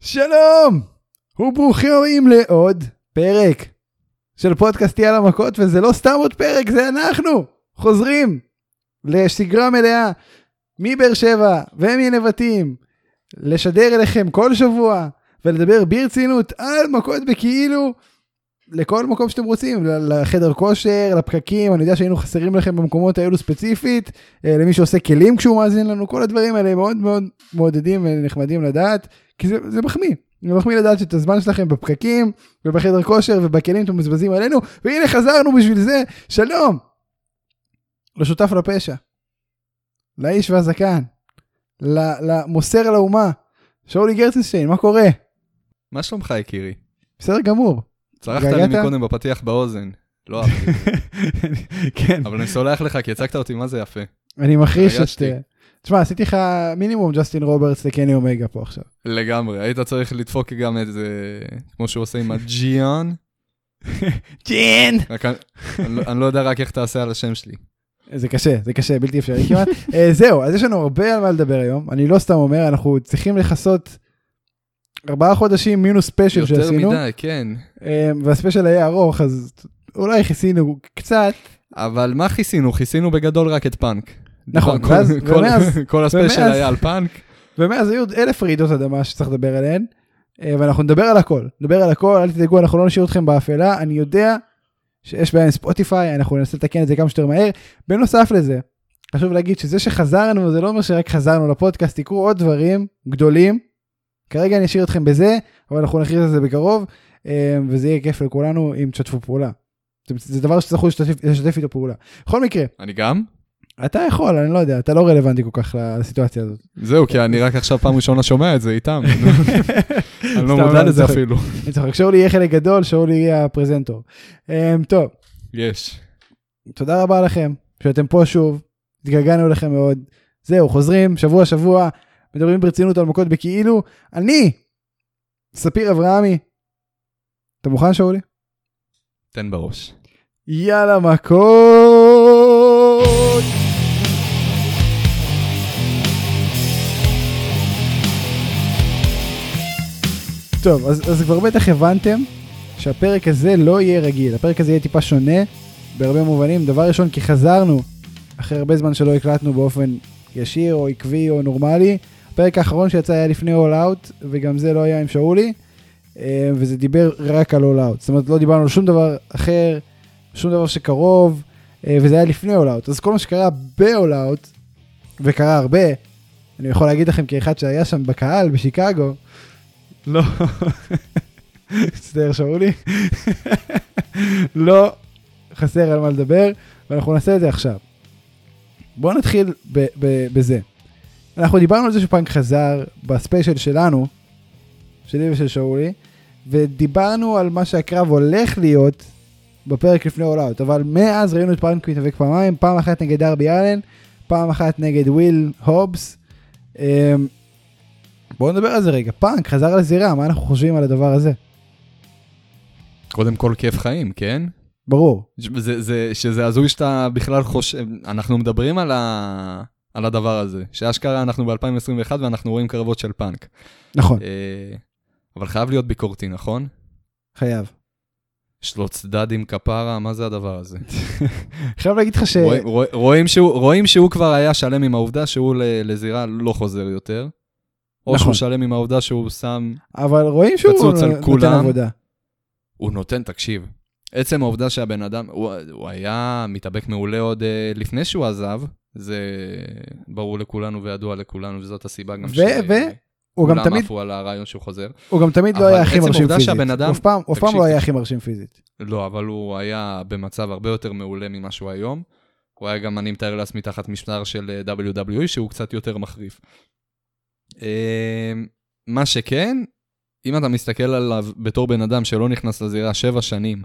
שלום! וברוכים הבאים לעוד פרק של פודקאסט יאללה מכות, וזה לא סתם עוד פרק, זה אנחנו! חוזרים לשגרה מלאה מבאר שבע ומנבטים, לשדר אליכם כל שבוע ולדבר ברצינות על מכות בכאילו לכל מקום שאתם רוצים, ל- לחדר כושר, לפקקים, אני יודע שהיינו חסרים לכם במקומות האלו ספציפית, אה, למי שעושה כלים כשהוא מאזין לנו, כל הדברים האלה מאוד מאוד מעודדים ונחמדים לדעת, כי זה, זה מחמיא. זה מחמיא לדעת שאת הזמן שלכם בפקקים ובחדר כושר ובכלים אתם מבזבזים עלינו, והנה חזרנו בשביל זה, שלום! לא לשותף לפשע, לאיש והזקן, ל- למוסר לאומה, שאולי גרצנשטיין, מה קורה? מה שלומך יקירי? בסדר גמור. צרחת התגעגעת? לי מקודם בפתיח באוזן. לא אהבתי, כן. אבל אני סולח לך כי הצגת אותי מה זה יפה. אני מחריש את... אה, הרגשתי. תשמע, עשיתי לך מינימום ג'סטין רוברטס לקני אומגה פה עכשיו. לגמרי, היית צריך לדפוק גם את זה, כמו שהוא עושה עם הג'יאן. ג'ין! רק אני- אני לא- אני לא יודע רק איך תעשה על השם שלי. זה קשה, זה קשה, בלתי אפשרי כמעט. אה, זהו, אז יש לנו הרבה על מה לדבר היום. אני לא סתם אומר, אנחנו צריכים לכסות ארבעה חודשים מינוס ספיישל יותר שעשינו, מדי, כן. אה, והספיישל היה ארוך, אז אולי כיסינו קצת. אבל מה כיסינו? כיסינו בגדול רק את פאנק. נכון, כל- ואז- כל- ומאז- כל הספיישל ומאז- היה על פאנק. ומאז היו עוד אלף רעידות אדמה שצריך לדבר עליהן, אה, ואנחנו נדבר על הכל, נדבר על הכל, אל תדאגו, אנחנו לא נשאיר אתכם באפלה, אני יודע שיש בעיה עם ספוטיפיי, אנחנו ננסה לתקן את זה כמה שיותר מהר. בנוסף לזה, חשוב להגיד שזה שחזרנו, זה לא אומר שרק חזרנו לפודקאסט, יקרו עוד דברים גדולים. כרגע אני אשאיר אתכם בזה, אבל אנחנו נכריז על זה בקרוב, אה, וזה יהיה כיף לכולנו אם תשתפו פעולה. זה, זה דבר שתצטרכו לשתף, לשתף איתו פעולה. בכל מקרה, אני גם? אתה יכול, אני לא יודע, אתה לא רלוונטי כל כך לסיטואציה הזאת. זהו, כי אני רק עכשיו פעם ראשונה שומע את זה איתם. אני לא סתם, מודע אני לזה צוחק. אפילו. אני צוחק, שאולי יהיה חלק גדול, שאולי יהיה הפרזנטור. Um, טוב, יש. תודה רבה לכם שאתם פה שוב, התגעגענו אליכם מאוד. זהו, חוזרים שבוע שבוע, מדברים ברצינות על מכות בכאילו. אני, ספיר אברהמי, אתה מוכן שאולי? תן בראש. יאללה מכות! טוב, אז, אז כבר בטח הבנתם שהפרק הזה לא יהיה רגיל, הפרק הזה יהיה טיפה שונה בהרבה מובנים. דבר ראשון, כי חזרנו אחרי הרבה זמן שלא הקלטנו באופן ישיר או עקבי או נורמלי. הפרק האחרון שיצא היה לפני All Out, וגם זה לא היה עם שאולי, אה, וזה דיבר רק על All Out. זאת אומרת, לא דיברנו על שום דבר אחר, שום דבר שקרוב, אה, וזה היה לפני All Out. אז כל מה שקרה ב-All Out, וקרה הרבה, אני יכול להגיד לכם כאחד שהיה שם בקהל בשיקגו, לא, מצטער שאולי, לא חסר על מה לדבר, ואנחנו נעשה את זה עכשיו. בואו נתחיל ב- ב- בזה. אנחנו דיברנו על זה שפאנק חזר בספיישל שלנו, שלי ושל שאולי, ודיברנו על מה שהקרב הולך להיות בפרק לפני אולאוט, אבל מאז ראינו את פאנק מתאבק פעמיים, פעם אחת נגד דרבי אלן, פעם אחת נגד וויל הובס. אמ, בואו נדבר על זה רגע, פאנק חזר לזירה, מה אנחנו חושבים על הדבר הזה? קודם כל כיף חיים, כן? ברור. זה, זה, שזה הזוי שאתה בכלל חושב, אנחנו מדברים על, ה, על הדבר הזה, שאשכרה אנחנו ב-2021 ואנחנו רואים קרבות של פאנק. נכון, אה, אבל חייב להיות ביקורתי, נכון? חייב. שלוצדד עם כפרה, מה זה הדבר הזה? חייב להגיד לך ש... רואים- רואים- רואים שהוא- רואים שהוא כבר היה שלם עם העובדה שהוא ל- לזירה לא חוזר יותר, או נכון. שהוא שלם עם העובדה שהוא שם, אבל רואים שהוא קצוץ על נותן כולם. עבודה. הוא נותן, תקשיב. עצם העובדה שהבן אדם, הוא, הוא היה מתאבק מעולה עוד אה, לפני שהוא עזב, זה ברור לכולנו וידוע לכולנו, וזאת הסיבה גם ו- ש... ו- הוא גם כולם תמיד, עפו על הרעיון שהוא חוזר. הוא גם תמיד לא אבל היה הכי עצם מרשים העובדה פיזית. שהבן אדם- הוא אף פעם- הוא אף פעם תקשיב, לא היה הכי תקשיב. מרשים פיזית. לא, אבל הוא היה במצב הרבה יותר מעולה ממה שהוא היום. הוא היה גם, אני מתאר לעצמי, תחת משטר של אה, WWE, שהוא קצת יותר מחריף. אה, מה שכן, אם אתה מסתכל עליו בתור בן אדם שלא נכנס לזירה שבע שנים,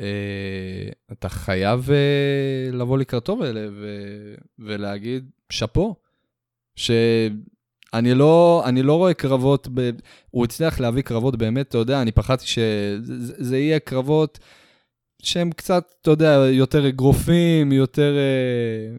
אה, אתה חייב אה, לבוא לקראתו ול, ו, ולהגיד שאפו, שאני לא, אני לא רואה קרבות, ב, הוא הצליח להביא קרבות באמת, אתה יודע, אני פחדתי שזה זה יהיה קרבות שהם קצת, אתה יודע, יותר אגרופים, יותר... אה,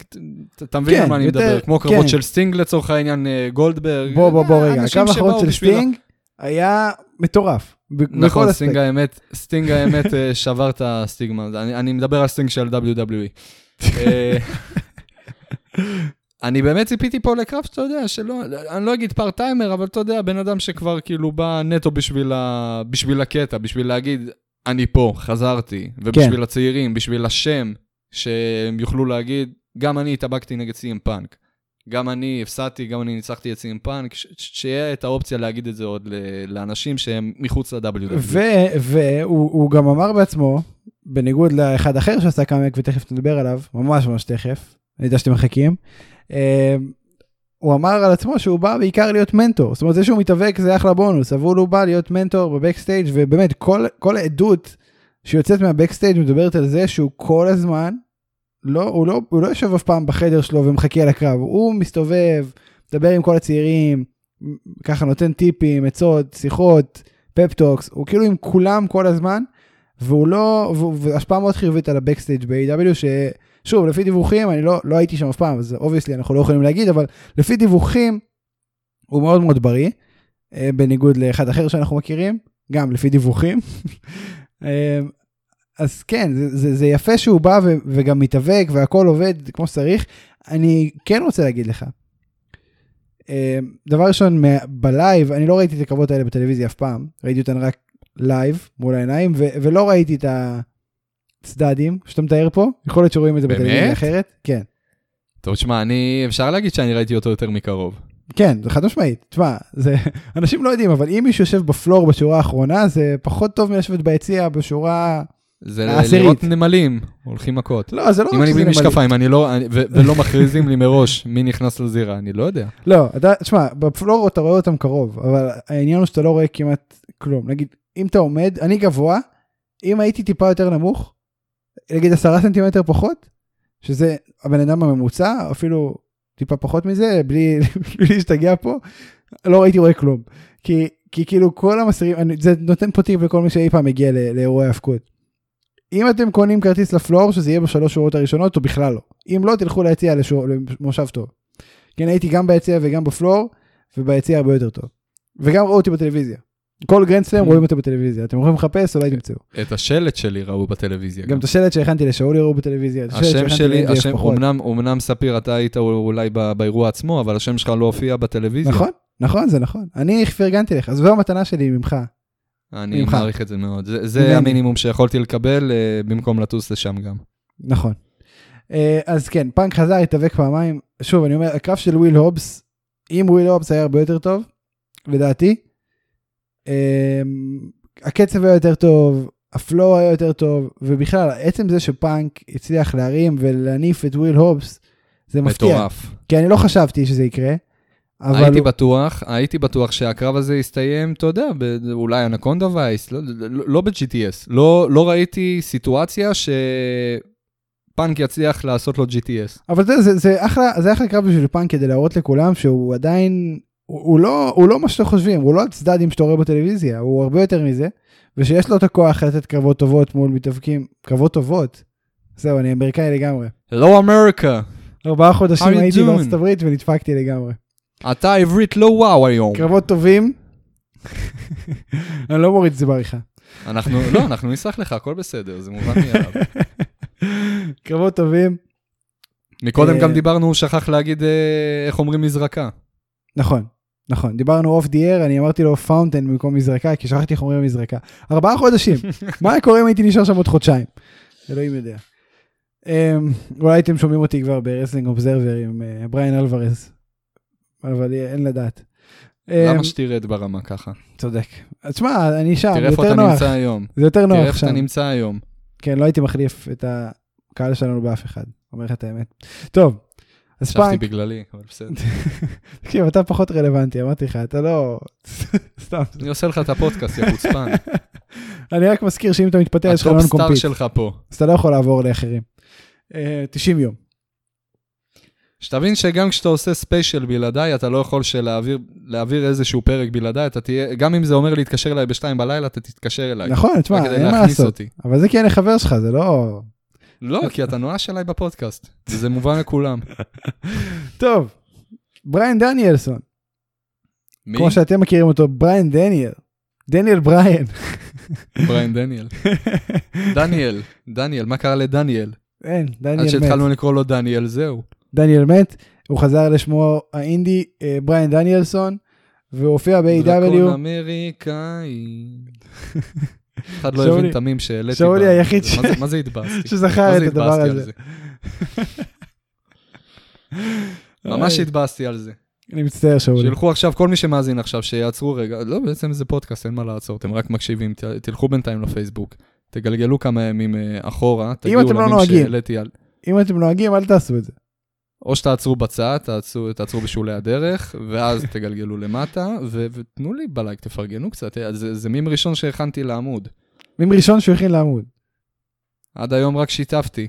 אתה- אתה מבין כן, על מה אני יותר- מדבר, כמו קרבות כן. של סטינג לצורך העניין, אה, גולדברג. בוא, בוא, בוא, רגע, אנשים הקו האחרון שבאו של בשביל ה- סטינג היה מטורף. ב- בכל נכון, סטינג אספקט. האמת, סטינג האמת אה, שבר את הסטיגמה, אני, אני מדבר על סטינג של WWE. אה, אני באמת ציפיתי פה לקרב שאתה יודע, שלא, אני לא אגיד פארט טיימר, אבל אתה יודע, בן אדם שכבר כאילו בא נטו בשביל, ה, בשביל הקטע, בשביל להגיד, אני פה, חזרתי, כן. ובשביל הצעירים, בשביל השם, שהם יוכלו להגיד, גם אני התאבקתי נגד סי.אם פאנק. גם אני הפסדתי, גם אני ניצחתי את סי.אם פאנק, ש- ש- שיהיה את האופציה להגיד את זה עוד ל- לאנשים שהם מחוץ E. ל-WW. ו- והוא הוא גם אמר בעצמו, בניגוד לאחד אחר שעשה קאמק ותכף נדבר עליו, ממש ממש תכף, אני יודע שאתם מחכים, אה, הוא אמר על עצמו שהוא בא בעיקר להיות מנטור, זאת אומרת זה שהוא מתאבק זה אחלה בונוס, אבל הוא בא להיות מנטור בבקסטייג' ובאמת כל, כל העדות שיוצאת מהבקסטייג' מדברת על זה שהוא כל הזמן, לא, הוא, לא, הוא לא יושב אף פעם בחדר שלו ומחכה לקרב, הוא מסתובב, מדבר עם כל הצעירים, ככה נותן טיפים, עצות, שיחות, פפטוקס, הוא כאילו עם כולם כל הזמן, והוא לא, והוא- והשפעה מאוד חיובית על הבקסטייג' ב-AW, ששוב, לפי דיווחים, אני לא, לא הייתי שם אף פעם, אז אובייסלי אנחנו לא יכולים להגיד, אבל לפי דיווחים, הוא מאוד מאוד בריא, אה, בניגוד לאחד אחר שאנחנו מכירים, גם לפי דיווחים. אה, אז כן, זה, זה, זה יפה שהוא בא ו, וגם מתאבק והכל עובד כמו שצריך. אני כן רוצה להגיד לך, אה, דבר ראשון, מה- בלייב, אני לא ראיתי את הקרבות האלה בטלוויזיה אף פעם, ראיתי אותן רק לייב מול העיניים, ו- ולא ראיתי את הצדדים שאתה מתאר פה, יכול להיות שרואים את זה בטלוויזיה באמת? אחרת. כן. טוב, שמע, אני, אפשר להגיד שאני ראיתי אותו יותר מקרוב. כן, זה חד משמעית. תשמע, זה... אנשים לא יודעים, אבל אם מישהו יושב בפלור בשורה האחרונה, זה פחות טוב מלשבת ביציע בשורה... זה העשירית. לראות נמלים, הולכים מכות. לא, זה אה, לא רק אם אני שזה בלי נמלי. משקפיים, אני לא, אני- ו- ולא מכריזים לי מראש מי נכנס לזירה, אני לא יודע. לא, אתה, תשמע, בפלור אתה רואה אותם קרוב, אבל העניין הוא שאתה לא רואה כמעט כלום. נגיד, אם אתה עומד, אני גבוה, אם הייתי טיפה יותר נמוך, נגיד עשרה סנטימטר פחות, שזה הבן אדם הממוצע, אפילו טיפה פחות מזה, בלי בלי להשתגע פה, לא הייתי רואה כלום. כי, כי כאילו כל המסרים, אני, זה נותן פה טיפ לכל מי שאי פעם מגיע ל- לאירועי האבקות. אם אתם קונים כרטיס לפלור, שזה יהיה בשלוש שורות הראשונות, או בכלל לא. אם לא, תלכו ליציע לשור- למושב טוב. כן, הייתי גם ביציע וגם בפלור, וביציע הרבה יותר טוב. וגם ראו אותי בטלוויזיה. כל גרנדסלאם רואים אותו בטלוויזיה. אתם יכולים לחפש, אולי תמצאו. את השלט שלי ראו בטלוויזיה. גם את השלט שהכנתי לשאול יראו בטלוויזיה. את השלט כן. השם שהכנתי שלי, ל-NJF השם, פחות. אמנם, אמנם ספיר, אתה היית אולי ב- באירוע עצמו, אבל השם שלך לא הופיע בטלוויזיה. נכון, נכון, זה נכון. אני פרגנתי לך, אז זו המתנה שלי ממך. אני ממך. מעריך את זה מאוד. זה, זה ממני. המינימום שיכולתי לקבל אה, במקום לטוס לשם גם. נכון. אה, אז כן, פאנק חזר, התאבק פעמיים. שוב, אני אומר, הקרב של וויל הובס, אם וויל הובס היה הרבה יותר טוב, לדעתי, אה, הקצב היה יותר טוב, הפלואו היה יותר טוב, ובכלל, עצם זה שפאנק הצליח להרים ולהניף את וויל הובס, זה מפתיע. מטורף. כי אני לא חשבתי שזה יקרה, אבל... הייתי הוא- בטוח, הייתי בטוח שהקרב הזה יסתיים, אתה יודע, ב- אולי אנקונדה וייס, לא, לא, לא ב-GTS. לא, לא ראיתי סיטואציה שפאנק יצליח לעשות לו GTS. אבל זה, זה, זה, אחלה, זה אחלה קרב בשביל פאנק כדי להראות לכולם שהוא עדיין, הוא, הוא, לא, הוא לא מה שאתם חושבים, הוא לא הצדדים שאתה רואה בטלוויזיה, הוא הרבה יותר מזה, ושיש לו את הכוח לתת קרבות טובות מול מתאבקים, קרבות טובות. זהו, אני אמריקאי לגמרי. לא אמריקה, ארבעה חודשים How you הייתי doing? בארצות הברית ונדפקתי לגמרי. אתה עברית לא וואו היום. קרבות טובים, אני לא מוריד את זה בעריכה. אנחנו, לא, אנחנו נסלח לך, הכל בסדר, זה מובן מאליו. קרבות טובים, מקודם אה, גם דיברנו, הוא שכח להגיד אה, איך אומרים מזרקה. נכון, נכון, דיברנו אוף די אר, אני אמרתי לו פאונטן במקום מזרקה, כי שכחתי איך אומרים מזרקה. ארבעה חודשים, מה היה קורה אם הייתי נשאר שם עוד חודשיים? אלוהים יודע. אמ, אולי הייתם שומעים אותי כבר ברסלינג אובזרבר עם אה, בריין אלוורז, אבל אה, אין לדעת. אמ, למה שתרד ברמה ככה? צודק. אז תשמע, אני שם, זה תראה איפה אה, יותר אתה נוח, נמצא היום. זה יותר תראה נוח איפה שם. אתה נמצא היום. כן, לא הייתי מחליף את הקהל שלנו באף אחד, אומר לך את האמת. טוב, אז חשבתי פאנק, בגללי, אבל בסדר. תקשיב, אתה פחות רלוונטי, אמרתי לך, אתה לא... סתם. אני עושה לך את הפודקאסט, יא חוצפן. אני רק מזכיר שאם אתה מתפטר יש לך הטופ נון סטאר קומפיט, שלך פה. אז אתה לא יכול לעבור לאחרים. אה, 90 יום. שתבין שגם כשאתה עושה ספיישל בלעדיי, אתה לא יכול שלהעביר, להעביר איזשהו פרק בלעדיי, אתה תהיה, גם אם זה אומר להתקשר אליי בשתיים בלילה, אתה תתקשר אליי. נכון, תשמע, רק כדי אין מה להכניס לעשות. אותי. אבל זה כי אני חבר שלך, זה לא... לא, כי אתה נואש עליי בפודקאסט, וזה מובן לכולם. טוב, בריין דניאלסון, מי? כמו שאתם מכירים אותו, בריין דניאל. דניאל בריין. בריין דניאל. דניאל, דניאל, מה קרה לדניאל? אין, עד דניאל מת. שהתחלנו לקרוא לו דניאל, זהו. דניאל מת, הוא חזר לשמו האינדי, אה, בריין דניאלסון, והוא הופיע דרקון ב-AW. אמריקאי. אחד לא שאולי- הבין את המים שהעליתי. שאולי ב- היחיד מה זה- מה זה התבאסתי? שזכר מה את זה הדבר התבאסתי על הזה. זה? ממש התבאסתי על זה. אני מצטער שאולי. שילכו עכשיו, כל מי שמאזין עכשיו, שיעצרו רגע. לא, בעצם זה פודקאסט, אין מה לעצור, אתם רק מקשיבים, ת- תלכו בינתיים לפייסבוק. תגלגלו כמה ימים אה, אחורה, תגיעו אתם לא לימים נוהגים. שהעליתי על... אם אתם נוהגים, אל תעשו את זה. או שתעצרו בצד, תעצרו, תעצרו בשולי הדרך, ואז תגלגלו למטה, ו- ותנו לי בלייק, תפרגנו קצת. אה, זה, זה מים ראשון שהכנתי לעמוד. מין ראשון שהוא הכין לעמוד, עד היום רק שיתפתי.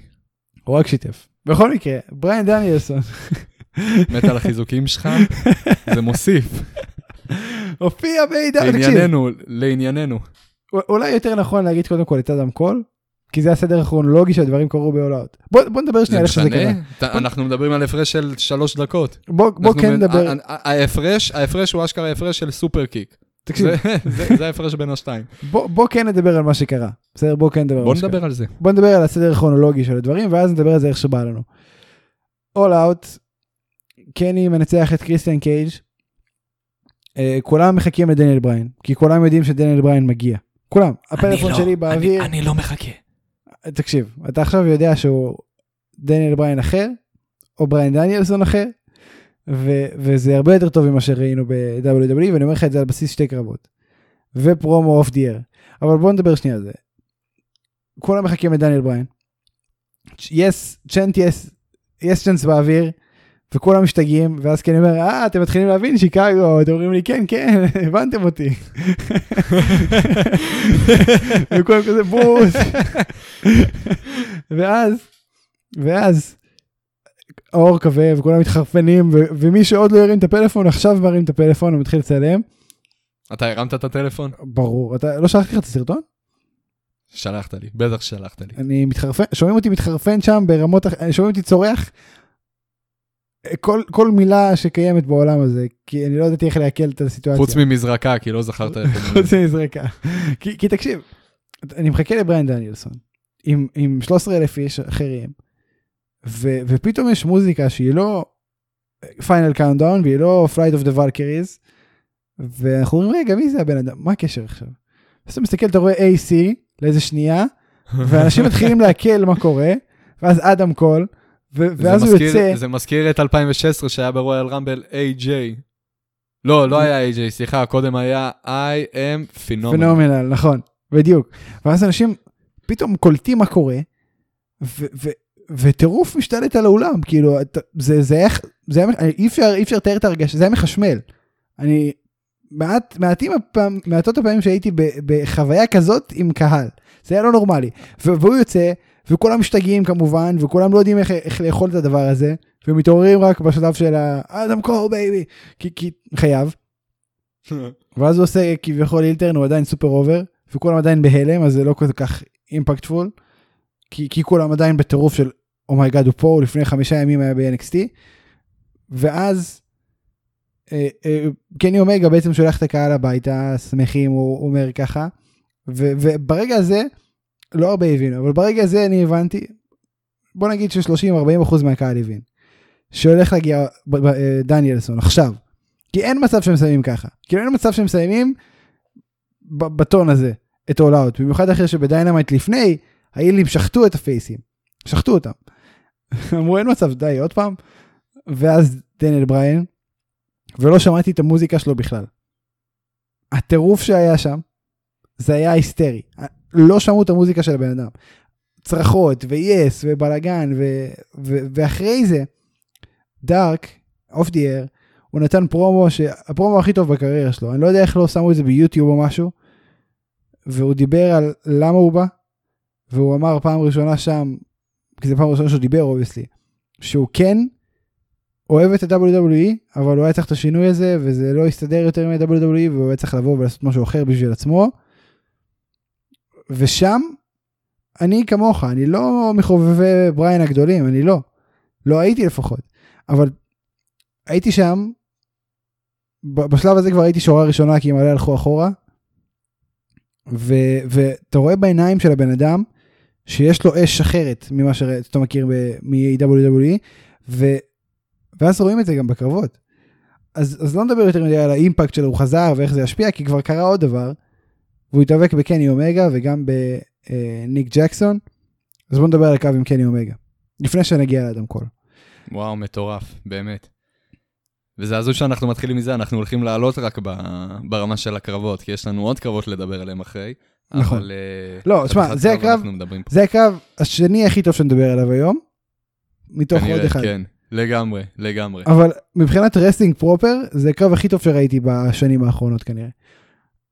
הוא רק שיתף. בכל מקרה, בריין דניאלסון מת על החיזוקים שלך, זה מוסיף. הופיע ב-AW. תקשיב, לא לענייננו, לענייננו. א- אולי יותר נכון להגיד קודם כל את אדם קול, כי זה הסדר הכרונולוגי שהדברים קרו ב-all-out. בוא בוא נדבר זה שנייה על איך שזה קרה. משנה? אתה- אנחנו מדברים על הפרש של שלוש דקות. בוא בוא אנחנו אה, כן מ- נדבר, ה- ה- ההפרש, ההפרש הוא אשכרה הפרש של סופר קיק. תקשיב, זה- זה- זה ההפרש בין השתיים. בוא בוא כן נדבר על מה שקרה. בסדר, בוא כן נדבר על בוא מה שקרה. נדבר על זה. בוא נדבר על הסדר הכרונולוגי של הדברים, ואז נדבר על זה איך שבא לנו. All Out, קני מנצח את קריסטיאן קייג'. אה, כולם מחכים לדניאל בריין, כי כולם יודעים שדניאל בריין מגיע. כולם. הפלאפון שלי באוויר, אני לא מחכה. תקשיב, אתה עכשיו יודע שהוא דניאל בריין אחר, או בריין דניאלסון אחר, ו- וזה הרבה יותר טוב ממה שראינו ב-WWE, ואני אומר לך את זה על בסיס שתי קרבות. ופרומו אוף דיאר. אבל בואו נדבר שנייה על זה. כולם מחכים לדניאל בריין. יס, צ'נט יס, יס צ'נס באוויר, וכולם משתגעים, ואז כן אומר, אה, אתם מתחילים להבין שיקגו, אתם אומרים לי, כן, כן, הבנתם אותי. וכולם כזה בוז. ואז, ואז, האור כבה וכולם מתחרפנים, ו- ומי שעוד לא הרים את הפלאפון, עכשיו מרים את הפלאפון ומתחיל לצלם. אתה הרמת את הטלפון? ברור, אתה לא שלחתי לך את הסרטון? שלחת לי, בטח שלחת לי. אני מתחרפן, שומעים אותי מתחרפן שם ברמות, אח- שומעים אותי צורח. כל, כל מילה שקיימת בעולם הזה, כי אני לא ידעתי איך לעכל את הסיטואציה. חוץ ממזרקה, כי לא זכרת איך הם חוץ מזרקה. כי, כי תקשיב, אני מחכה לבריין דניאלסון עם, עם 13 אלף איש אחרים, ו, ופתאום יש מוזיקה שהיא לא פיינל קאונדאון והיא לא פלייט אוף דה ולקריז, ואנחנו אומרים רגע מי זה הבן אדם מה הקשר עכשיו. אז אתה מסתכל אתה רואה AC לאיזה שנייה ואנשים מתחילים לעכל מה קורה ואז אדם קול ו- זה ואז הוא מזכיר- יוצא זה מזכיר את 2016 שהיה ברואל רמבל איי-ג'יי. לא, לא היה איי-ג'יי, סליחה, קודם היה I am phenomenal. פנומנל, נכון, בדיוק. ואז אנשים פתאום קולטים מה קורה, ו- ו- וטירוף משתלט על האולם, כאילו, אתה- זה, זה היה, זה היה, אי אפשר, אי אפשר לתאר את הרגשה, זה היה מחשמל. אני, מעט, מעטים הפעם, מעטות הפעמים שהייתי ב, בחוויה כזאת עם קהל, זה היה לא נורמלי. ו- והוא יוצא, וכולם משתגעים כמובן, וכולם לא יודעים איך, איך לאכול את הדבר הזה, ומתעוררים רק בשלב של ה... "אה, אדם קור בייבי, כי, כי חייב. ואז הוא עושה כביכול אילטרן, הוא עדיין סופר אובר, וכולם עדיין בהלם, אז זה לא כל כך אימפקטפול, כי, כי כולם עדיין בטירוף של אומייגאד הוא פה, הוא לפני חמישה ימים היה ב-NXT, ואז אה, אה, קני אומגה בעצם שולח את הקהל הביתה, שמחים, הוא הוא אומר ככה, ו, וברגע הזה, לא הרבה הבינו, אבל ברגע הזה אני הבנתי, בוא נגיד ש-30-40% מהקהל הבין, שהולך להגיע ב- ב- אה, דניאלסון עכשיו. כי אין מצב שהם מסיימים ככה. כאילו אין מצב שהם מסיימים ב- בטון הזה את All Out. במיוחד אחרי שבדיינמייט לפני, האילים שחטו את הפייסים. שחטו אותם. אמרו אין מצב, די, עוד פעם. ואז דניאל בריין, ולא שמעתי את המוזיקה שלו בכלל. הטירוף שהיה שם, זה היה היסטרי. לא שמעו את המוזיקה של הבן אדם. צרחות ויס ובלאגן ו- ו- ואחרי זה, דארק, אוף די אר, הוא נתן פרומו שהפרומו הכי טוב בקריירה שלו אני לא יודע איך לא שמו את זה ביוטיוב או משהו. והוא דיבר על למה הוא בא. והוא אמר פעם ראשונה שם כי זה פעם ראשונה שהוא דיבר אובייסלי שהוא כן אוהב את ה-WWE אבל הוא היה צריך את השינוי הזה וזה לא הסתדר יותר E, עם ה-WWE והוא היה צריך לבוא ולעשות משהו אחר בשביל עצמו. ושם אני כמוך, אני לא מחובבי בריין הגדולים, אני לא. לא הייתי לפחות. אבל הייתי שם, ב- בשלב הזה כבר הייתי שורה ראשונה, כי הם עליה הלכו אחורה. ו- ואתה רואה בעיניים של הבן אדם, שיש לו אש אחרת ממה שאתה מכיר ב- מ-WWE, E, ו- ואז רואים את זה גם בקרבות. אז, אז לא נדבר יותר מדי על האימפקט שלו, הוא חזר ואיך זה ישפיע, כי כבר קרה עוד דבר, והוא התאבק בקני אומגה וגם בניק ג'קסון, אז בוא נדבר על הקרב עם קני אומגה, לפני שנגיע לאדם קול. וואו, מטורף, באמת. וזה הזוי שאנחנו מתחילים מזה, אנחנו הולכים לעלות רק ב... ברמה של הקרבות, כי יש לנו עוד קרבות לדבר עליהם אחרי. נכון. אבל, אה, לא, על תשמע, אחד זה קרב הקרב- אנחנו מדברים פה. זה הקרב השני הכי טוב שנדבר עליו היום, מתוך עוד כנראה, אחד. כן, לגמרי, לגמרי. אבל מבחינת רסטינג פרופר, זה הקרב הכי טוב שראיתי בשנים האחרונות כנראה.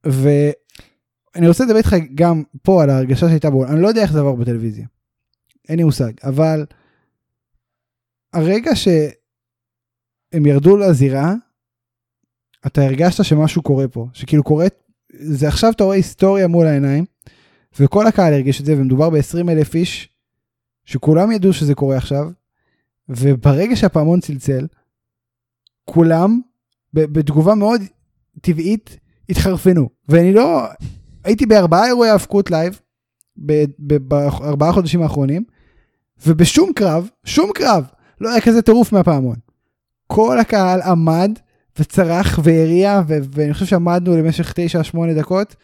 ואני רוצה לדבר איתך גם פה על ההרגשה שהייתה בו, אני לא יודע איך זה עבר בטלוויזיה. אין לי מושג, אבל הרגע שהם ירדו לזירה, אתה הרגשת שמשהו קורה פה, שכאילו קורה, זה עכשיו אתה רואה היסטוריה מול העיניים, וכל הקהל הרגיש את זה, ומדובר ב-20 אלף איש, שכולם ידעו שזה קורה עכשיו, וברגע שהפעמון צלצל, כולם, ב- בתגובה מאוד טבעית, התחרפנו. ואני לא... הייתי בארבעה אירועי האבקות לייב, ב- ב- בארבעה חודשים האחרונים, ובשום קרב, שום קרב, לא היה כזה טירוף מהפעמון. כל הקהל עמד וצרח והריע, ו- ואני חושב שעמדנו למשך 9-8 דקות,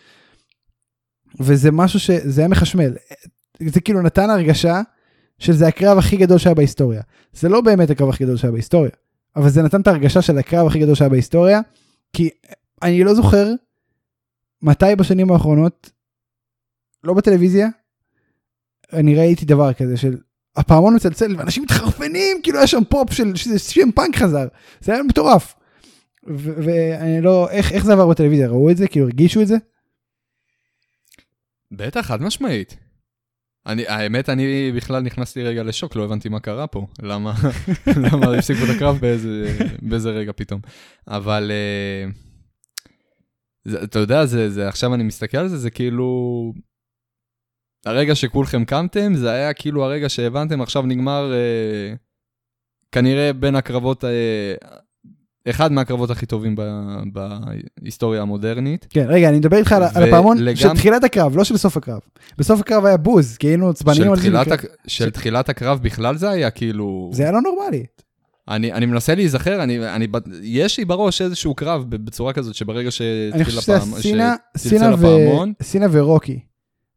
וזה משהו ש... זה היה מחשמל. זה כאילו נתן הרגשה שזה הקרב הכי גדול שהיה בהיסטוריה. זה לא באמת הקרב הכי גדול שהיה בהיסטוריה, אבל זה נתן את ההרגשה של הקרב הכי גדול שהיה בהיסטוריה, כי אני לא זוכר מתי בשנים האחרונות, לא בטלוויזיה, אני ראיתי דבר כזה של הפעמון מצלצל ואנשים מתחרפנים, כאילו היה שם פופ של שזה שם פאנק חזר, זה היה מטורף. ו- ואני לא, איך, איך זה עבר בטלוויזיה, ראו את זה? כאילו הרגישו את זה? בטח, חד משמעית. אני, האמת, אני בכלל נכנסתי רגע לשוק, לא הבנתי מה קרה פה, למה, למה הפסיקו את הקרב באיזה, באיזה רגע פתאום. אבל אה, זה, אתה יודע, זה, זה, עכשיו אני מסתכל על זה, זה כאילו... הרגע שכולכם קמתם, זה היה כאילו הרגע שהבנתם, עכשיו נגמר אה, כנראה בין הקרבות, אה, אחד מהקרבות הכי טובים ב, בהיסטוריה המודרנית. כן, רגע, אני מדבר איתך על, ה- על ו- הפעמון לגמ- של תחילת הקרב, לא של סוף הקרב. בסוף הקרב היה בוז, כי היינו עצבנים של, על זה. תחילת, מכ- הק... של תחילת הקרב בכלל זה היה כאילו... זה היה לא נורמלי. אני, אני מנסה להיזכר, אני, אני, ב- יש לי בראש איזשהו קרב ב- בצורה כזאת שברגע אני שהתחיל חושב שזה הפעמון, היה סינה, שצלצל סינה, ו... הפעמון. סינה ורוקי.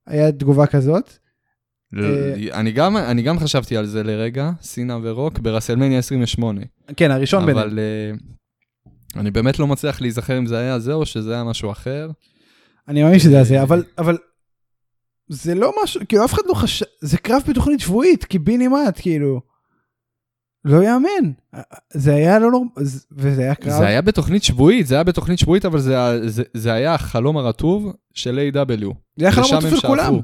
היה תגובה כזאת. אה, אני, גם, אני גם חשבתי על זה לרגע, סינה ורוק, ברסלמניה 28. כן, הראשון ביניהם. אבל אה, אני באמת לא מצליח להיזכר אם זה היה זה או שזה היה משהו אחר. אני מאמין שזה היה זה, אה, אבל, אבל זה לא משהו, כאילו אף אחד לא חשב, זה קרב בתוכנית שבועית, קיבינימט, כאילו. לא יאמן. זה היה לא נורמלי, וזה היה קרב. זה היה בתוכנית שבועית, זה היה בתוכנית שבועית, אבל זה, ה- זה, זה היה החלום הרטוב של A.W. זה היה חלום לשם רטוב הם של כולם. שאפו.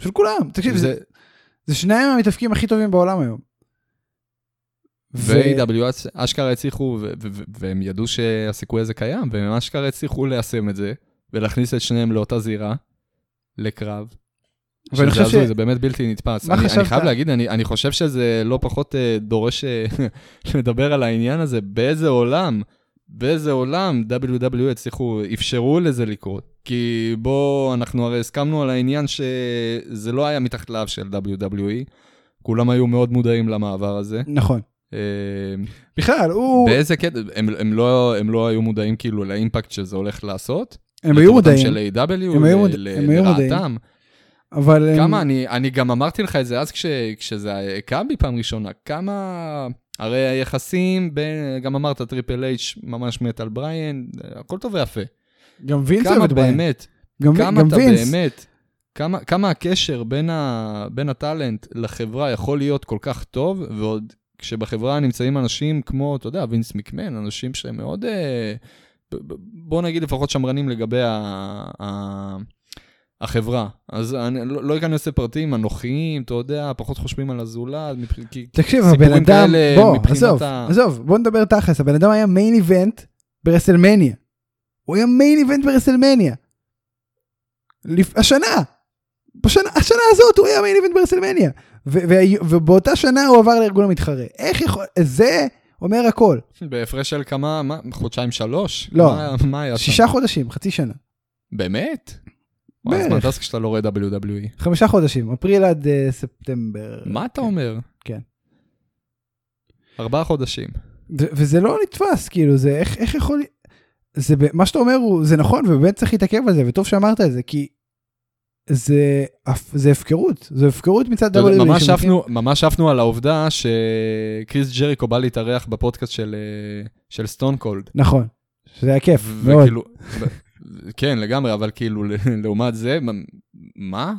של כולם. תקשיב, זה, זה, זה שניים המתאבקים הכי טובים בעולם היום. ו- ו-AW אשכרה הצליחו, ו- ו- ו- והם ידעו שהסיכוי הזה קיים, והם אשכרה הצליחו ליישם את זה, ולהכניס את שניהם לאותה זירה, לקרב. ואני שזה חושב ש- הזוי, זה באמת בלתי נתפס. מה אני, אני חשבת? חייב להגיד, אני, אני חושב שזה לא פחות אה, דורש אה, לדבר על העניין הזה, באיזה עולם, באיזה עולם WWE הצליחו, אפשרו לזה לקרות. כי בוא, אנחנו הרי הסכמנו על העניין שזה לא היה מתחת לאף של WWE, כולם היו מאוד מודעים למעבר הזה. נכון. אה, בכלל, הוא, באיזה קטע? הם, הם, לא, הם לא היו מודעים כאילו לאימפקט שזה הולך לעשות? הם היו לטובתם מודעים, של A.W. הם היו ל- מודע- ל- הם היו מודעים. לרעתם. אבל... הם- כמה, אני, אני גם אמרתי לך את זה אז כש, כשזה קם בי פעם ראשונה, כמה... הרי היחסים בין, גם אמרת, טריפל אייץ' ממש מת על בריאן, הכל טוב ויפה. גם וינס אוהב כמה את בריין. באמת, גם וינס. כמה אתה באמת, כמה, כמה הקשר בין, ה, בין הטאלנט לחברה יכול להיות כל כך טוב, ועוד כשבחברה נמצאים אנשים כמו, אתה יודע, וינס מקמן, אנשים שהם מאוד, אה, ב- ב- בוא נגיד לפחות שמרנים לגבי ה, ה, החברה. אז אני לא, לא אכנס לפרטים אנוכיים, אתה יודע, פחות חושבים על הזולת, מבח- כי... תקשיב, סיפורים הבן אדם, כאלה בוא, מבחינת עזוב, ה- עזוב, בוא נדבר תכלס, הבן אדם היה מיין איבנט ברסלמניה. הוא היה מיין איבנט ברסלמניה. לפ- השנה. בשנה השנה הזאת הוא היה מיין איבנט ברסלמניה. ו- וה- ובאותה שנה הוא עבר לארגון המתחרה. איך יכול... זה אומר הכל. בהפרש של כמה, מה, חודשיים שלוש? לא. מה, מה היה שם? שישה חודשים, חצי שנה. באמת? וואי, אז בערך. מטס כשאתה לא רואה WWE. חמישה חודשים, אפריל עד אה, ספטמבר. מה אתה אומר? כן. ארבעה חודשים. ו- וזה לא נתפס, כאילו, זה איך, איך יכול... זה, ב- מה שאתה אומר הוא, זה נכון, ובאמת צריך להתעכב על זה, וטוב שאמרת את זה, כי זה, הפ- זה הפקרות, זה הפקרות מצד אתה יודע, WWE. ממש שמתאים- עפנו- ממש עפנו על העובדה שקריס ג'ריקו בא להתארח בפודקאסט של, אה, של סטון קולד. נכון, שזה היה כיף, מאוד. וכאילו, ב- כן, לגמרי, אבל כאילו, ל- לעומת זה, מה- מה?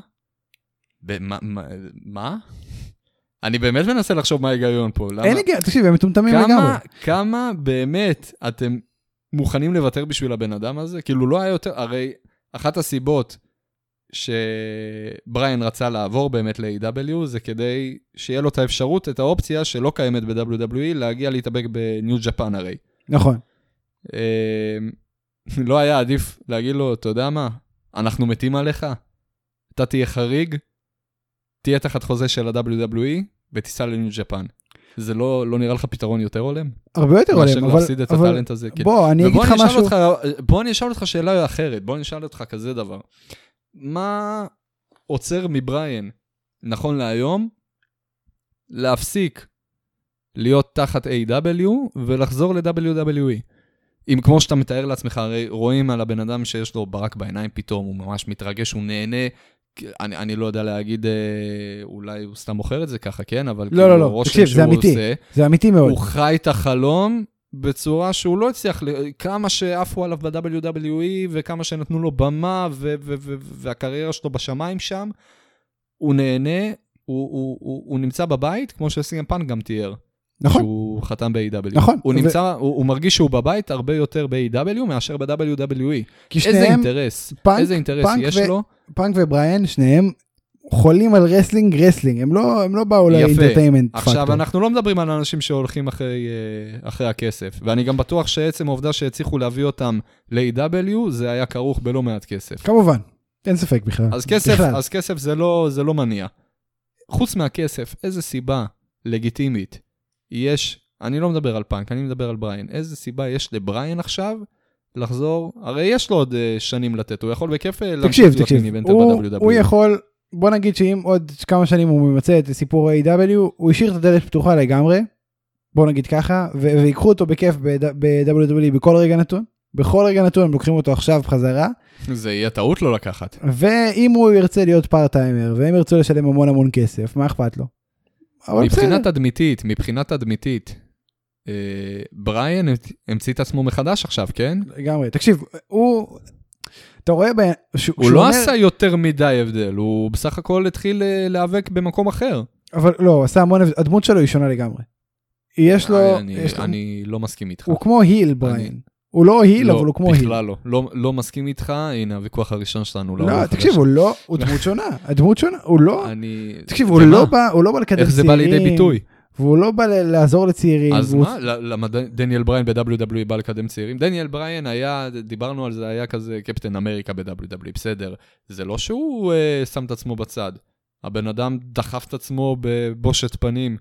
ב- מה- מה- מה? אני באמת מנסה לחשוב מה ההיגיון פה. למה- אין לי גאה, תקשיב, הם מטומטמים לגמרי. כמה, כמה באמת אתם מוכנים לוותר בשביל הבן אדם הזה? כאילו, לא היה יותר, הרי אחת הסיבות שבריין רצה לעבור באמת ל-AW זה כדי שיהיה לו את האפשרות, את האופציה שלא קיימת ב-WWE, להגיע להתאבק בניו ג'פן הרי. נכון, אה, לא היה עדיף להגיד לו, אתה יודע מה, אנחנו מתים עליך, אתה תהיה חריג, תהיה תחת חוזה של ה-WWE ותיסע לניו ג'פן. זה לא, לא נראה לך פתרון יותר הולם? הרבה יותר מאשר הולם, אבל... להפסיד את אבל- הטאלנט הזה. כן. בוא, אני אגיד ובוא לך אני אשאל משהו, אותך, בוא אני אשאל אותך שאלה אחרת, בוא אני אשאל אותך כזה דבר. מה עוצר מבריין, נכון להיום, להפסיק להיות תחת A.W. ולחזור ל-WWE? אם כמו שאתה מתאר לעצמך, הרי רואים על הבן אדם שיש לו ברק בעיניים פתאום, הוא ממש מתרגש, הוא נהנה. אני, אני לא יודע להגיד, אה, אולי הוא סתם מוכר את זה ככה, כן? אבל לא, לא, לא. הרושם תקשיב, זה שהוא אמיתי. עושה, זה אמיתי מאוד. הוא חי את החלום בצורה שהוא לא הצליח, ל- כמה שעפו עליו ב-WWE וכמה שנתנו לו במה ו- ו- ו- והקריירה שלו בשמיים שם, הוא נהנה, הוא, הוא, הוא, הוא נמצא בבית, כמו שסינגן פאנק גם תיאר, נכון, שהוא חתם ב-AW. נכון. הוא, ו- נמצא, הוא, הוא מרגיש שהוא בבית הרבה יותר ב-AW מאשר ב-WWE. כי איזה שניהם, אינטרס, פאנק- איזה אינטרס פאנק יש ו- לו? פאנק ובריאן, שניהם חולים על רסלינג רסלינג, הם לא הם לא באו יפה. לאינטרטיימנט עכשיו, פקטור. אנחנו לא מדברים על אנשים שהולכים אחרי, אה, אחרי הכסף, ואני גם בטוח שעצם העובדה שהצליחו להביא אותם ל-AW, זה היה כרוך בלא מעט כסף. כמובן, אין ספק בכלל. אז כסף, בכלל. אז כסף זה, לא, זה לא מניע. חוץ מהכסף, איזה סיבה לגיטימית יש, אני לא מדבר על פאנק, אני מדבר על בריין, איזה סיבה יש לבריין עכשיו לחזור, הרי יש לו עוד אה, שנים לתת, הוא יכול בכיף אה, להמשיך תקשיב, להיות תקשיב, מיניבנטר הוא, ב-WWE. הוא יכול, בוא נגיד שאם עוד כמה שנים הוא ממצה את סיפור ה-AW, הוא השאיר את הדלת פתוחה לגמרי, בוא נגיד ככה, ו- ויקחו אותו בכיף ב-WWE E בכל רגע נתון, בכל רגע נתון הם לוקחים אותו עכשיו חזרה, זה יהיה טעות לא לקחת. ואם הוא ירצה להיות פארט-טיימר, והם ירצו לשלם המון המון כסף, מה אכפת לו? אבל בסדר, מבחינה תדמיתית, מבחינה תדמיתית, אה, בריאן המציא את עצמו מחדש עכשיו, כן? לגמרי, תקשיב, הוא, אתה רואה, ב... ש... הוא לא עשה יותר מדי הבדל, הוא בסך הכל התחיל אה, להיאבק במקום אחר. אבל לא, הוא עשה המון, הבדל. הדמות שלו היא שונה לגמרי. יש לו, אה, אני- יש לו... אני לא מסכים איתך. הוא כמו היל בריין. הוא לא היל, אבל הוא כמו היל. בכלל לא. לא- לא מסכים איתך, הנה הוויכוח הראשון שלנו. לא, לעורך תקשיב, החדש. הוא לא, הוא דמות שונה. הדמות שונה, הוא לא... אני... תקשיב, הוא ומה? לא בא, הוא לא בא לקדם צעירים. איך זה בא לידי ביטוי? והוא לא בא ל- לעזור לצעירים. אז והוא- מה, ל- למה ד- דניאל בריין ב-WWE בא לקדם צעירים? דניאל בריין היה, דיברנו על זה, היה כזה קפטן אמריקה ב-WWE, בסדר. זה לא שהוא אה, שם את עצמו בצד. הבן אדם דחף את עצמו בבושת פנים,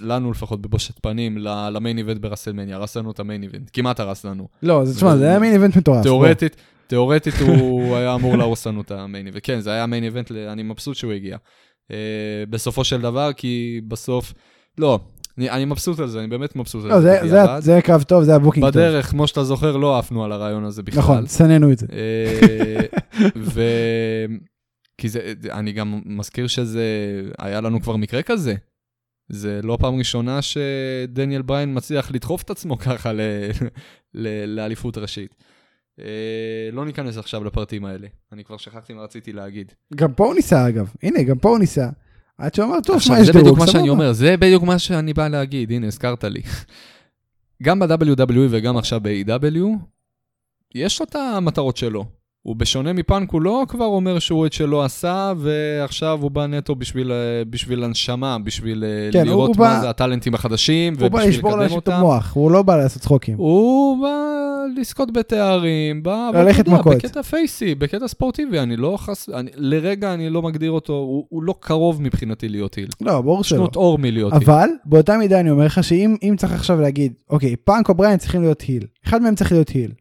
לנו לפחות בבושת פנים, ל- למיין איבנט ברסלמניה, הרס לנו את המיין איבנט, כמעט הרס לנו. לא, זה- תשמע, זה- זה היה מין איבנט מטורף. תיאורטית, תיאורטית הוא היה אמור להרוס לנו את המיין איבנט. כן, זה היה מיין איבנט, ל- אני מבסוט שהוא הגיע. Uh, בסופו של דבר, כי בסוף, לא, אני, אני מבסוט על זה, אני באמת מבסוט על בוא. לא, זה- זה היה- בדיעבד. זה היה קרב טוב, זה היה בוקינג טוב. בדרך, כמו שאתה זוכר, לא עפנו על הרעיון הזה בכלל. נכון, סננו את זה. אה, ו... כי זה, אני גם מזכיר שזה, היה לנו כבר מקרה כזה. זה לא פעם ראשונה שדניאל בריין מצליח לדחוף את עצמו ככה ל, ל, לאליפות ראשית. אה, לא ניכנס עכשיו לפרטים האלה, אני כבר שכחתי מה רציתי להגיד. גם פה הוא ניסה, אגב. הנה, גם פה הוא ניסה. עד שהוא אמר, טוב, עכשיו, שמע, יש זה דירוג, בדיוק מה שאני סבבה." אומר, זה בדיוק מה שאני בא להגיד, הנה, הזכרת לי. גם ב-WWE וגם עכשיו ב-AW, יש לו את המטרות שלו. הוא בשונה מפאנק, הוא לא כבר אומר שהוא את שלו עשה, ועכשיו הוא בא נטו בשביל, אה, בשביל הנשמה, בשביל אה, כן, הוא- לראות הוא מה בא- זה הטאלנטים החדשים, הוא בא ובשביל לשבור לקדם לאנשים את אותם. המוח, הוא לא בא לעשות צחוקים. הוא בא לזכות בתארים, ב... אבל ללכת אתה יודע, מכות. בקטע פייסי, בקטע ספורטיבי, אני לא חס... אני, לרגע אני לא מגדיר אותו, הוא, הוא לא קרוב מבחינתי להיות היל. לא, ברור שלא. שנות אור מלהיות היל. אבל באותה מידה אני אומר לך שאם אם צריך עכשיו להגיד, אוקיי, פאנק או בריין צריכים להיות היל. אחד מהם צריך להיות היל.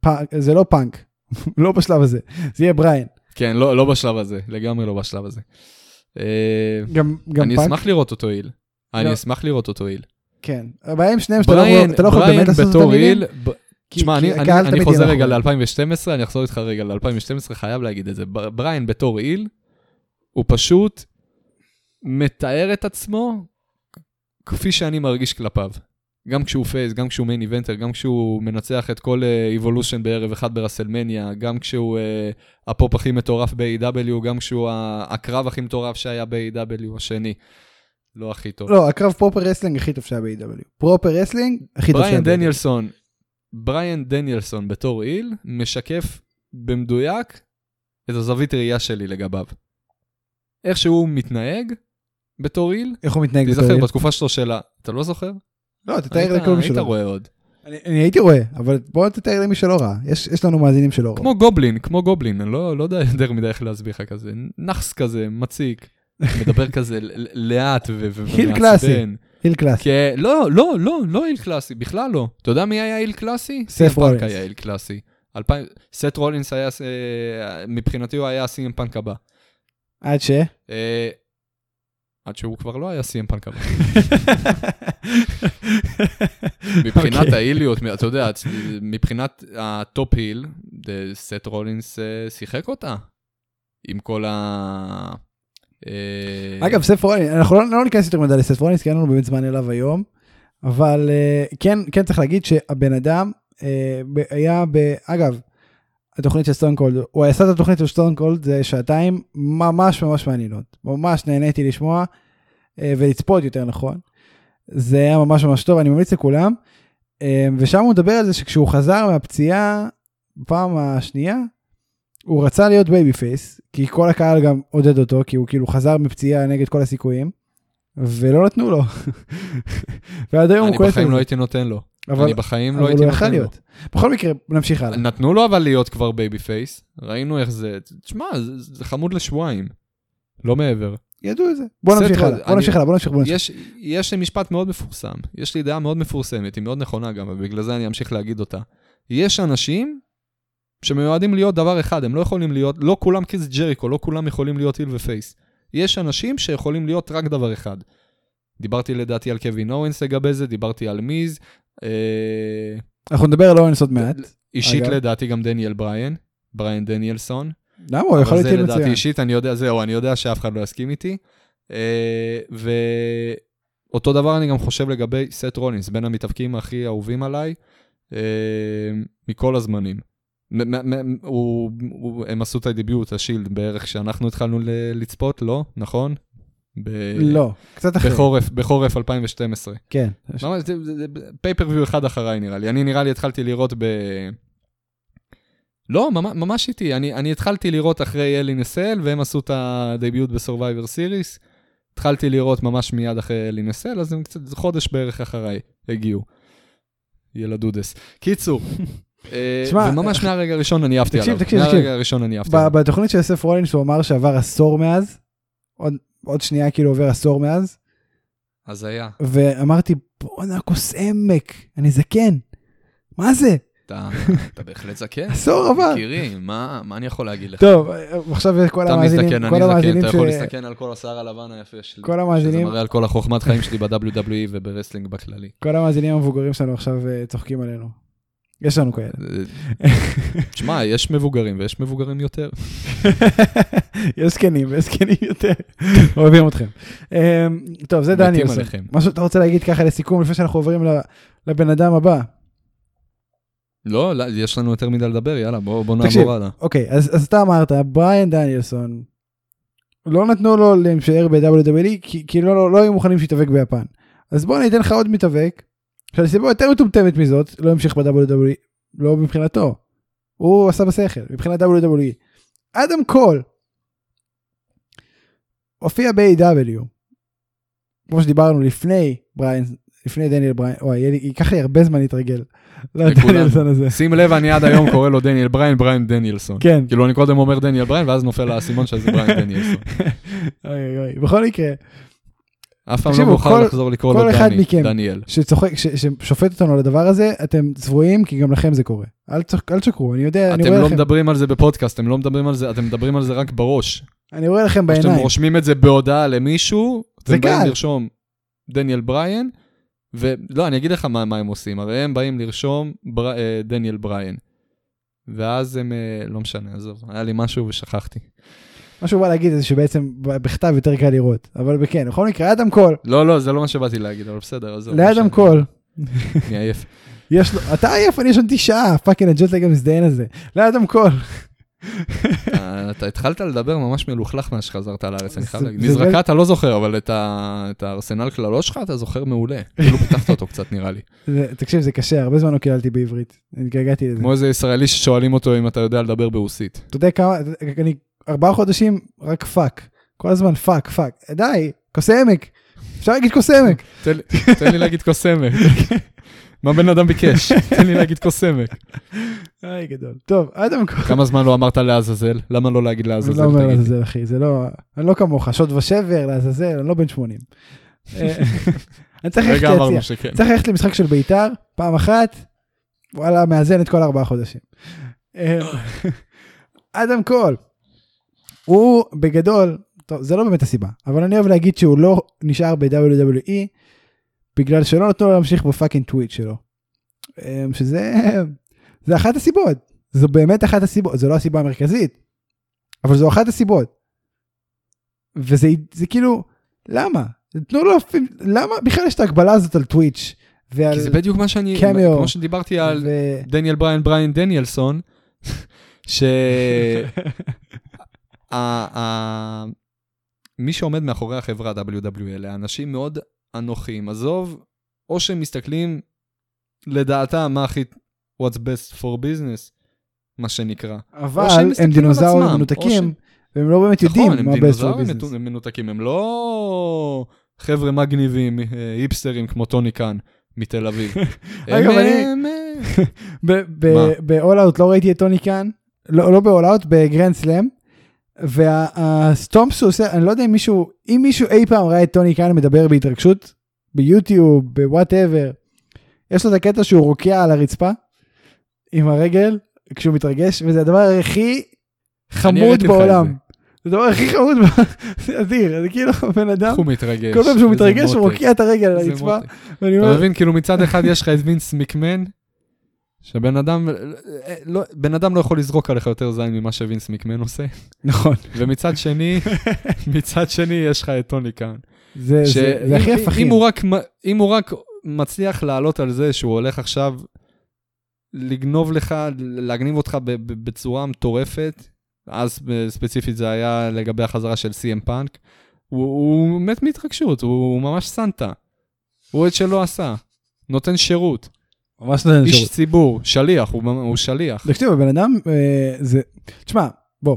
פאנק, זה לא פאנק, לא בשלב הזה, זה יהיה בריין. כן, לא, לא בשלב הזה, לגמרי לא בשלב הזה. אה, גם, גם אני פאנק, אשמח לראות אותו היל. לא. אני אשמח לראות אותו היל. כן. הבעיה עם שניהם שאתה לא יכול- אתה לא יכול באמת לעשות את בתור המילים. היל, ב- כי- תשמע, כי אני, אני, הקהל אני תמיד חוזר יהיה נכון. רגע מאחורי. ל-2012, אני אחזור איתך רגע ל-2012, חייב להגיד את זה. בר- בריין בתור איל, הוא פשוט מתאר את עצמו כפי שאני מרגיש כלפיו. גם כשהוא פייס, גם כשהוא מיין איבנטר, גם כשהוא מנצח את כל איבולושן בערב אחד בראסלמניה, גם כשהוא אה, הפופ הכי מטורף ב-AW, גם כשהוא ה- הקרב הכי מטורף שהיה ב-AW השני. לא הכי טוב. לא, הקרב פרופר רסלינג הכי טוב שהיה ב-AW. פרופר רסלינג הכי טוב שהיה בריאן ב-AW. דניאלסון, בריאן דניאלסון בתור איל, משקף במדויק את הזווית ראייה שלי לגביו. איך שהוא מתנהג בתור איל, איך הוא מתנהג בתור תיזכר היל? בתקופה שלו שלה, אתה לא זוכר? לא, תתאר היית לכל מי היית שלא. רואה עוד. אני אני הייתי רואה, אבל בוא תתאר למי שלא ראה. יש יש לנו מאזינים שלא ראו. כמו גובלין, כמו גובלין, אני לא לא יודע יותר מדי איך להסביר לך כזה. נאחס כזה, מציק, מדבר כזה ל- ל- לאט ו- ו- היל קלאסי. ומעצבן. היל קלאס. כן, לא, לא, לא, לא איל קלאסי, בכלל לא. אתה יודע מי היה איל קלאסי? סף סי.אם פאנק רולינס. היה איל קלאסי. אלפיים- סט רולינס היה, אה, מבחינתי הוא היה סי.אם פאנק הבא. עד ש... אה, עד שהוא כבר לא היה סי.אם פאנק הבא. מבחינת אוקיי. האיליות, אתה יודע, מבחינת הטופ היל, אה, סט רולינס אה, שיחק אותה. עם כל ה... אה, אגב, סף רולינס, אנחנו לא לא ניכנס יותר מדי לסף רולינס, כי אין לנו באמת זמן אליו היום, אבל אה, כן, כן צריך להגיד שהבן אדם אה, ב- היה, ב- אגב, התוכנית של סטון קולד, הוא עשה את התוכנית של סטון קולד, זה שעתיים ממש ממש מעניינות, ממש נהניתי לשמוע אה, ולצפות יותר נכון, זה היה ממש ממש טוב, אני ממליץ לכולם, אה, ושם הוא מדבר על זה שכשהוא חזר מהפציעה בפעם השנייה, הוא רצה להיות בייבי פייס, כי כל הקהל גם עודד אותו, כי הוא כאילו חזר מפציעה נגד כל הסיכויים, ולא נתנו לו. ועד היום הוא אני כועס על בחיים לא זה, הייתי נותן לו. אבל אני בחיים אבל לא הייתי הוא יכל נותן לו. להיות. בכל מקרה, נמשיך הלאה. נתנו לו אבל להיות כבר בייבי פייס, ראינו איך זה, תשמע, זה, זה חמוד לשבועיים, לא מעבר. ידעו את זה. בוא נמשיך בסדר, הלאה, בוא אני- נמשיך הלאה, בוא נמשיך, בוא נמשיך. יש, יש לי משפט מאוד מפורסם, יש לי דעה מאוד מפורסמת, היא מאוד נכונה גם, ובגלל זה אני אמשיך להגיד אותה. יש אנשים שמיועדים להיות דבר אחד, הם לא יכולים להיות, לא כולם כיס ג'ריקו, לא כולם יכולים להיות היל ופייס. יש אנשים שיכולים להיות רק דבר אחד. דיברתי לדעתי על קווין אורנס לגבי זה, דיברתי על מיז, אה, אנחנו נדבר על אורנס עוד מעט. אישית אגב. לדעתי גם דניאל בריין, בריין דניאלסון. למה? הוא יכול אבל להיות זה טיל לדעתי מצוין. אישית, אני יודע, זהו, אני יודע שאף אחד לא יסכים איתי. אה, ואותו דבר אני גם חושב לגבי סט רולינס, בין המתאבקים הכי אהובים עליי, אה, מכל הזמנים. מ- מ- מ- הוא- הוא- הם עשו את הדיביוט, השילד, בערך כשאנחנו התחלנו ל- לצפות, לא? נכון? ב- לא, קצת אחרי. בחורף, בחורף 2012. כן. ממש, זה- זה- זה פייפריוויו אחד אחריי נראה לי. אני נראה לי התחלתי לראות ב... לא, ממ- ממש איתי. אני, אני התחלתי לראות אחרי אלי נסל, והם עשו את הדביוט בסורווייבר סיריס. התחלתי לראות ממש מיד אחרי אלי נסל, אז הם קצת זה חודש בערך אחריי הגיעו. ילדודס. קיצור, אה, שמע, וממש מהרגע הראשון אני אהבתי תקשיב, עליו. תקשיב, תקשיב. מהרגע הראשון אני אהבתי ב- עליו. בתוכנית של יוסף רולינס הוא אמר שעבר עשור מאז, עוד- עוד שנייה כאילו עובר עשור מאז, אז היה. ואמרתי, בואנה כוס עמק, אני זקן. מה זה? אתה אתה בהחלט זקן. עשור עבר. יקירי, מה מה אני יכול להגיד לך? טוב, עכשיו כל כאילו- אתה המאזינים, מזדקן, כל אני המאזינים זקן, אתה יכול ש... להסתכל על כל השיער הלבן היפה שלי. כל המאזינים, שזה מראה על כל החוכמת חיים שלי ב-WWE וברסלינג בכללי. כל המאזינים המבוגרים שלנו עכשיו אה, צוחקים עלינו. יש לנו כאלה. תשמע, יש מבוגרים ויש מבוגרים יותר. יש זקנים, יש זקנים יותר. אוהבים אתכם. אמ, טוב, זה מתים דני יוסף. עליכם. משהו שאתה רוצה להגיד ככה לסיכום, לפני שאנחנו עוברים ל- לבן אדם הבא. לא, לא, יש לנו יותר מדי לדבר, יאללה, בואו בוא תקשיב. נעבור הלאה. אוקיי, אז אז אתה אמרת, בריאן דניאלסון, לא נתנו לו להישאר ב-WWE, כי- כי לא- לא לא היו מוכנים שיתאבק ביפן. אז בוא אני אתן לך עוד מתאבק, שהסיבה יותר מטומטמת מזאת, לא המשיך ב-WWE, לא מבחינתו. הוא עשה בשכל, מבחינת WWE. אדם קול, הופיע ב-AW, כמו שדיברנו לפני בריין, לפני דניאל בריין, וואי, יהיה לי- ייקח לי הרבה זמן להתרגל לא, לכולנו. דניאלסון הזה. שים לב, אני עד היום קורא לו דניאל בריין, בריין דניאלסון. כן. כאילו, אני קודם אומר דניאל בריין, ואז נופל האסימון שזה בריין דניאלסון. אוי אוי אוי. בכל מקרה, אף פעם לא תקשיבו, מאוחר כל- לחזור לקרוא לו כל אחד דני, מכם. דניאל. שצוחק, ש- ששופט אותנו על הדבר הזה, אתם צבועים, כי גם לכם זה קורה. אל צח- אל תשקרו, אני יודע, אני אתם רואה לא לכם- מדברים על זה בפודקאסט, אתם לא מדברים על זה, אתם מדברים על זה רק בראש. אני רואה לכם או שאתם בעיניים. רושמים את זה בהודעה למישהו, זה אתם באים קל. לרשום דניאל בריין, ולא, אני אגיד לך מה, מה הם עושים, הרי הם באים לרשום בר... אה, דניאל בריין. ואז הם, אה, לא משנה, עזוב, היה לי משהו ושכחתי. מה שהוא בא להגיד זה שבעצם ב- בכתב יותר קל לראות. אבל בכן, בכל מקרה, אדם קול, לא, לא, זה לא מה שבאתי להגיד, אבל בסדר, עזוב. לא לאדם משנה. קול, אני עייף. יש לו, אתה עייף, אני ישנתי שעה, פאקינג הג'טלג המזדיין הזה. לאדם קול. אה, אתה התחלת לדבר ממש מלוכלך מאז שחזרת לארץ, אני חייב זה- להגיד. זה באמת- מזרקה אתה לא זוכר, אבל את ה- את הארסנל קללות שלך אתה זוכר מעולה. כאילו פיתחת אותו קצת, נראה לי. זה- תקשיב, זה קשה, הרבה זמן לא קיללתי בעברית. אני התגעגעתי לזה. כמו איזה ישראלי ששואלים אותו אם אתה יודע לדבר ברוסית. אתה יודע כמה, אני ארבעה חודשים רק פאק. כל הזמן פאק, פאק. די, קוסמק. אפשר להגיד קוסמק. תן לי- תן לי להגיד קוסמק. מה בן אדם ביקש? תן לי להגיד קוסמק. היי גדול. טוב, אדם קול. כמה זמן לא אמרת לעזאזל? למה לא להגיד אני לעזאזל? לא אומר תגיד? לעזאזל אחי, זה לא, אני לא כמוך, שוד ושבר, לעזאזל, אני לא בן 80. אה, אני צריך ללכת רגע ליציע, אמרנו שכן. צריך ללכת למשחק של בית"ר, פעם אחת, וואלה, מאזן את כל ארבעה חודשים. אה, אדם קול, הוא בגדול, טוב, זה לא באמת הסיבה, אבל אני אוהב להגיד שהוא לא נשאר ב-WWE, בגלל שלא נתנו לו להמשיך בפאקינג טוויט שלו. אה, שזה, זה אחת הסיבות, זו באמת אחת הסיבות, זו לא הסיבה המרכזית, אבל זו אחת הסיבות. וזה זה כאילו, למה? תנו לו, אפילו- למה בכלל יש את ההגבלה הזאת על טוויץ' ועל... כי זה בדיוק מה שאני... קמיו. כמו שדיברתי על ו- אה, דניאל בריין בריין דניאלסון, ש... אה, ה- ה- מי שעומד מאחורי החברה WWL, האנשים מאוד אנוכיים, עזוב, או שהם מסתכלים לדעתם מה הכי, what's best for business, מה שנקרא. או שהם אבל הם מסתכלים על דינוזאורים עצמם, או מנותקים, והם לא באמת יודעים נכון, מה הם best for דינוזאורים business. מנו- מנותקים, הם לא חבר'ה מגניבים, אה, היפסטרים כמו טוני קאן מתל אביב. אגב, הם, אני- הם, אה, מה? ב-all out לא ראיתי את טוני קאן, לא לא ב-all out, בגרנד סלאם. והסטומפ שהוא עושה, אני לא יודע אם מישהו, אם מישהו אי פעם ראה את טוני קאן מדבר בהתרגשות, ביוטיוב, בוואטאבר, יש לו את הקטע שהוא רוקע על הרצפה, עם הרגל, כשהוא מתרגש, וזה הדבר הכי חמוד הראיתי לך את בעולם. זה. זה הדבר הכי חמוד, בעולם. זה אדיר, זה כאילו בן אדם, איך הוא מתרגש. כל פעם שהוא איזה מתרגש הוא מותק. רוקע את הרגל על איזה הרצפה, מותק. ואני אתה אומר, מבין? כאילו מצד אחד יש לך את וינס מקמן, שבן אדם, אה, לא- בן אדם לא יכול לזרוק עליך יותר זין ממה שווינס מקמן עושה, נכון, ומצד שני, מצד שני יש לך את טוני קאן. זה ש- זה- זה הכי אם- הפכים. אם הוא רק מ- אם הוא רק מצליח לעלות על זה שהוא הולך עכשיו לגנוב לך, להגניב אותך ב- ב- בצורה מטורפת, אז אה, ספציפית זה היה לגבי החזרה של CM פאנק, הוא, הוא מת מהתרגשות, הוא, הוא ממש סנטה. הוא את שלא עשה, נותן שירות, ממש לא נותן איש שירות. ציבור, שליח, הוא, ממ- הוא שליח. תקשיב, הבן אדם, אה, זה, תשמע, בוא,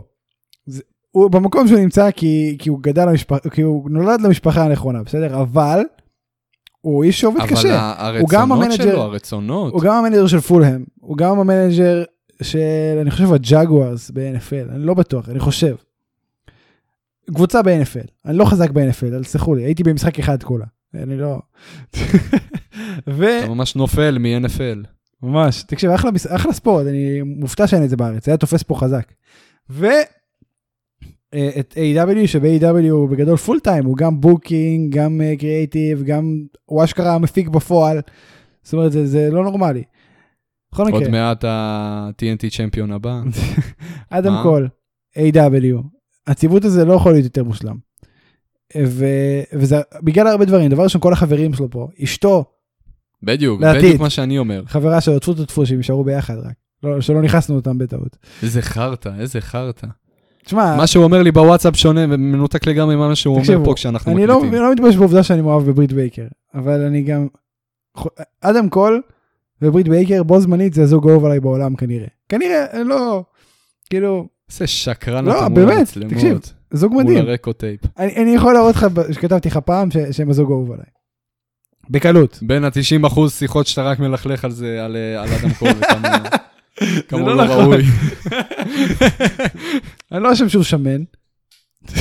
זה- הוא במקום שהוא נמצא כי כי הוא גדל למשפחה, כי הוא נולד למשפחה הנכונה, בסדר? אבל הוא איש שעובד אבל קשה. ה- הוא גם הרצונות המנג'ר- שלו, הרצונות, הוא גם המנג'ר של פולהאם, הוא גם המנג'ר של, אני חושב, הג'גוארס ב-NFL, אני לא בטוח, אני חושב. קבוצה ב-NFL, אני לא חזק ב-NFL, אל תסלחו לי, הייתי במשחק אחד כולה, אני לא... ו... אתה ממש נופל מ-NFL. ממש, תקשיב, אחלה, מס- אחלה ספורט, אני מופתע שאין את זה בארץ, היה תופס פה חזק. אה, ואת A.W. שב-A.W. E הוא בגדול פול טיים, הוא גם בוקינג, גם קריאייטיב, גם הוא אשכרה המפיק בפועל, זאת אומרת זה, זה לא נורמלי. בכל עוד מקרה, מעט ה-TNT צ'מפיון הבא. אדם מה? קול, A.W. E הציוות הזה לא יכול להיות יותר מושלם. ו... וזה בגלל הרבה דברים, דבר ראשון כל החברים שלו פה, אשתו, בדיוק, לעתיד. בדיוק מה שאני אומר. חברה שלו, טפו טפו טפו שהם יישארו ביחד רק, לא, שלא נכנסנו אותם בטעות. איזה חרטא, איזה חרטא. תשמע, מה שהוא אומר לי בוואטסאפ שונה ומנותק לגמרי ממה שהוא אה. תקשיבו, אומר פה כשאנחנו אני לא, אני מקליטים. לא מתבייש בעובדה שאני מאוהב בברית בייקר, אבל אני גם... אדם קול וברית בייקר בו זמנית זה הזוג האהוב עליי בעולם כנראה. כנראה, אני לא... כאילו, איזה שקרן לא, אתה מול באמת, המצלמות. תקשיב, זוג מול מדהים. הרקוטייפ. אני, אני יכול להראות לך, ב- שכתבתי לך פעם, ש, שהם הזוג האהוב עליי. בקלות. בין ה-90% שיחות שאתה רק מלכלך על זה, על אה, על אדם קול, וכמה כמה הוא לא לא נכון. ראוי. אני לא אשם שהוא שמן.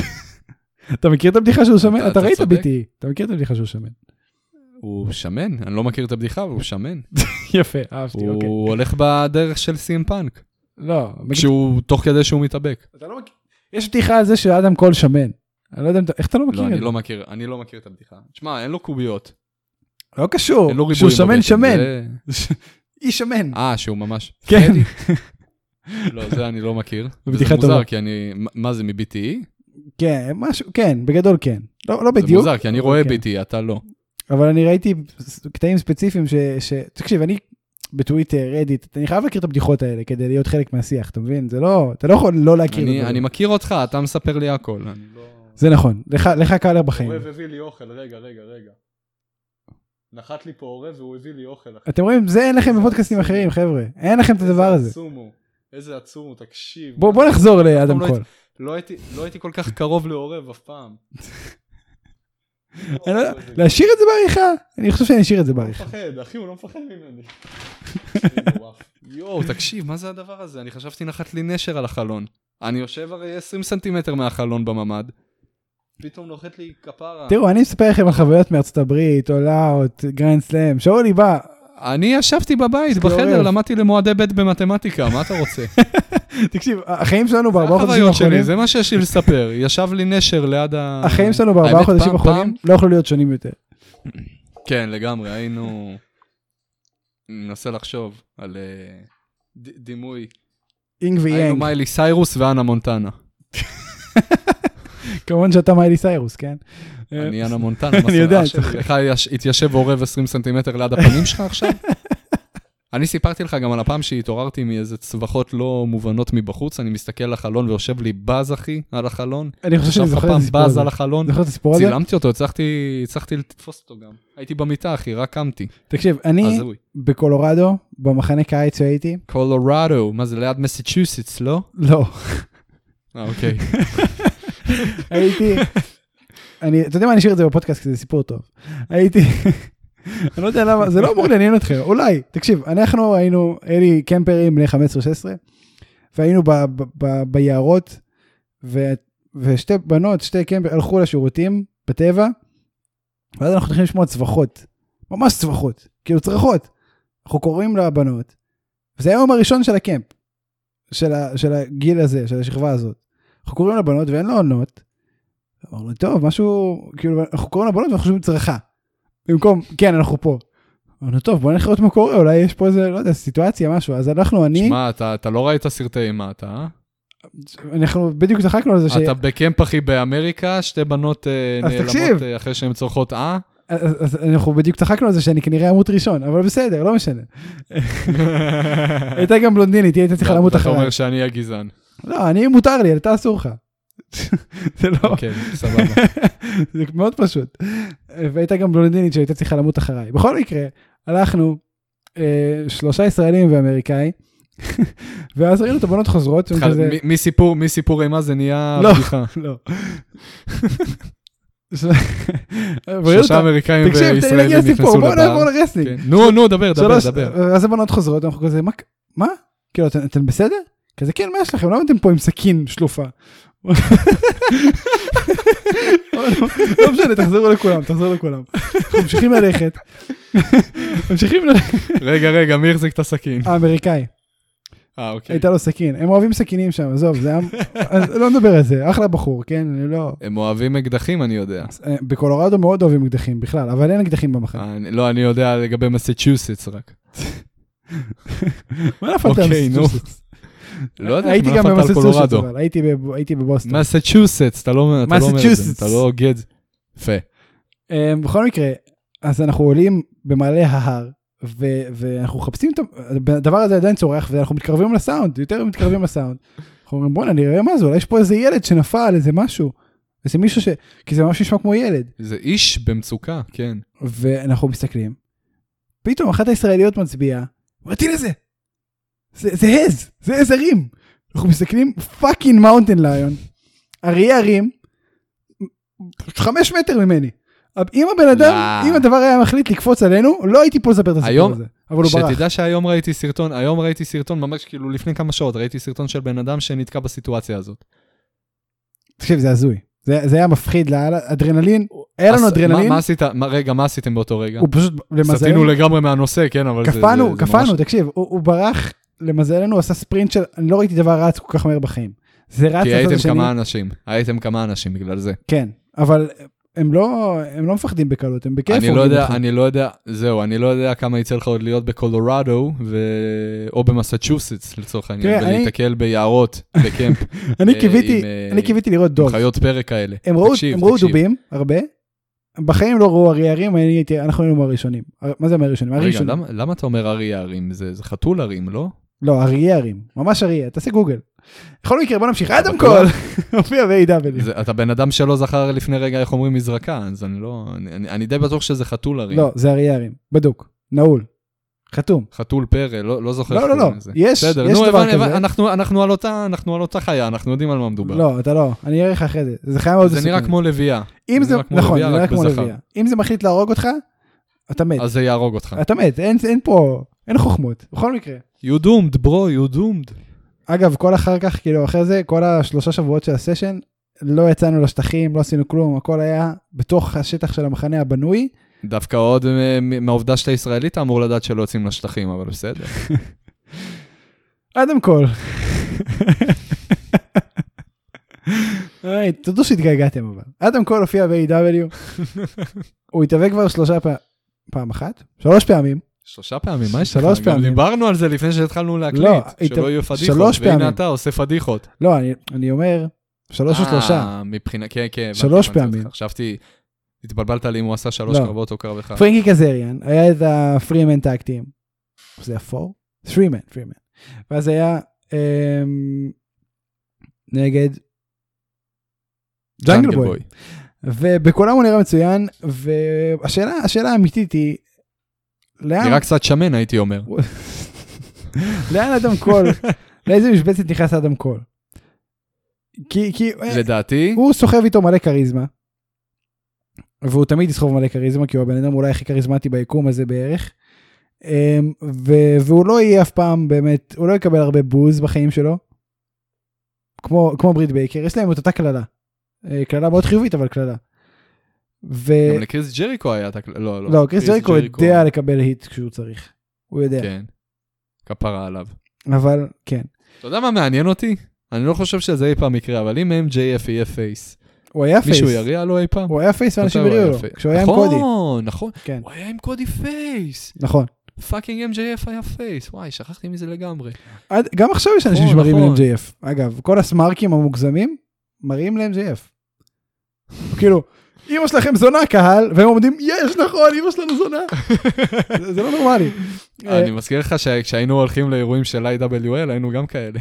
אתה מכיר את הבדיחה שהוא שמן? אתה- אתה אתה ראית צודק. ביטי, אתה מכיר את הבדיחה שהוא שמן. הוא שמן, אני לא מכיר את הבדיחה, אבל הוא שמן. יפה, אהבתי, אוקיי. הוא הולך בדרך של סים פאנק, לא, מגיד- כשהוא, תוך כדי שהוא מתאבק. אתה לא מכיר- יש בדיחה על זה שאדם קול שמן. אני לא יודע אם אתה- איך אתה לא מכיר לא, את אני זה. לא מכיר, אני לא מכיר את הבדיחה. שמע, אין לו קוביות, לא קשור, אין לו ריבועים. שהוא שמן בבטן, שמן. זה- איש שמן. אה, שהוא ממש... כן. פדי? לא, זה אני לא מכיר. בדיחה זה טובה. מוזר, כי אני... מה- מה זה, E? מ-BTE? כן, משהו, כן, בגדול כן. לא לא זה בדיוק, מוזר, כי אני רואה כן. BTE, אתה לא. אבל אני ראיתי קטעים ספציפיים ש... ש... תקשיב, אני בטוויטר, רדיט, אני חייב להכיר את הבדיחות האלה כדי להיות חלק מהשיח, אתה מבין? זה לא, אתה לא יכול לא להכיר. את אני- הדברים. אני מכיר אותך, אתה מספר לי הכל. אני לא- זה נכון, לך, לך קלר בחיים. עורב הביא לי אוכל, רגע, רגע, רגע. נחת לי פה עורב והוא הביא לי אוכל. אחי. אתם רואים, זה אין לכם בפודקאסטים אחרים, חבר'ה. אין לכם את הדבר איזה הזה. עצום הוא, איזה עצום הוא, תקשיב. בוא, בוא נחזור לאדם לא קול. לא הייתי- לא הייתי כל כך קרוב לעורב אף פעם. אני לא יודע, להשאיר את זה בעריכה? אני חושב שאני אשאיר את זה בעריכה. מפחד, אחי, הוא לא מפחד ממני. יואו, תקשיב, מה זה הדבר הזה? אני חשבתי נחת לי נשר על החלון. אני יושב הרי 20 סנטימטר מהחלון בממ"ד. פתאום נוחת לי כפרה. תראו, אני מספר לכם על חוויות מארצות הברית, אולאוט, גרנד סלאם, שאולי בא, אני ישבתי בבית, זה בחדר, עורב. למדתי למועדי ב' במתמטיקה, מה אתה רוצה? תקשיב, החיים שלנו בארבעה חודשים החוויות האחרונים, שלי, זה מה שיש לי לספר. ישב לי נשר ליד ה... החיים שלנו בארבעה האמת, חודשים פעם- האחרונים לא יכולו להיות שונים יותר. פעם- כן, לגמרי, היינו... אני מנסה לחשוב על אה, ד- דימוי. אינג היינו ויאנג, מיילי סיירוס ואנה מונטנה. כמובן שאתה מיילי סיירוס, כן? אני אנה מונטנה, מה אני זה, יודע, אח שלי? לך יש- התיישב עורב 20 סנטימטר ליד הפנים שלך עכשיו? אני סיפרתי לך גם על הפעם שהתעוררתי מאיזה צווחות לא מובנות מבחוץ, אני מסתכל לחלון ויושב לי בז, אחי, על החלון. אני חושב שאני ישב לך זוכר את פעם הסיפור בז הזה. נכון. על החלון. זוכר את הסיפור הזה? צילמתי אותו, הצלחתי הצלחתי לתפוס אותו גם. הייתי במיטה, אחי, רק קמתי. תקשיב, אני הזוי. בקולורדו, במחנה קיץ שהייתי, קולורדו, מה זה, ליד מסצ'וסטס, לא? לא, אה, אוקיי. הייתי, אני, אתה יודע מה, אני אשאיר את זה בפודקאסט, כי זה סיפור טוב. הייתי, אני לא יודע למה, זה לא אמור לעניין אתכם, אולי, תקשיב, אנחנו היינו, אלי קמפרים בני 15-16, והיינו ב, ב, ב, ביערות, ו, ושתי בנות, שתי קמפר, הלכו לשירותים בטבע, ואז אנחנו הולכים לשמוע צווחות, ממש צווחות, כאילו צרחות. אנחנו קוראים לבנות, וזה היום הראשון של הקמפ, של, ה, של הגיל הזה, של השכבה הזאת. אנחנו קוראים לבנות ואין לו עונות. אמרנו, טוב, משהו, כאילו, אנחנו קוראים לבנות ואנחנו חושבים צרחה. במקום, כן, אנחנו פה. אמרנו, טוב, בוא נלך לראות מה קורה, אולי יש פה איזה, לא יודע, סיטואציה, משהו. אז אנחנו, אני, שמע, אתה אתה לא ראית סרטי אימה, אתה, אה? אנחנו בדיוק צחקנו על זה, ש... אתה בקמפ, אחי, באמריקה, שתי בנות אה, אז תקשיב. נעלמות אה, אחרי שהן צורכות אה? אז, אז אנחנו בדיוק צחקנו על זה שאני כנראה אמות ראשון, אבל בסדר, לא משנה. הייתה גם בלונדינית, היא הייתה צריכה למות ואתה אחריי. לא, אומר שאני הגזען. לא, אני מותר לי, אתה אסור לך. זה לא, אוקיי, סבבה. זה מאוד פשוט. והייתה גם בלונדינית שהייתה צריכה למות אחריי. בכל מקרה, הלכנו, אה, שלושה ישראלים ואמריקאי, ואז ראינו את הבנות חוזרות, והם התחל- כזה- מ- מסיפור- מסיפור אימה זה נהיה לא. בדיחה. לא. וראינו שלושה אותם- אמריקאים תקשיב, תן לי וישראלים להגיע לסיפור, נכנסו בואו לבר. נעבור לרסלינג. כן. נו, נו, דבר, דבר, שלוש- דבר. אז הבנות חוזרות, אנחנו כזה, "מה- מה? כאילו, אתן- אתן בסדר? כזה, כן, מה יש לכם? למה אתם פה עם סכין שלופה? לא משנה, תחזרו לכולם, תחזרו לכולם. אנחנו ממשיכים ללכת. ממשיכים ללכת. רגע, רגע, מי החזיק את הסכין? האמריקאי, אה, אוקיי. הייתה לו סכין. הם אוהבים סכינים שם, עזוב, זה היה... אז לא נדבר על זה, אחלה בחור, כן? אני לא... אה, הם אוהבים אקדחים, אני יודע. בקולורדו מאוד אוהבים אקדחים בכלל, אבל אין אקדחים במחנה. אה, אני- לא, אני יודע לגבי מסצ'וסטס רק. אה, מה נפלת על אוקיי, נו. מסצ'וסטס? לא יודע, הייתי מה גם נפלת על במסצ'וסטס, קולורדו? אבל הייתי בב- הייתי בבוסטון. מסצ'וסטס, אתה לא אתה לא אומר את זה, מסצ'וסטס. אתה לא הוגה את זה. יפה. אה, בכל מקרה, אז אנחנו עולים במעלה ההר, ו- ואנחנו מחפשים את ה- הדבר הזה עדיין צורח, ואנחנו מתקרבים לסאונד, יותר מתקרבים לסאונד. אנחנו אומרים בואנה נראה מה זה, אולי יש פה איזה ילד שנפל על איזה משהו. איזה מישהו ש... כי זה ממש נשמע כמו ילד. זה איש במצוקה, כן. ואנחנו מסתכלים, פתאום אחת הישראליות מצביעה, אומרת הנה זה, זה, זה עז, זה עז הרים. אנחנו מסתכלים, פאקינג מאונטן ליון, אריה הרים, חמש מטר ממני. אם הבן אדם, לא. אם הדבר היה מחליט לקפוץ עלינו, לא הייתי פה לספר את הסיפור היום- הזה. אבל הוא ברח. שתדע שהיום ראיתי סרטון, היום ראיתי סרטון, ממש כאילו לפני כמה שעות, ראיתי סרטון של בן אדם שנתקע בסיטואציה הזאת. תקשיב, זה הזוי. זה זה היה מפחיד לאללה. אדרנלין, היה לנו אז מה- אדרנלין, מה עשית, מה- רגע, מה עשיתם באותו רגע? הוא פשוט, למזלנו, סטינו לגמרי מהנושא, כן, אבל זה- זה... קפאנו, זה ממש- קפאנו, תקשיב, הוא הוא ברח, למזלנו, הוא עשה ספרינט של, אני לא ראיתי דבר רץ כל כך מהר בחיים. זה רץ כי לצד הייתם השני, כמה אנשים, הייתם כמה אנשים בגלל זה. כן, אבל הם לא, הם לא מפחדים בקלות, הם בכיף. נכון. אני לא הורגים יודע, אותך. אני לא יודע, זהו, אני לא יודע כמה יצא לך עוד להיות בקולורדו, ו- או במסצ'וסטס לצורך העניין, תראה, אני- ולהיתקל ביערות, בקמפ, אני אה, קיוויתי, עם, אה, אני קיוויתי לראות עם דוב. חיות פרק כאלה. הם ראו, תקשיב, הם ראו תקשיב. דובים, הרבה. בחיים לא ראו ארי ערים, אני הייתי- אנחנו היינו מהראשונים. הר- מה זה מהראשונים? רגע, הראשונים. למה- למה אתה אומר ארי הרים? זה זה חתול הרים, לא? לא, אריה ערים. ממש אריה, תעשה גוגל. בכל מקרה, בוא נמשיך. אדם בטוח. קול, הופיע ב-AW. זה- אתה בן אדם שלא זכר לפני רגע איך אומרים מזרקה, אז אני לא... אני- אני אני די בטוח שזה חתול הרים. לא, זה אריה ערים. בדוק. נעול. חתום. חתול פרא, לא לא זוכר. לא, איך לא, קוראים לא. לזה. יש- בסדר, יש נו, דבר הבנ- כזה. הבנ- אנחנו- אנחנו על אותה- אנחנו על אותה חיה, אנחנו יודעים על מה מדובר. לא, אתה לא. אני אראה לך אחרי זה. זה חיה מאוד זה נראה כמו לביאה, אם זה זה, נראה כמו נכון, לביאה, זה נראה רק כמו בזכר. לביאה. אם זה מחליט להרוג אותך, אתה מת. אז זה יהרוג אותך. אתה מת. אין אין פה, אין חוכמות. בכל מקרה. You doomed, bro, you doomed. אגב, כל אחר כך, כאילו, אחרי זה, כל השלושה שבועות של הסשן, לא יצאנו לשטחים, לא עשינו כלום, הכל היה בתוך השטח של המחנה הבנוי. דווקא עוד אה, מ- מהעובדה שאתה ישראלי, אתה אמור לדעת שלא יוצאים לשטחים, אבל בסדר. אדם קול. היי, תודו שהתגעגעתם אבל. אדם קול הופיע ב-AW, הוא התאבק כבר שלושה פעמים, פעם אחת? שלוש פעמים. שלושה פעמים, מה יש לך? שלוש פעמים. גם דיברנו על זה לפני שהתחלנו להקליט, לא, שלא הת- יהיו פדיחות. שלוש פעמים. והנה אתה עושה פדיחות. לא, אני, אני אומר, שלוש או אה, שלושה. מבחינה, כן, כן. הבנתי, שלוש הבנתי אותך. פעמים. חשבתי, התבלבלת לי אם הוא עשה שלוש לא. קרבות או קרב אחד. פרינקי קזריאן, היה את הפרימן טקטים. זה הפור? פרימן, פרימן. ואז היה אמ, נגד ג'נגל בוי. ובכולם הוא נראה מצוין, והשאלה השאלה האמיתית היא, לאן, נראה קצת שמן, הייתי אומר. לאן אדם קול, לאיזה משבצת נכנס אדם קול? כי, כי אה, לדעתי, הוא סוחב איתו מלא כריזמה, והוא תמיד יסחוב מלא כריזמה, כי הוא הבן אדם אולי הכי כריזמטי ביקום הזה בערך, אמ, ו- והוא לא יהיה אף פעם באמת, הוא לא יקבל הרבה בוז בחיים שלו, כמו, כמו ברית בייקר, יש להם את אותה קללה. אה, קללה מאוד חיובית, אבל קללה. ו... גם לקריס ג'ריקו היה את הקל... לא, לא. אה, לא, קריס ג'ריקו יודע לקבל היט כשהוא צריך. הוא יודע. כן. כפרה עליו. אבל כן. אתה יודע מה מעניין אותי? אני לא חושב שזה אי פעם יקרה, אבל אם MJF יהיה פייס, הוא היה פייס. מישהו יריע לו אי פעם? הוא היה פייס ואנשים מתי הוא הראו היה לו. פייס? כשהוא היה עם קודי. נכון, נכון. כן, הוא היה עם קודי פייס. נכון. פאקינג MJF היה פייס. וואי, שכחתי מזה לגמרי. עד- גם עכשיו יש אנשים נכון, שמראים נכון. ל-MJF. אגב, כל הסמארקים המוגזמים מראים ל-MJF. כאילו, אמא שלכם זונה קהל, והם עומדים, יש נכון, אמא שלנו זונה. זה- זה לא נורמלי. אה, אני מזכיר לך שכשהיינו הולכים לאירועים של IWL, היינו גם כאלה.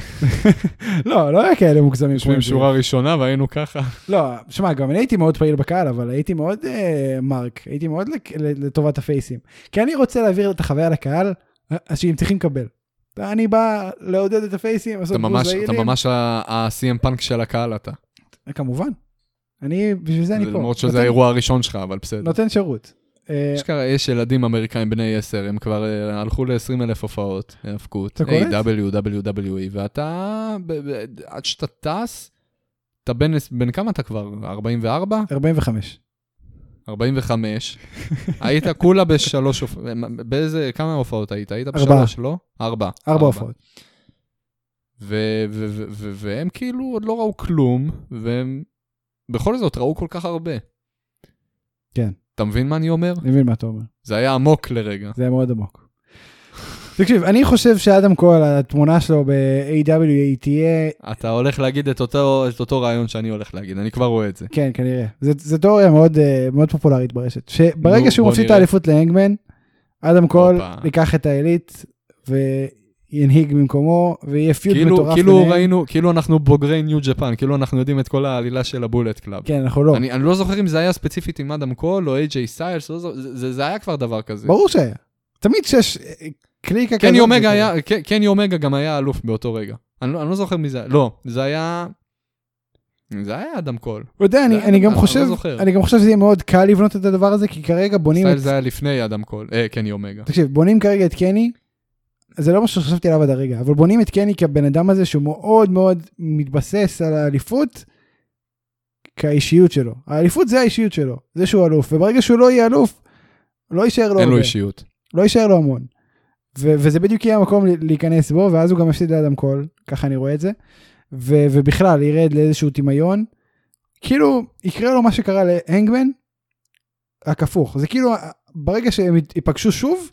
לא, לא היה כאלה מוגזמים. כמו יושבים MJF. שורה ראשונה והיינו ככה. לא, שמע, גם אני הייתי מאוד פעיל בקהל, אבל הייתי מאוד אה, מרק, הייתי מאוד לק- ל- לטובת הפייסים. כי אני רוצה להעביר את החוויה לקהל, אה, שהם צריכים לקבל. אתה- אני בא לעודד את הפייסים, לעשות אתה ממש, בוז אתה לעילים. ממש ה-CM פאנק של הקהל אתה. כמובן. אני, בשביל זה אני פה. למרות שזה נותן- האירוע הראשון שלך, אבל בסדר. נותן שירות. אה, אשכרה, יש ילדים אמריקאים בני 10, הם כבר אה, הלכו ל-20 אלף הופעות, האבקות, אתה קולט? A.W. WWE, E, ואתה, ב- ב- עד שאתה טס, אתה בן, בן כמה אתה כבר? 44? 45. 45. היית כולה בשלוש הופעות, באיזה, כמה הופעות היית? היית ארבע. בשלוש, לא? ארבע. ארבע הופעות. ו- ו- ו- ו- והם כאילו עוד לא ראו כלום, והם בכל זאת ראו כל כך הרבה. כן. אתה מבין מה אני אומר? אני מבין מה אתה אומר. זה היה עמוק לרגע. זה היה מאוד עמוק. תקשיב, אני חושב שאדם כהן, התמונה שלו ב-AW היא תהיה, אתה הולך להגיד את אותו, את אותו רעיון שאני הולך להגיד, אני כבר רואה את זה. כן, כנראה. זה- זו תיאוריה מאוד אה, מאוד פופולרית ברשת. שברגע נו, שהוא בוא מפסיד את נראה. האליפות להנגמן, אדם כהן הופה. ייקח את העילית וינהיג במקומו, ויהיה פיוד כאילו, מטורף. כאילו ביניהם. ראינו, כאילו אנחנו בוגרי ניו ג'פן, כאילו אנחנו יודעים את כל העלילה של הבולט קלאב. כן, אנחנו לא. אני, אני לא זוכר אם זה היה ספציפית עם אדם קול או איי-ג'יי סיילס, לא זוכר, זה, זה, זה היה כבר דבר כזה. ברור שהיה. תמיד שיש אה, קליקה כזאת. קני אומגה זה- היה, ק- קני אומגה גם היה אלוף באותו רגע. אני לא, אני לא זוכר מי זה היה, לא, זה היה לא, זה היה אדם קול. אתה יודע, אני, זה היה אני, גם אני לא חושב, זוכר. אני גם חושב שזה יהיה מאוד קל לבנות את הדבר הזה, כי כרגע בונים את... סטייל זה היה לפני אדם קול, אה, קני אומגה. תקשיב, בונים כרגע את קני, זה לא משהו שחשבתי עליו עד הרגע, אבל בונים את קני כבן אדם הזה שהוא מאוד מאוד מתבסס על האליפות, כאישיות שלו. האליפות זה האישיות שלו, זה שהוא אלוף, וברגע שהוא לא יהיה אלוף, לא יישאר לו אין לו הרבה. אישיות. לא יישאר לו המון. ו- וזה בדיוק יהיה המקום ל- להיכנס בו, ואז הוא גם יפסיד לאדם קול, ככה אני רואה את זה. ו- ובכלל, ירד לאיזשהו דמיון. כאילו, יקרה לו מה שקרה להנגמן, רק הפוך. זה כאילו, ברגע שהם ית- ייפגשו שוב,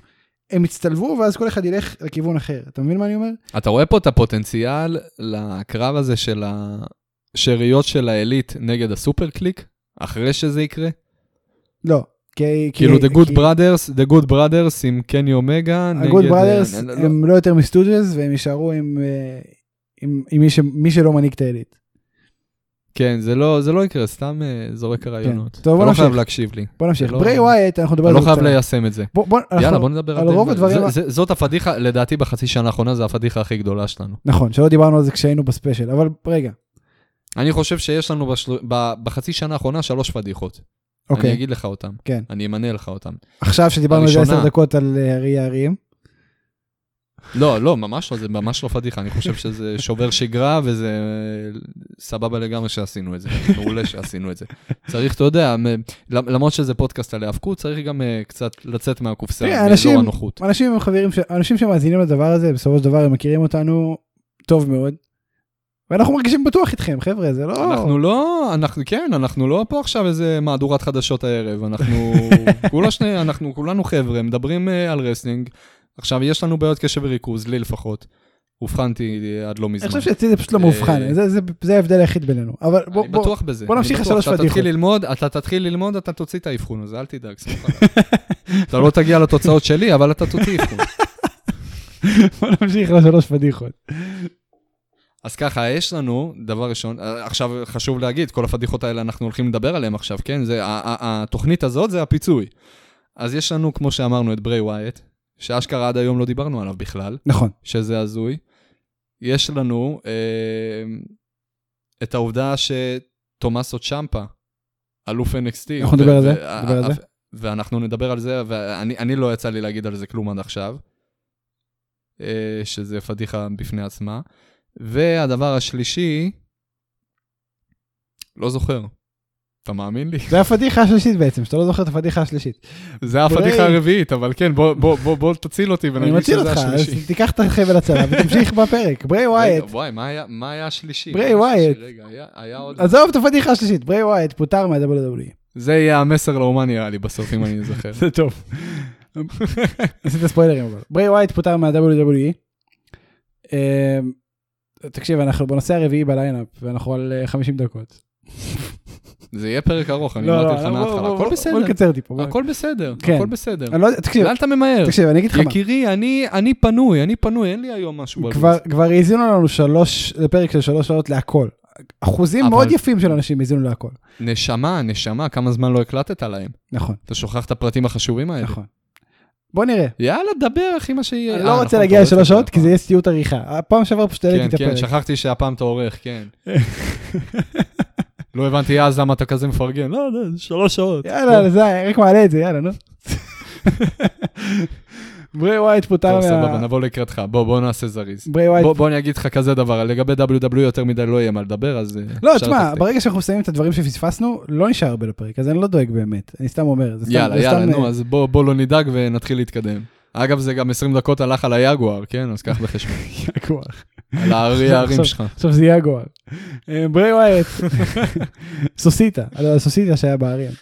הם יצטלבו, ואז כל אחד ילך לכיוון אחר. אתה מבין מה אני אומר? אתה רואה פה את הפוטנציאל לקרב הזה של השאריות של העילית נגד הסופר קליק, אחרי שזה יקרה? לא. כי, כי- כאילו, The Good כי Brothers, The Good Brothers עם קני אומגה נגד... הגוד בראדרס אה, לא, לא, לא. הם לא יותר מסטוג'ס, והם יישארו עם, אה, עם, עם מי, ש- מי שלא מנהיג את העילית. כן, זה לא, זה לא יקרה, סתם אה, זורק רעיונות. כן. טוב, בוא אתה לא נמשיך. חייב להקשיב לי. בוא נמשיך. לא- ברי ווייט, אנחנו נדבר אתה על לא זה חייב בקצרה. ליישם את זה. בוא- בוא- אנחנו- יאללה, בוא נדבר על דנמרק. רוב הדברים זה- ה- זה- זאת הפדיחה, לדעתי בחצי שנה האחרונה, זו הפדיחה הכי גדולה שלנו. נכון, שלא דיברנו על זה כשהיינו בספיישל, אבל רגע, אני חושב שיש לנו בשל... ב... בחצי שנה האחרונה שלוש פדיחות. אוקיי, אני אגיד לך אותן. כן. אני אמנה לך אותן. עכשיו שדיברנו על זה הראשונה. 10 דקות על אה, הרי הערים, לא, לא, ממש לא, זה ממש לא פדיחה. אני חושב שזה שובר שגרה, וזה אה, סבבה לגמרי שעשינו את זה. מעולה שעשינו את זה. צריך, אתה יודע, מ- למ- למרות שזה פודקאסט על היאבקות, צריך גם אה, קצת לצאת מהקופסה, תראה, מאזור אנשים- הנוחות. אנשים הם חברים, ש- אנשים שמאזינים לדבר הזה, בסופו של דבר הם מכירים אותנו טוב מאוד, ואנחנו מרגישים בטוח איתכם, חבר'ה, זה לא... אנחנו לא, אנחנו, כן, אנחנו לא פה עכשיו איזה מהדורת חדשות הערב, אנחנו, כולה שני, אנחנו כולנו חבר'ה, מדברים אה, על רסלינג. עכשיו, יש לנו בעיות קשב וריכוז, לי לפחות. אובחנתי אה, עד לא מזמן. אני חושב שאצלי זה פשוט לא אה, מאובחן, זה- זה- זה ההבדל היחיד בינינו, אבל בוא, אני בוא- בטוח בזה. בוא אני נמשיך בטוח. לשלוש אתה פדיחות. תתחיל ללמוד, אתה תתחיל ללמוד, אתה תוציא את האבחון הזה, אל תדאג, סמוך עליי. אתה לא תגיע לתוצאות שלי, אבל אתה תוציא אבחון. בוא נמשיך לשלוש פדיחות. אז ככה, יש לנו, דבר ראשון, אה, עכשיו חשוב להגיד, כל הפדיחות האלה, אנחנו הולכים לדבר עליהן עכשיו, כן? זה, ה- ה- התוכנית הזאת זה הפיצוי. אז יש לנו, כמו שאמרנו, את ברי ווייט, שאשכרה עד היום לא דיברנו עליו בכלל, נכון, שזה הזוי. יש לנו אה, את העובדה שתומאסו צ'מפה, אלוף NXT. אנחנו נדבר על זה, ו- נדבר על ו- זה. ואנחנו נדבר על זה, ואני אני לא יצא לי להגיד על זה כלום עד עכשיו, אה, שזה פדיחה בפני עצמה. והדבר השלישי, לא זוכר. אתה מאמין לי? זה הפדיחה השלישית בעצם, שאתה לא זוכר את הפדיחה השלישית. זה הפדיחה הרביעית, אבל כן, בוא, בוא, בוא, בוא תציל אותי אני ונגיד מציל שזה אותך, אז השלישי. תיקח את החבל הצלה ותמשיך בפרק, ברי ווייט. רגע, וואי, מה היה, מה היה השלישי? ברי מה היה ווייט. השלישי? רגע, היה, היה עוד... עזוב את הפדיחה השלישית, ברי ווייט פוטר E. מה-WWE. זה יהיה המסר לאומן נראה לי בסוף, אם אני זוכר. זה טוב. עשית ספוילרים אבל. ברי ווייט פוטר מה-WWE. אמ, תקשיב, אנחנו בנושא הרביעי בליינאפ, ואנחנו על אה, 50 דקות. זה יהיה פרק ארוך, אני לא, אמרתי לא, לך לא, בוא, מההתחלה. בוא, הכל בוא, בוא בסדר, נקצר טיפה. בוא. הכל בסדר, כן. הכל בסדר. אני לא יודע, תקשיב, לאן אתה ממהר? תקשיב, אני אגיד לך מה. יקירי, אני, אני פנוי, אני פנוי, אין לי היום משהו בלו"ז. כבר- כבר האזינו לנו שלוש, זה פרק של שלוש שעות להכל. אחוזים אבל- מאוד יפים של אנשים האזינו להכל. נשמה, נשמה, כמה זמן לא הקלטת להם. נכון, אתה שוכח את הפרטים החשובים האלה. נכון. בוא נראה. יאללה, דבר, אחי, מה שיהיה. אני אה, לא רוצה נכון, להגיע אתה לא לשלוש שעות, תקלט כי זה הפעם. יהיה סיוט עריכה. הפעם שעברה פשוט העליתי את כן, כן, הפרק. שכחתי שהפעם אתה עורך, כן. לא הבנתי אז למה אתה כזה מפרגן. לא, לא, זה שלוש שעות. יאללה, זה, רק מעלה את זה, יאללה, נו. ברי ווייט פוטר טוב, סבבה, מה... נבוא לקראתך. בוא, בוא נעשה זריז. ברי ווייט... בוא, בוא אני אגיד לך כזה דבר, לגבי WWE יותר מדי לא יהיה מה לדבר, אז... אה, לא, אפשר תשמע, לתחתק. ברגע שאנחנו מסיימים את הדברים שפספסנו, לא נשאר הרבה לפרק, אז אני לא דואג באמת. אני סתם אומר. זה סתם- יאללה, זה סתם, יאללה, אה, נו, אז בוא בוא לא נדאג ונתחיל להתקדם. אגב, זה גם 20 דקות הלך על היגואר, כן? אז קח בחשבון. יגואר. על הארי הערים עכשיו- שלך. עכשיו זה יגואר. אה, ברי ווייט. סוסיטה, על הסוסיטה שהיה באריה.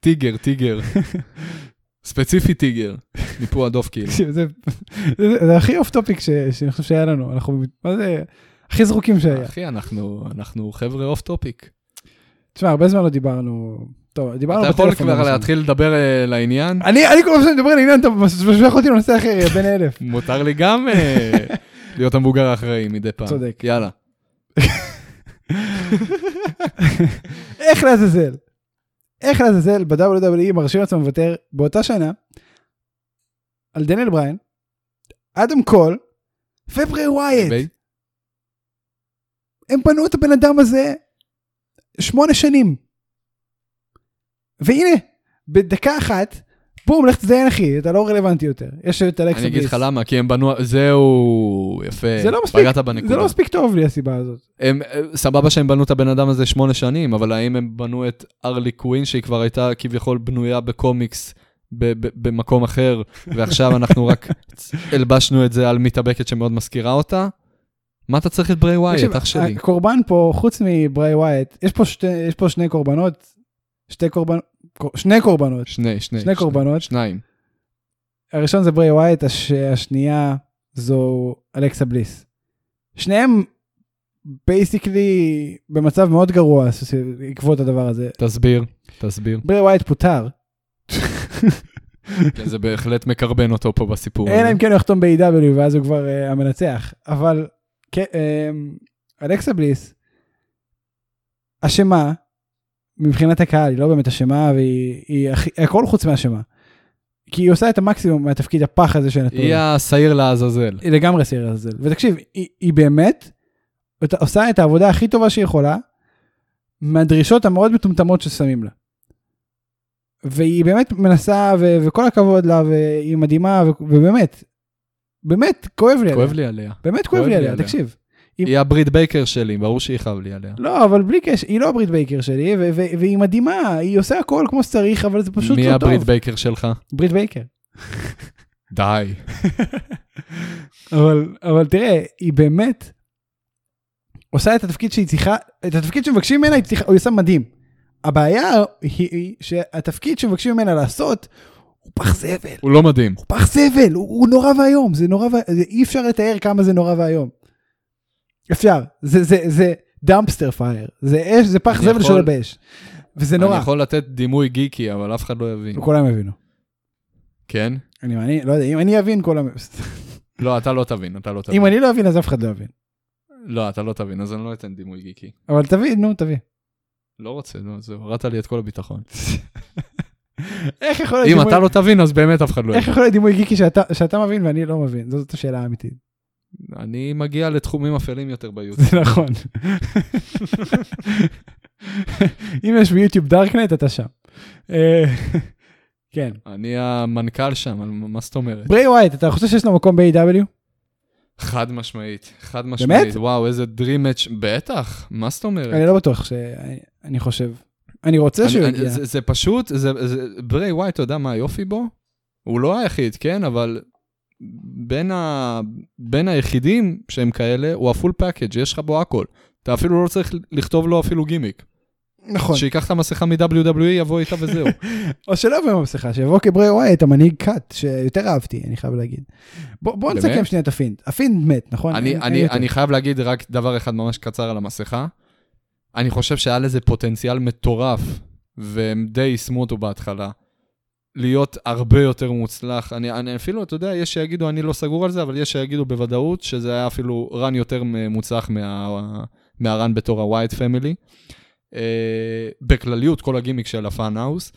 טיגר, טיגר. ספציפי טיגר. ניפוע דוף כאילו. תקשיב, זה זה- זה הכי אוף טופיק ש- שאני חושב שהיה לנו. אנחנו, מה זה, הכי זרוקים שהיה. אחי, אנחנו אנחנו חבר'ה אוף טופיק. תשמע, הרבה זמן לא דיברנו. טוב, דיברנו אתה בטלפון. יכול הרבה כבר זמן. להתחיל לדבר אה, לעניין? אני אני כל פעם שאני מדבר על עניין, אתה משוויח אותי לנושא אחר, יא בן אלף. מותר לי גם אה, להיות המבוגר האחראי מדי פעם. צודק. יאללה. איך לעזאזל? איך לעזאזל E ב-WWE מרשים לעצמם לוותר באותה שנה על דניאל בריין, אוקיי. אדם קול וברי ווייט. ביי. הם בנו את הבן אדם הזה שמונה שנים. והנה, בדקה אחת, בום, לך תזיין אחי, אתה לא רלוונטי יותר. יש את אלכסה אני אגיד בליס. לך למה, כי הם בנו... זהו, יפה. זה לא מספיק, פגעת בנקודה. זה לא מספיק טוב לי הסיבה הזאת. הם, אה, סבבה שהם בנו את הבן אדם הזה שמונה שנים, אבל האם הם בנו את ארלי קווין, שהיא כבר הייתה כביכול בנויה בקומיקס ב- ב- במקום אחר, ועכשיו אנחנו רק צ- הלבשנו את זה על מתאבקת שמאוד מזכירה אותה? מה אתה צריך את ברי ווייט, תקשיב, אה, אח שלי? הקורבן פה, חוץ מברי ווייט, יש פה שתי- יש פה שני קורבנות, שתי קורבנות, שני קורבנות. שני, שני. שני קורבנות. שניים. הראשון זה ברי ווייט, הש... השנייה זו אלכסה בליס. שניהם בייסיקלי במצב מאוד גרוע ס- עקבות הדבר הזה. תסביר, תסביר. ברי ווייט פוטר, כן, זה בהחלט מקרבן אותו פה בסיפור. הזה. אלא אם כן הוא יחתום ב-AW ואז הוא כבר אה, המנצח, אבל כן, אה, אלכסה בליס אשמה מבחינת הקהל, היא לא באמת אשמה והיא היא הכי- הכל חוץ מאשמה. כי היא עושה את המקסימום מהתפקיד הפח הזה שנתנו לה. היא לעזאזל. לעזאזל. היא לגמרי סיר לעזאזל. ותקשיב, היא, היא באמת אות- עושה את העבודה הכי טובה שהיא יכולה, מהדרישות המאוד מטומטמות ששמים לה. והיא באמת מנסה, ו- וכל הכבוד לה, והיא מדהימה, ו- ובאמת, באמת, כואב לי עליה. כואב לי עליה. באמת כואב לי עליה, תקשיב. אם- היא הברית בייקר שלי, ברור שיכאב לי עליה. לא, אבל בלי קשר, היא לא הברית בייקר שלי, ו- ו- והיא מדהימה, היא עושה הכל כמו שצריך, אבל זה פשוט מי לא טוב. הברית בייקר שלך? ברית בייקר. די. אבל, אבל תראה, היא באמת עושה את התפקיד שהיא צריכה, את התפקיד שמבקשים ממנה היא, צריכה, היא עושה מדהים. הבעיה היא, היא שהתפקיד שמבקשים ממנה לעשות הוא פח זבל, הוא לא מדהים. הוא פח זבל, הוא, הוא נורא ואיום, זה נורא ואיום, אי אפשר לתאר כמה זה נורא ואיום. אפשר, זה, זה, זה דמפסטר פייר, זה אש, זה פח אני זבל יכול- שעולה באש. וזה נורא, אני יכול לתת דימוי גיקי, אבל אף אחד לא יבין. כולם הבינו. כן? אני, אני לא יודע, אם אני אבין, כולם... לא, אתה לא תבין, אתה לא תבין. אם אני לא אבין, אז אף אחד לא יבין. לא, אתה לא תבין, אז אני לא אתן דימוי גיקי. אבל תביא, נו, תביא. לא רוצה, נו, זהו, הורדת לי את כל הביטחון. איך יכול להיות אם דימוי- אתה לא תבין, אז באמת אף אחד לא איך יבין. יכול להיות דימוי גיקי שאתה, שאתה מבין ואני לא מבין? זו- זאת השאלה האמיתית. אני מגיע לתחומים אפלים יותר ביוטיוב. זה נכון. אם יש ביוטיוב דארקנט, אתה שם. אה, כן. אני המנכ"ל שם, אבל מה זאת אומרת? ברי ווייט, אתה חושב שיש לו מקום ב-AW? חד משמעית, חד משמעית. וואו, איזה dream match, בטח, מה זאת אומרת? אני לא בטוח ש... אני- אני חושב. אני רוצה שהוא אה. אני- יגיע. אני- זה- זה פשוט, זה- זה- ברי ווייט, אתה יודע מה היופי בו? הוא לא היחיד, כן? אבל בין, ה, בין היחידים שהם כאלה, הוא הפול פאקג', יש לך בו הכל. אתה אפילו לא צריך לכתוב לו אפילו גימיק. נכון. שייקח את המסכה מ-WWE, יבוא איתה וזהו. או שלא יבוא עם המסכה, שיבוא כברי ווייט, המנהיג קאט, שיותר אהבתי, אני חייב להגיד. בוא- בוא באמת? נסכם שנייה את הפינד. הפינד מת, נכון? אני, אין- אין אני, יותר. אני חייב להגיד רק דבר אחד ממש קצר על המסכה. אני חושב שהיה לזה פוטנציאל מטורף, והם די יישמו אותו בהתחלה. להיות הרבה יותר מוצלח. אני, אני אפילו, אתה יודע, יש שיגידו, אני לא סגור על זה, אבל יש שיגידו בוודאות שזה היה אפילו רן יותר מוצלח מה, מהרן בתור הווייט פמילי. Uh, בכלליות, כל הגימיק של הפאן האוס.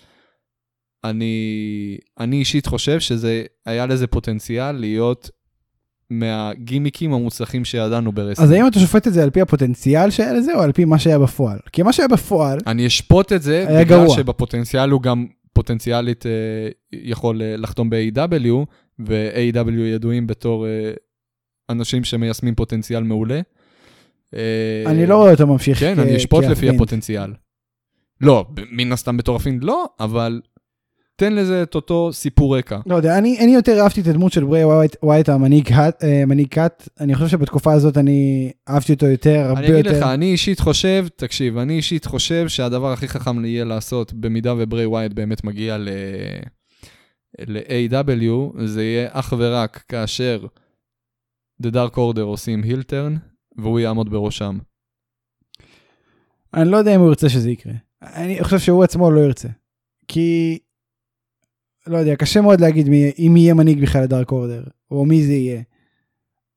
אני, אני אישית חושב שזה, היה לזה פוטנציאל להיות מהגימיקים המוצלחים שידענו ברסטינג. אז האם אתה שופט את זה על פי הפוטנציאל שהיה לזה, או על פי מה שהיה בפועל? כי מה שהיה בפועל, אני אשפוט את זה, היה בגלל גרוע. שבפוטנציאל הוא גם פוטנציאלית אה, יכול אה, לחתום ב-AW, ו-AW ידועים בתור אה, אנשים שמיישמים פוטנציאל מעולה. אה, אני לא רואה אותו ממשיך. כן, כ- אני אשפוט לפי כהפינד. הפוטנציאל. לא, ב- מן הסתם בתור הפינד לא, אבל תן לזה את אותו סיפור רקע. לא יודע, אני, אני יותר אהבתי את הדמות של ברי ווייט, ווייט המנהיג הת- אה, מנהיג כת, אני חושב שבתקופה הזאת אני אהבתי אותו יותר, הרבה אני אגיד יותר. לך, אני אישית חושב, תקשיב, אני אישית חושב שהדבר הכי חכם יהיה לעשות, במידה וברי ווייט באמת מגיע ל... ל-AW, זה יהיה אך ורק כאשר The Dark Order עושים הילטרן, והוא יעמוד בראשם. אני לא יודע אם הוא ירצה שזה יקרה. אני חושב שהוא עצמו לא ירצה. כי, לא יודע, קשה מאוד להגיד מי, אם יהיה מנהיג בכלל לדארק אורדר, או מי זה יהיה.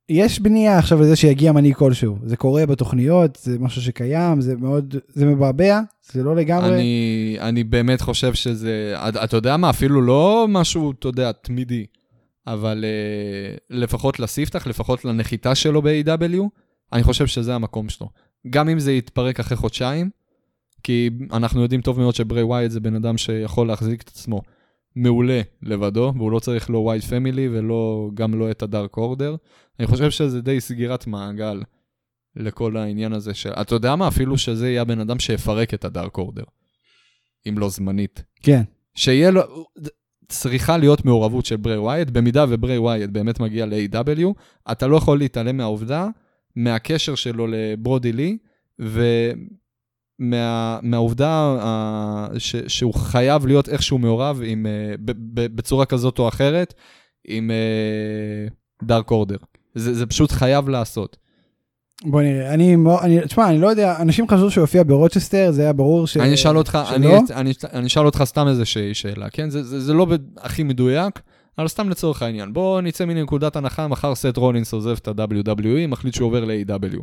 יש בנייה עכשיו לזה שיגיע מנהיג כלשהו. זה קורה בתוכניות, זה משהו שקיים, זה מאוד, זה מבעבע, זה לא לגמרי. אני, אני באמת חושב שזה, אתה- אתה יודע מה, אפילו לא משהו, אתה יודע, תמידי, אבל אה, uh, לפחות לספתח, לפחות לנחיתה שלו ב-AW, אני חושב שזה המקום שלו. גם אם זה יתפרק אחרי חודשיים, כי אנחנו יודעים טוב מאוד שברי ווייד זה בן אדם שיכול להחזיק את עצמו מעולה לבדו, והוא לא צריך לא ווייד פמילי ולא, גם לא את הדארק אורדר. אני חושב שזה די סגירת מעגל לכל העניין הזה של... אתה יודע מה? אפילו שזה יהיה הבן אדם שיפרק את הדארק אורדר, אם לא זמנית. כן. שיהיה לו... צריכה להיות מעורבות של ברי ווייט, במידה וברי ווייט באמת מגיע ל-AW, אתה לא יכול להתעלם מהעובדה, מהקשר שלו לברודי לי, ומהעובדה אה, ש... שהוא חייב להיות איכשהו מעורב עם, אה, ב- ב- בצורה כזאת או אחרת עם דארק אורדר. זה, זה פשוט חייב לעשות. בוא נראה, אני, מאו- אני, תשמע, אני לא יודע, אנשים חשבו שהוא יופיע ברוצ'סטר, זה היה ברור ש... אני אשאל אותך, אה, שלא? אני, אני, אני אשאל אותך סתם איזה ש- שאלה, כן? זה, זה, זה לא ב- הכי מדויק, אבל סתם לצורך העניין. בוא נצא מנקודת הנחה, מחר סט רולינס עוזב את ה-WWE, מחליט שהוא עובר ל-AW.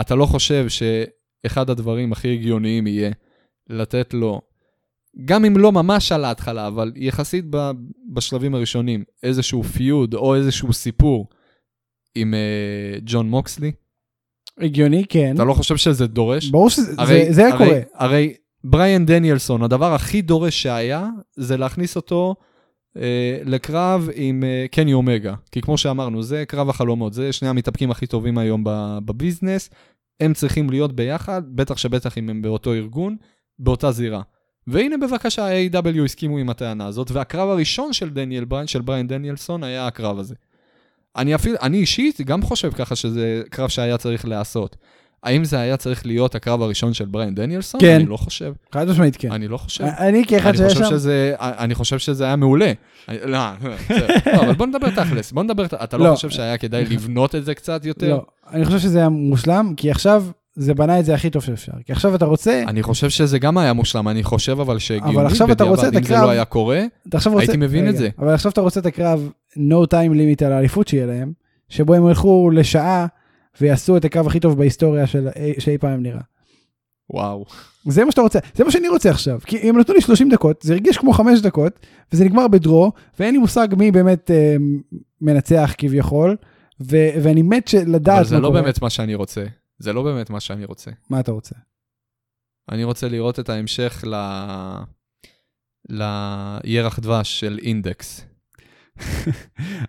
אתה לא חושב שאחד הדברים הכי הגיוניים יהיה לתת לו, גם אם לא ממש על ההתחלה, אבל יחסית ב, בשלבים הראשונים, איזשהו פיוד או איזשהו סיפור עם אה, ג'ון מוקסלי? הגיוני, כן. אתה לא חושב שזה דורש? ברור שזה זה- זה היה הרי, קורה. הרי בריאן דניאלסון, הדבר הכי דורש שהיה, זה להכניס אותו אה, לקרב עם אה, קני אומגה. כי כמו שאמרנו, זה קרב החלומות, זה שני המתאפקים הכי טובים היום ב- בביזנס. הם צריכים להיות ביחד, בטח שבטח אם הם באותו ארגון, באותה זירה. והנה בבקשה, A.W. הסכימו עם הטענה הזאת, והקרב הראשון של דניאל בריין, של בריין דניאלסון, היה הקרב הזה. אני אפילו, אני אישית גם חושב ככה שזה קרב שהיה צריך להיעשות. האם זה היה צריך להיות הקרב הראשון של בריין דניאלסון? כן. אני לא חושב. חד משמעית כן. אני לא חושב. אני כאחד אני שהיה חושב, שם, שזה, אני חושב שזה היה מעולה. אני, לא, בסדר. לא, אבל בוא נדבר תכלס, בוא נדבר, אתה לא לא. חושב שהיה כדאי לבנות את זה קצת יותר? לא, אני חושב שזה היה מושלם, כי עכשיו זה בנה את זה הכי טוב שאפשר. כי עכשיו אתה רוצה, אני חושב שזה גם היה מושלם, אני חושב אבל אבל שהגיוני, עכשיו אתה רוצה את אם זה הקרב- לא היה קורה, אתה עכשיו רוצה... הייתי מבין רגע, את זה. אבל עכשיו אתה רוצה את הקרב no time limit על האליפות שיהיה להם, שבו הם ילכו לשעה ויעשו את הקרב הכי טוב בהיסטוריה של אי- שאי פעם נראה. וואו. זה מה שאתה רוצה, זה מה שאני רוצה עכשיו. כי אם נתנו לי 30 דקות, זה הרגיש כמו 5 דקות, וזה נגמר בדרו, ואין לי מושג מי באמת אה, מנצח כביכול, ו- ואני מת של- לדעת אבל מה זה לא קורה. באמת מה שאני רוצה. זה לא באמת מה שאני רוצה. מה אתה רוצה? אני רוצה לראות את ההמשך ל... לירח דבש של אינדקס.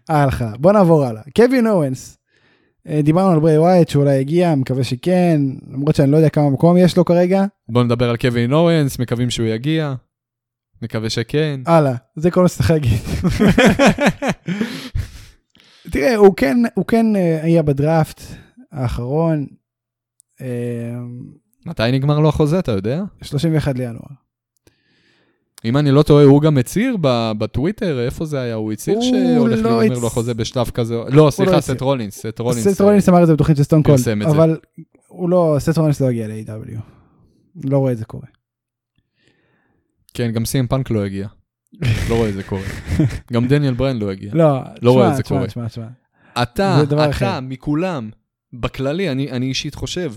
הלאה, בוא נעבור הלאה. קווין אורנס, אה, דיברנו על ברי ווייט שאולי הגיע, מקווה שכן, למרות שאני לא יודע כמה מקום יש לו כרגע. בואו נדבר על קווין אורנס, מקווים שהוא יגיע, נקווה שכן. הלאה, זה כל מה שצריך להגיד. תראה, הוא כן, הוא כן אה, היה בדראפט האחרון, אה, מתי נגמר לו החוזה, אתה יודע? 31 לינואר. אם אני לא טועה, הוא גם הצהיר ב- בטוויטר, איפה זה היה? הוא הצהיר הוא שהולך לא להיגמר לו הצ- החוזה בשלב כזה. לא, סליחה, הצהיר. סט רולינס, סט רולינס. אה, סט רולינס אמר את זה בתוכנית של סטון קולד, פרסם את זה. אבל הוא לא, סט רולינס לא הגיע ל-AW. לא רואה את זה קורה. כן, גם סים פאנק לא הגיע. לא רואה את זה קורה. גם דניאל בריין לא הגיע. לא, לא רואה את תשמע, זה קורה. תשמע, תשמע, תשמע. אתה, זה דבר אתה, אחר. מכולם, בכללי, אני, אני אישית חושב,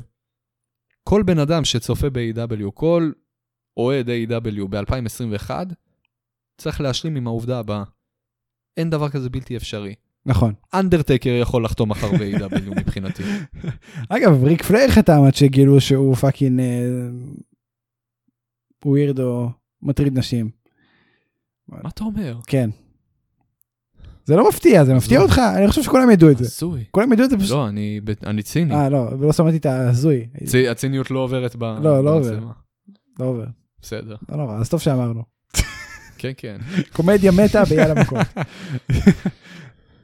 כל בן אדם שצופה ב-AW, כל אוהד A.W. ב-2021, צריך להשלים עם העובדה הבאה. אין דבר כזה בלתי אפשרי. נכון. אנדרטקר יכול לחתום מחר ב-AW E מבחינתי. אגב, ריק פלר חתם עד שגילו שהוא פאקינג אה, ווירדו, מטריד נשים. מה אתה אומר? כן. זה לא מפתיע, זה מפתיע לא. אותך, אני חושב שכולם ידעו את זה. הזוי. כולם ידעו את זה פשוט. לא, אני, ב- אני ציני. אה, לא, ולא שמעתי את ההזוי. צי- הציניות לא עוברת ב... לא, לא במצלמה. לא עובר. בסדר. לא נורא, אז טוב שאמרנו. כן, כן. קומדיה מתה ביאללה מקום.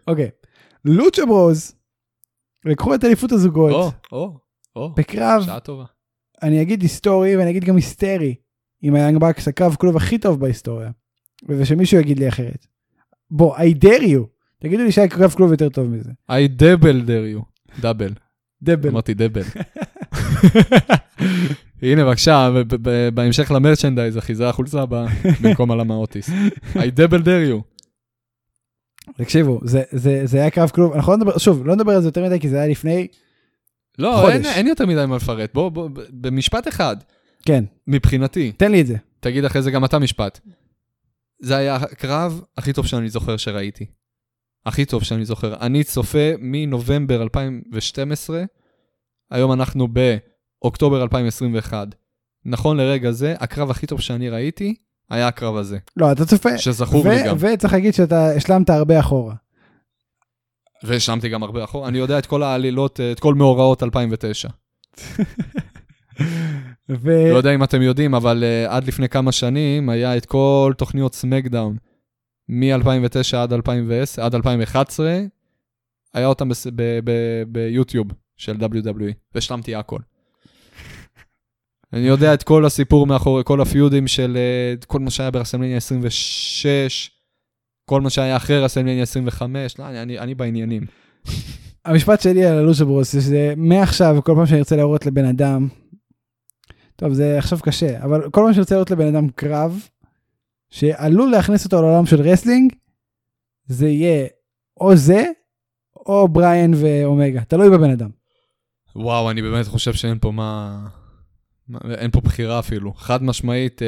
אוקיי. לוצ'ה ברוז לקחו את אליפות או, הזוגות או, או. בקרב, שעה טובה. אני אגיד היסטורי ואני אגיד גם היסטרי, עם היאנג בקס, הקרב כלוב הכי טוב בהיסטוריה. ושמישהו יגיד לי אחרת. בוא, I dare you, תגידו לי שהיה קרב כלוב יותר טוב מזה. I double dare you. דאבל. דבל. אמרתי דבל. הנה בבקשה, ב- ב- ב- בהמשך למרצ'נדייז, אחיזה החולצה הבאה, במקום על המאוטיס. I double dare you. תקשיבו, זה- זה זה היה קרב כלוב, אנחנו לא נדבר, שוב, לא נדבר על זה יותר מדי כי זה היה לפני, לא, חודש. אין- אין יותר מדי מה לפרט, בוא, בוא, ב- במשפט אחד, כן, מבחינתי, תן לי את זה. תגיד אחרי זה גם אתה משפט. זה היה הקרב הכי טוב שאני זוכר שראיתי. הכי טוב שאני זוכר. אני צופה מנובמבר 2012 היום אנחנו באוקטובר 2021. נכון לרגע זה, הקרב הכי טוב שאני ראיתי היה הקרב הזה, לא, אתה צופה. שזכור לי גם. ו- וצריך להגיד שאתה השלמת הרבה אחורה. והשלמתי גם הרבה אחורה. אני יודע את כל העלילות, אה, את כל מאורעות 2009. ו... לא יודע אם אתם יודעים, אבל אה, עד לפני כמה שנים היה את כל תוכניות סמקדאון, מ-2009 עד 2010, עד 2011, היה אותם בס- ב- ב- ביוטיוב של WWE, והשלמתי הכל. אני יודע את כל הסיפור מאחורי, כל הפיודים של אה, את כל מה שהיה ברסלמניה 26, כל מה שהיה אחרי רסלמניה 25, לא, אני, אני, אני בעניינים. המשפט שלי על הלו"ז של ברוס זה שזה מעכשיו כל פעם שאני ארצה להראות לבן אדם. טוב זה עכשיו קשה אבל כל פעם שאני רוצה להראות לבן אדם קרב שעלול להכניס אותו לעולם של רסלינג זה יהיה או זה או בריאן ואומגה תלוי בבן אדם. וואו, אני באמת חושב שאין פה מה... מה- אין פה בחירה אפילו. חד משמעית, אה,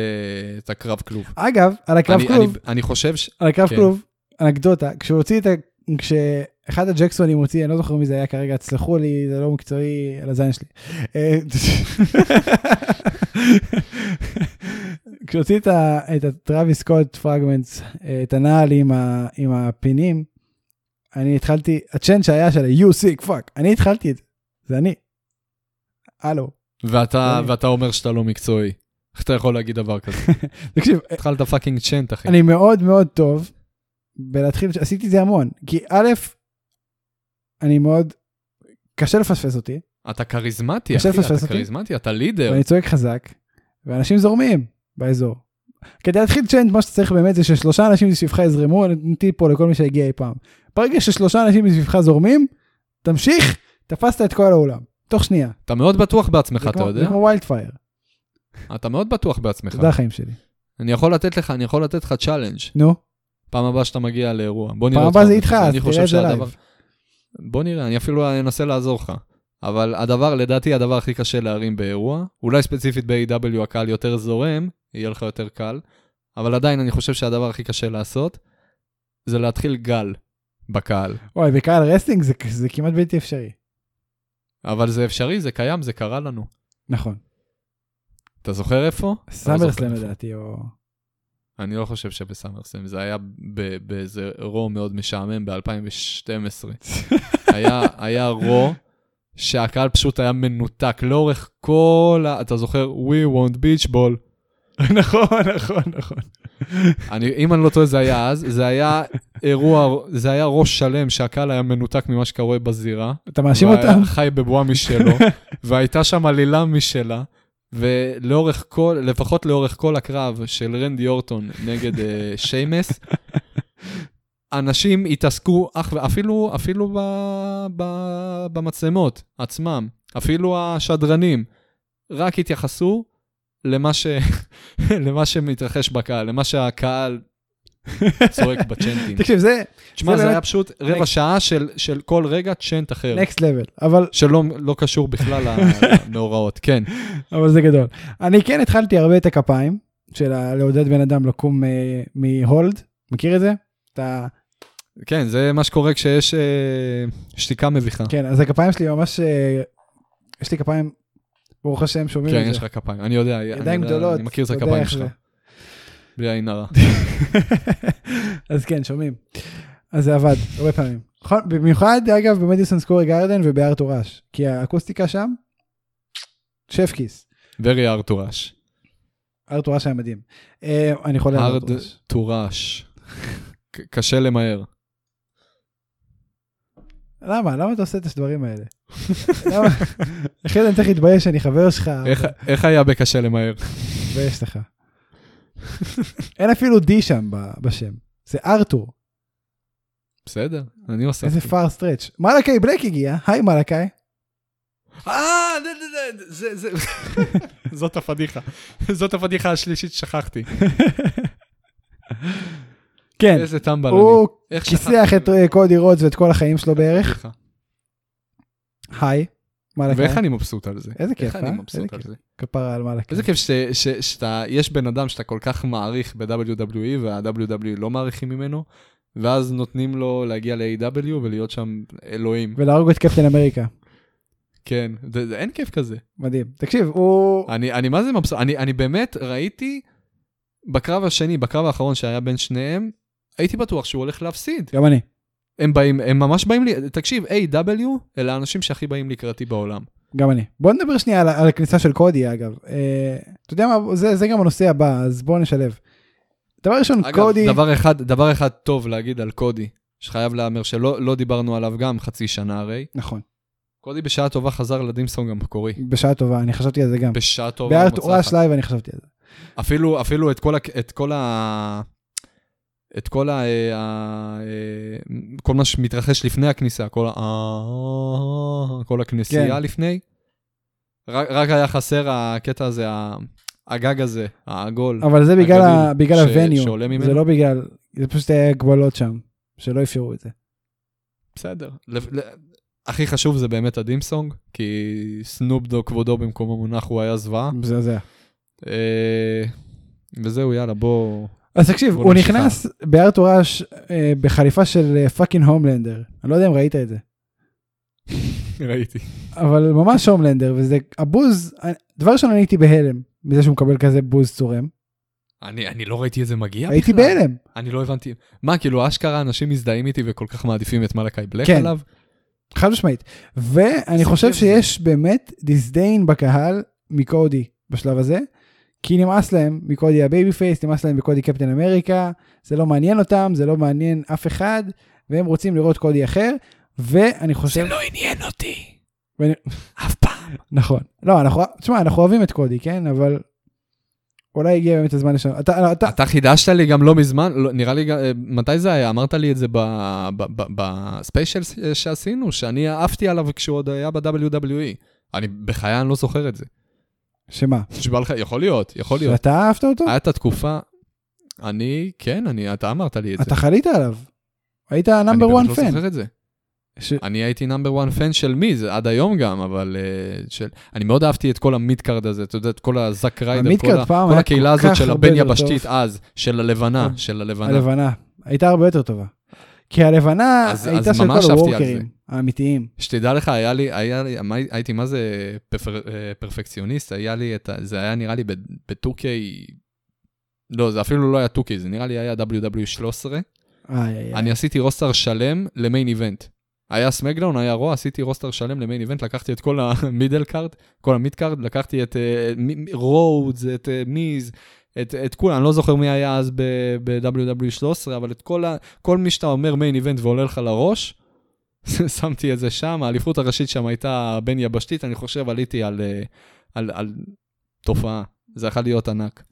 את הקרב כלוב. אגב על הקרב אני, כלוב אני, אני חושב ש... על הקרב כן. כלוב אנקדוטה כשהוא הוציא את ה... כשאחד הג'קסונים הוציא אני לא זוכר מי זה היה כרגע תסלחו לי זה לא מקצועי על הזין שלי. אה, כשהוציא את, ה... את הטראביס סקוט פרגמנטס אה, את הנעל עם, ה... עם הפינים אני התחלתי הצ'ן שהיה של ה-you sick fuck אני התחלתי את זה זה אני. הלו ואתה, אני- ואתה אומר שאתה לא מקצועי. איך אתה יכול להגיד דבר כזה? תקשיב התחלת פאקינג צ'נט, אחי. אה, אני מאוד מאוד טוב בלהתחיל, עשיתי את זה המון, כי א', אני מאוד, קשה לפספס אותי, אתה כריזמטי, אחי. עכשיו אתה פספס אותי? כריזמטי, אתה לידר. ואני צועק חזק, ואנשים זורמים באזור. כדי להתחיל צ'יינט, מה שצריך באמת זה ששלושה אנשים מסביבך יזרמו, אני נותן טיפ פה לכל מי שהגיע אי פעם. ברגע ששלושה אנשים מסביבך זורמים, תמשיך, תפסת את כל האולם, תוך שנייה. אתה מאוד בטוח בעצמך, זה אתה כמו- יודע? זה כמו ויילד פייר, אתה מאוד בטוח בעצמך. תודה חיים שלי. אני יכול לתת לך, אני יכול לתת לך צ'אלנג'. נו, פעם הבאה שאתה מגיע לאירוע. בוא נראה פעם אותך. הבאה זה בפגישה. איתך, אז אני תראה חושב את זה שהדבר... לייב. בוא נראה, אני אפילו אנסה לעזור לך. אבל הדבר, לדעתי, הדבר הכי קשה להרים באירוע, אולי ספציפית ב-AW הקהל יותר זורם, יהיה לך יותר קל, אבל עדיין אני חושב שהדבר הכי קשה לעשות, זה להתחיל גל בקהל. אוי, בקהל רסטינג זה- זה כמעט בלתי אפשרי. אבל זה אפשרי, זה קיים, זה קרה לנו. נכון, אתה זוכר איפה? אתה לא זוכר סאמרסלאם איפה. לדעתי, או... אני לא חושב שבסאמרסלאם, זה היה ב- באיזה רו מאוד משעמם ב-2012. היה, היה רו שהקהל פשוט היה מנותק לאורך כל ה... אתה זוכר? We want beach ball. נכון, נכון, נכון. אני, אם אני לא טועה, זה היה אז. זה היה אירוע, זה היה ראש שלם שהקהל היה מנותק ממה שקורה בזירה. אתה מאשים והיה אותם? חי בבועה משלו, והייתה שם עלילה משלה, ולאורך כל, לפחות לאורך כל הקרב של רנדי אורטון נגד אה, שיימס, אנשים התעסקו אך ואפילו אפילו ב, ב, במצלמות עצמם, אפילו השדרנים, רק התייחסו למה, ש, למה שמתרחש בקהל, למה שהקהל צועק בצ'נטים. תקשיב, זה תשמע, זה זה היה באמת- פשוט רבע Next. שעה של- של כל רגע צ'נט אחר. נקסט לבל, אבל, שלא לא קשור בכלל ל- למאורעות, כן. אבל זה גדול. אני כן התחלתי הרבה את הכפיים של ה- לעודד בן אדם לקום אה, מהולד, מכיר את זה? אתה, כן, זה מה שקורה כשיש אה, שתיקה מביכה. כן, אז הכפיים שלי ממש, אה, יש לי כפיים, ברוך השם, שומעים כן, את יש זה. לך כפיים, אני יודע, אני ידיים יודע, גדולות, אני מכיר את אתה יודע הכפיים איך שלך, זה. בלי עין הרע. אז כן, שומעים. אז זה עבד, הרבה פעמים. נכון, במיוחד, אגב, במדיסון סקורי גרדן ובהר תורש, כי האקוסטיקה שם, שף כיס. ורי הר תורש. הר תורש היה מדהים. אה, אני חולה על הר הר תורש. תורש. ק- קשה למהר. למה? למה אתה עושה את הדברים האלה? למה? אחי, אני צריך להתבייש שאני חבר שלך, איך- אוקיי. איך היה בקשה למהר? מתבייש לך. אין אפילו די שם ב- בשם, זה ארתור, בסדר, אני עושה. איזה פאר סטרץ'. מלאקי בלק הגיע, היי מלאקי. אה, זה- זה- זה- זה- זה- זאת הפדיחה. זאת הפדיחה השלישית ששכחתי. כן, איזה טמבל אני. הוא איך כיסח שכחתי? את אה, קודי רוץ ואת כל החיים שלו בערך, סליחה. היי. מלאקי. ואיך אני מבסוט על זה? אוקיי. איזה כיף, איך אני אה? איזה מבסוט על כיף. זה? כפרה על מלאקי. איזה כיף ש- ש- שאתה, יש בן אדם שאתה כל כך מעריך E ב-WWE, וה-WWE לא מעריכים ממנו, ואז נותנים לו להגיע ל-AW ולהיות שם אלוהים. ולהרוג את קפטן אמריקה. כן, זה- זה- אין כיף כזה. מדהים. תקשיב, הוא... אני, אני מה זה מבסוט, אני, אני באמת ראיתי בקרב השני, בקרב האחרון שהיה בין שניהם, הייתי בטוח שהוא הולך להפסיד. גם אני. הם באים, הם ממש באים לי, תקשיב, A.W. אלה האנשים שהכי באים לקראתי בעולם. גם אני. בוא נדבר שנייה על, על הכניסה של קודי אגב. אה, אתה יודע מה, זה, זה גם הנושא הבא, אז בוא נשלב. דבר ראשון, אגב, קודי, דבר אחד, דבר אחד טוב להגיד על קודי, שחייב להאמר שלא לא דיברנו עליו גם חצי שנה הרי. נכון, קודי בשעה טובה חזר לדימסון המקורי. בשעה טובה, אני חשבתי על זה גם. בשעה טובה. הוא בהר מצא תאורה אחד. שלייב אני חשבתי על זה. אפילו, אפילו את כל, ה, את כל ה... את כל ה... אה, ה- אה, כל מה שמתרחש לפני הכניסה, כל ה... אה, כל הכנסייה כן. כן. לפני. רק, רק היה חסר הקטע הזה, ה- הגג הזה, העגול. אבל זה בגלל, ה, הגליל, בגלל ש- הווניו, שעולה ממנו. זה לא בגלל, זה פשוט היה הגבלות שם, שלא אפשרו את זה. בסדר. ל- ל- הכי חשוב זה באמת הדימסונג, כי סנופ דו כבודו במקום המונח הוא היה זוועה. מזעזע. אה, וזהו, יאללה, בוא... אז תקשיב, בוא הוא נמשיך נכנס בהר תורה ש- אה, בחליפה של פאקינג הומלנדר, אני לא יודע אם ראית את זה, ראיתי. אבל ממש הומלנדר, וזה הבוז, אני- דבר ראשון אני הייתי בהלם מזה שהוא מקבל כזה בוז צורם, אני, אני לא ראיתי את זה מגיע הייתי בכלל. בהלם. אני לא הבנתי. מה, כאילו, אשכרה אנשים מזדהים איתי וכל כך מעדיפים את מלאקי בלק כן. עליו? חד משמעית. ואני זה חושב כיף זה. שיש באמת דיסדיין בקהל מקודי בשלב הזה, כי נמאס להם מקודי הבייבי פייס, נמאס להם מקודי קפטן אמריקה, זה לא מעניין אותם, זה לא מעניין אף אחד, והם רוצים לראות קודי אחר, ואני חושב... לא עניין אותי. ואני- אף פעם. נכון. לא, אנחנו... תשמע, אנחנו אוהבים את קודי, כן? אבל... אולי הגיע באמת הזמן לשנות. אתה, לא, אתה, אתה חידשת לי גם לא מזמן, לא, נראה לי, גם- אה, מתי זה היה? אמרת לי את זה ב- ב- ב- בספיישל ש- שעשינו, שאני עפתי עליו כשהוא עוד היה ב-WWE. אני בחיי אני לא זוכר את זה. שמה? נשבע לך, יכול להיות, יכול להיות. אה, שאתה אהבת אותו? היה את התקופה, אני, כן, אני, אתה אמרת לי את זה. אתה חלית עליו. היית נאמבר אני וואן באמת לא פן. זוכר את זה. אני הייתי נאמבר 1 פן של מי, זה עד היום גם, אבל אה, של... אני מאוד אהבתי את כל המידקארד הזה, אתה יודע, את כל הזאק ריידר, כל, המידקארד ה... פעם כל היה הקהילה כל הזאת כך של הרבה הבן יותר טוב. יבשתית אז, של הלבנה, כן. של הלבנה. הלבנה. הייתה הרבה יותר טובה. כי הלבנה אז- הייתה אז של ממש כל אהבתי על הוורקרים האמיתיים. שתדע לך, היה לי, היה לי, מה- הייתי מה זה פפר, אה, פרפקציוניסט, היה לי את ה... זה היה נראה לי בטוקיי... לא, זה אפילו לא היה טוקיי, זה נראה לי היה WW 13. איי, איי, איי. אני עשיתי רוסטר שלם למיין איבנט. היה סמקדאון, היה רוע, עשיתי רוסטר שלם למיין איבנט, לקחתי את כל המידל קארד, כל המיד קארד, לקחתי את אה, רודס, את אה, מיז, את, את כולם, אני לא זוכר מי היה אז ב-WW13, E אבל את כל, ה, כל מי שאתה אומר מיין איבנט ועולה לך לראש, שמתי את זה שם, האליפות הראשית שם הייתה בין יבשתית, אני חושב עליתי על, אה, על, על תופעה, זה יכול להיות ענק.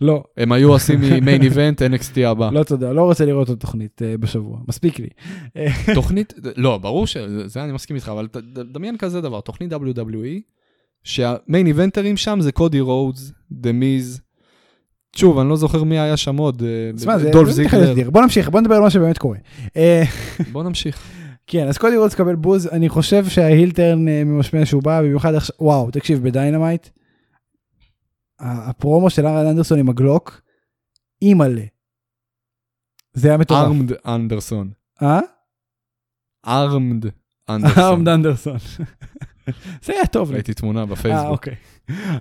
לא, הם היו עושים ממיין איבנט NXT הבא. לא תודה, לא רוצה לראות עוד תוכנית אה, בשבוע, מספיק לי. תוכנית, לא, ברור שזה, זה אני מסכים איתך, אבל ת- ד- דמיין כזה דבר, תוכנית WWE, שהמיין איבנטרים שם זה קודי רודס, דה מיז, שוב, אני לא זוכר מי היה שם עוד, אה, תשמע, זה לא דולף זה זיגלר. מתחיל להסדיר. בוא נמשיך, בוא נדבר על מה שבאמת קורה. אה, בוא נמשיך. כן, אז קודי רודס מקבל בוז, אני חושב שההילטרן אה, ממשמע שהוא בא, במיוחד עכשיו, וואו, תקשיב, בדיינמייט, ה- הפרומו של ארן אנדרסון עם הגלוק, אימא'לה. זה היה מטורף. ארמד אנדרסון. אה? ארמד ארמד אנדרסון. אנדרסון. זה היה טוב לי. ראיתי תמונה אה, בפייסבוק. אוקיי.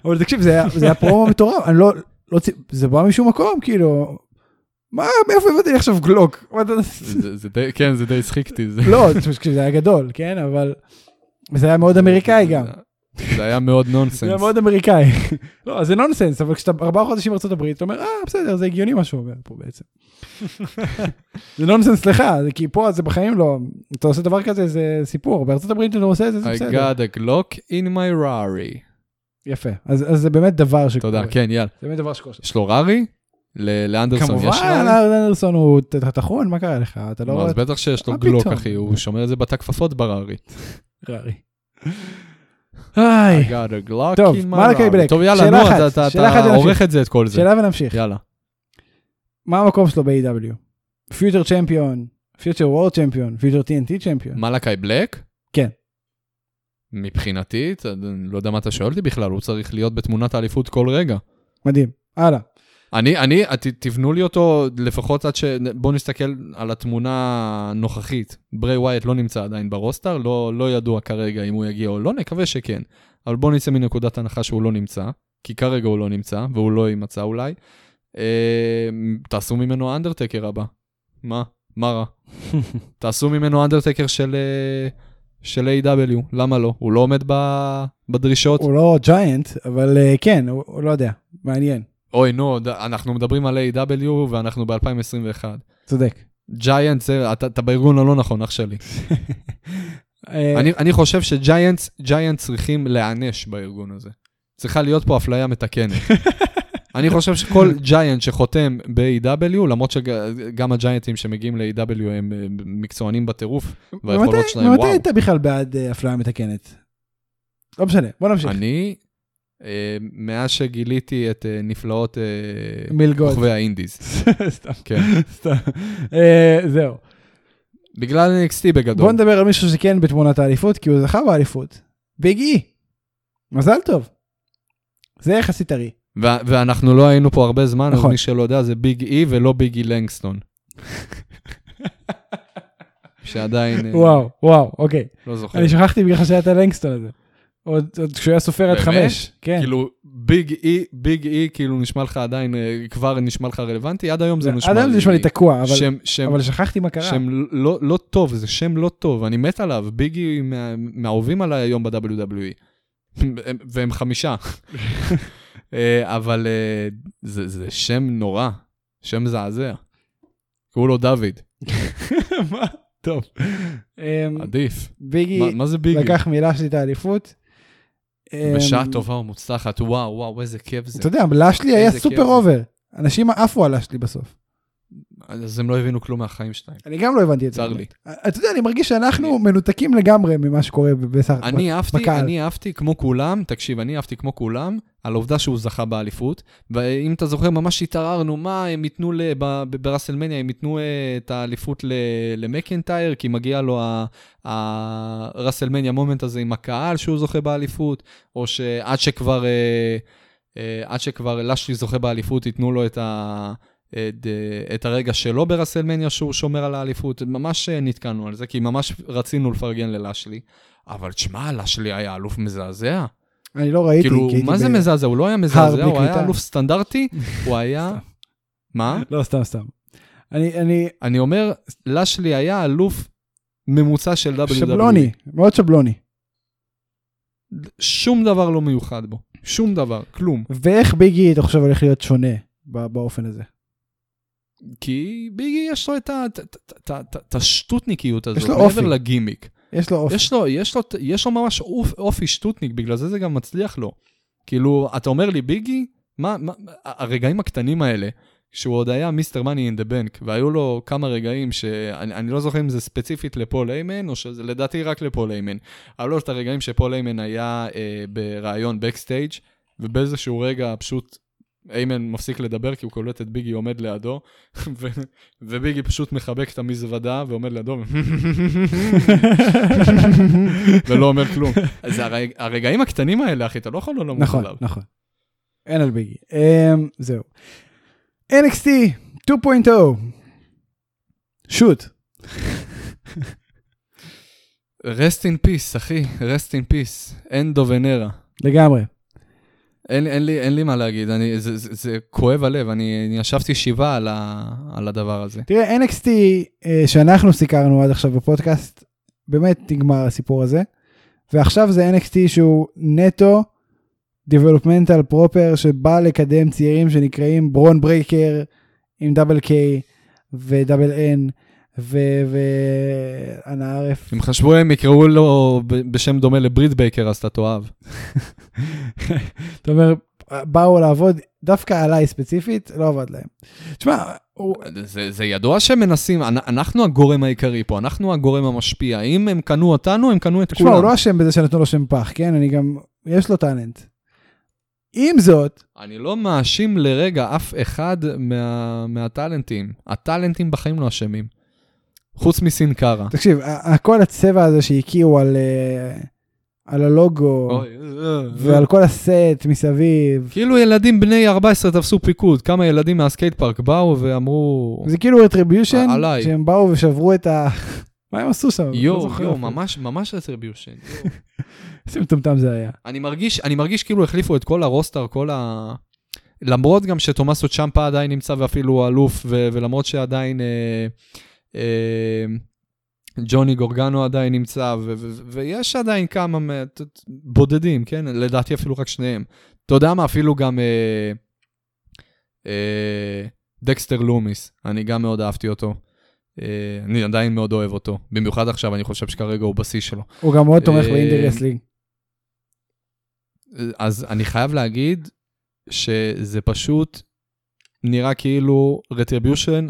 אבל תקשיב, זה היה- זה היה פרומו מטורף, אני לא, לא צי- זה בא משום מקום, כאילו, מה, מאיפה הבאתי לי עכשיו גלוק? מה אתה- זה- זה די- כן, זה די הצחיקתי. זה- אוקיי. לא, תקשיב, זה היה גדול, כן, אבל זה היה מאוד אמריקאי גם. זה היה מאוד זה היה נונסנס. מאוד אמריקאי. לא, זה נונסנס, אבל כשאתה ארבעה חודשים בארצות הברית, אתה אומר, אה, בסדר, זה הגיוני מה שהוא אומר פה בעצם. זה נונסנס לך, זה כי פה זה בחיים לא, אתה עושה דבר כזה, זה סיפור, בארצות הברית אתה עושה את זה, זה I בסדר. got a Glock in my Rari. יפה, אז אז זה באמת דבר שקורה. תודה, כן, יאללה. זה באמת דבר שקורה. יש לו ררי? ל- לאנדרסון יש כמובן, ררי? אנדרסון הוא ת- ת- טחון, מה קרה לך? אתה לא לא, רואה אז את בטח שיש לו מה גלוק, פתאום? אחי, הוא שומר את זה בתא כפפות בררי. רארי. היי, got a Glock טוב, in my מלאקי Rari. בלק, טוב, יאללה, שאלה נו, אחת, אתה- אתה שאלה אחת אתה ונמשיך. עורך את זה, את כל זה. שאלה ונמשיך. יאללה. מה המקום שלו ב-AW? פיוטר צ'מפיון, פיוטר וורד צ'מפיון, פיוטר TNT צ'מפיון. מלאקי בלק? כן. מבחינתי, אתה- אני לא יודע מה אתה שואל אותי בכלל, הוא צריך להיות בתמונת האליפות כל רגע. מדהים, הלאה. אני, אני, ת, תבנו לי אותו לפחות עד ש... בואו נסתכל על התמונה הנוכחית. ברי ווייט לא נמצא עדיין ברוסטר, לא, לא ידוע כרגע אם הוא יגיע או לא, נקווה שכן. אבל בואו נצא מנקודת הנחה שהוא לא נמצא, כי כרגע הוא לא נמצא, והוא לא יימצא אולי. אה, תעשו ממנו אנדרטקר הבא. מה? מה רע? תעשו ממנו אנדרטקר של, אה, של A.W, למה לא? הוא לא עומד ב, בדרישות. הוא לא ג'יינט, אבל אה, כן, הוא הוא לא יודע, מעניין, אוי, נו, ד- אנחנו מדברים על A.W ואנחנו ב-2021. צודק. ג'יינטס, אתה אתה בארגון הלא נכון, אח שלי. אה, אני- אני חושב שג'יינטס, ג'יינטס צריכים להיענש בארגון הזה. צריכה להיות פה אפליה מתקנת. אני חושב שכל ג'יינט שחותם ב-AW, למרות שגם הג'יינטים שמגיעים ל-AW הם אה, מקצוענים בטירוף, והיכולות ממתי- שלהם וואו. ממתי היית בכלל בעד אה, אפליה מתקנת? לא משנה, בוא נמשיך. אני, אה, מאז שגיליתי את אה, נפלאות אה, מלגות. כוכבי האינדיז. סתם, כן. סתם. אה, זהו. בגלל NXT בגדול. בוא נדבר על מישהו שכן בתמונת האליפות, כי הוא זכה באליפות. ביג אי. מזל טוב. זה יחסית טרי. ו- ואנחנו לא היינו פה הרבה זמן, אז נכון. מי שלא יודע זה ביג אי ולא ביג אי לנגסטון. שעדיין אה, וואו, וואו, אוקיי. לא זוכר. אני שכחתי בגלל שהיה את הלנגסטון הזה. עוד עוד כשהוא היה סופר עד באמת? חמש. כן. כאילו ביג אי, ביג אי כאילו נשמע לך עדיין, אה, כבר נשמע לך רלוונטי, עד היום זה נשמע עד היום זה נשמע לי תקוע, אבל- שם, שם, אבל שכחתי מה קרה. שם לא, לא טוב, זה שם לא טוב, אני מת עליו, ביגי מה- מהאהובים עליי היום ב-WWE. הם- והם חמישה. אה, אבל אה, זה, זה שם נורא, שם מזעזע. קראו לו דוד, מה? טוב. אמ, עדיף. ביגי מה, מה זה ביגי? לקח מילה שלי את האליפות. אמ, בשעה טובה ומוצלחת, וואו, וואו, איזה כיף זה. אתה יודע, לשלי היה איזה סופר כיף זה. אובר. אנשים עפו על לשלי בסוף. אז הם לא הבינו כלום מהחיים שלהם. אני גם לא הבנתי את זה. צר לי. אה, אתה יודע, אני מרגיש שאנחנו מנותקים לגמרי ממה שקורה בסך הכל. אני אהבתי, בקהל. אני אהבתי כמו כולם, תקשיב, אני אהבתי כמו כולם, על העובדה שהוא זכה באליפות, ואם אתה זוכר, ממש התערערנו, מה הם ייתנו, ל- ב- ב- בראסלמניה, הם ייתנו אה, את האליפות ל- למקנטייר, כי מגיע לו ה- הראסלמניה מומנט הזה עם הקהל שהוא זוכה באליפות, או שעד שכבר, אה, אה, עד שכבר לשלי זוכה באליפות, ייתנו לו את ה... את, אה, את הרגע שלו ברסלמניה שהוא שומר על האליפות, ממש אה, נתקענו על זה, כי ממש רצינו לפרגן ללאשלי. אבל תשמע, לשלי היה אלוף מזעזע. אני לא ראיתי. כאילו, כי הייתי מה זה ב- מזעזע? הוא לא היה מזעזע, בלי הוא היה קליטה. אלוף סטנדרטי, הוא היה... סתם. מה? לא, סתם, סתם. אני, אני, אני אומר, לשלי היה אלוף ממוצע של E. WWE. שבלוני, מאוד שבלוני. שום דבר לא מיוחד בו. שום דבר, כלום. ואיך ביגי, אתה חושב, הולך להיות שונה ב- באופן הזה? כי ביגי יש לו את ה- את- את- את- את- את השטותניקיות הזאת, יש לו אופי. מעבר לגימיק. יש לו אופי. יש לו, יש לו, יש לו ממש אופ, אופי שטוטניק, בגלל זה זה גם מצליח לו. כאילו, אתה אומר לי, ביגי, מה, מה, הרגעים הקטנים האלה, שהוא עוד היה מיסטר מאני אין דה בנק, והיו לו כמה רגעים שאני אני לא זוכר אם זה ספציפית לפול איימן, או שזה לדעתי רק לפול איימן. היו לו את הרגעים שפול איימן היה אה, בריאיון בקסטייג', ובאיזשהו רגע פשוט איימן מפסיק לדבר כי הוא קולט את ביגי עומד לידו, ו, וביגי פשוט מחבק את המזוודה ועומד לידו, ולא אומר כלום. לא אז הרג, הרגעים הקטנים האלה, אחי, אתה לא יכול לא למות נכון, עליו. נכון. אין על ביגי. אמ, זהו. NXT 2.0. oh. שוט. rest in peace, אחי, rest in peace, end of an era. לגמרי. אין, אין, לי, אין לי מה להגיד, אני, זה, זה, זה כואב הלב, אני, אני ישבתי שבעה על, ה, על הדבר הזה. תראה, NXT אה, שאנחנו סיקרנו עד עכשיו בפודקאסט, באמת נגמר הסיפור הזה. ועכשיו זה NXT שהוא נטו developmental proper שבא לקדם צעירים שנקראים ברון ברייקר עם דאבל קיי ודאבל אן ואנה ערף. אם חשבו הם יקראו לו ב- בשם דומה לבריד בייקר, אז אתה תאהב. אתה אומר, באו לעבוד דווקא עליי ספציפית, לא עבד להם. תשמע, הוא- זה, זה ידוע שהם מנסים, אנ- אנחנו הגורם העיקרי פה, אנחנו הגורם המשפיע. אם הם קנו אותנו, הם קנו את תשמע, הוא כולם. לא אשם בזה שנתנו לו שם פח, כן? אני גם, יש לו טאלנט. עם זאת, אני לא מאשים לרגע אף אחד מה, מהטאלנטים. הטאלנטים בחיים לא אשמים. חוץ מסין קארה. תקשיב, ה- ה- כל הצבע הזה שהקיאו על, אה, על הלוגו, אוי, אה, ועל כל הסט מסביב. כאילו ילדים בני 14 תפסו פיקוד, כמה ילדים מהסקייט פארק באו ואמרו, זה כאילו רטריביושן, ע- עליי. שהם באו ושברו את ה... מה הם עשו שם? לא יואו, זוכר יואו, אפילו. ממש, ממש רטריביושן. איזה מטומטם זה היה. אני מרגיש, אני מרגיש כאילו החליפו את כל הרוסטר, כל ה... למרות גם שתומאסו צ'מפה עדיין נמצא ואפילו אלוף, ו- ולמרות שעדיין אה, אה, ג'וני גורגנו עדיין נמצא, ו- ו- ו- ויש עדיין כמה מה- ת- ת- בודדים, כן? לדעתי אפילו רק שניהם. אתה יודע מה, אפילו גם אה, אה, דקסטר לומיס, אני גם מאוד אהבתי אותו. אה, אני עדיין מאוד אוהב אותו, במיוחד עכשיו, אני חושב שכרגע הוא בשיא שלו. הוא גם מאוד תומך אה, באינדי רסלינג. אז אני חייב להגיד שזה פשוט נראה כאילו רטריביושן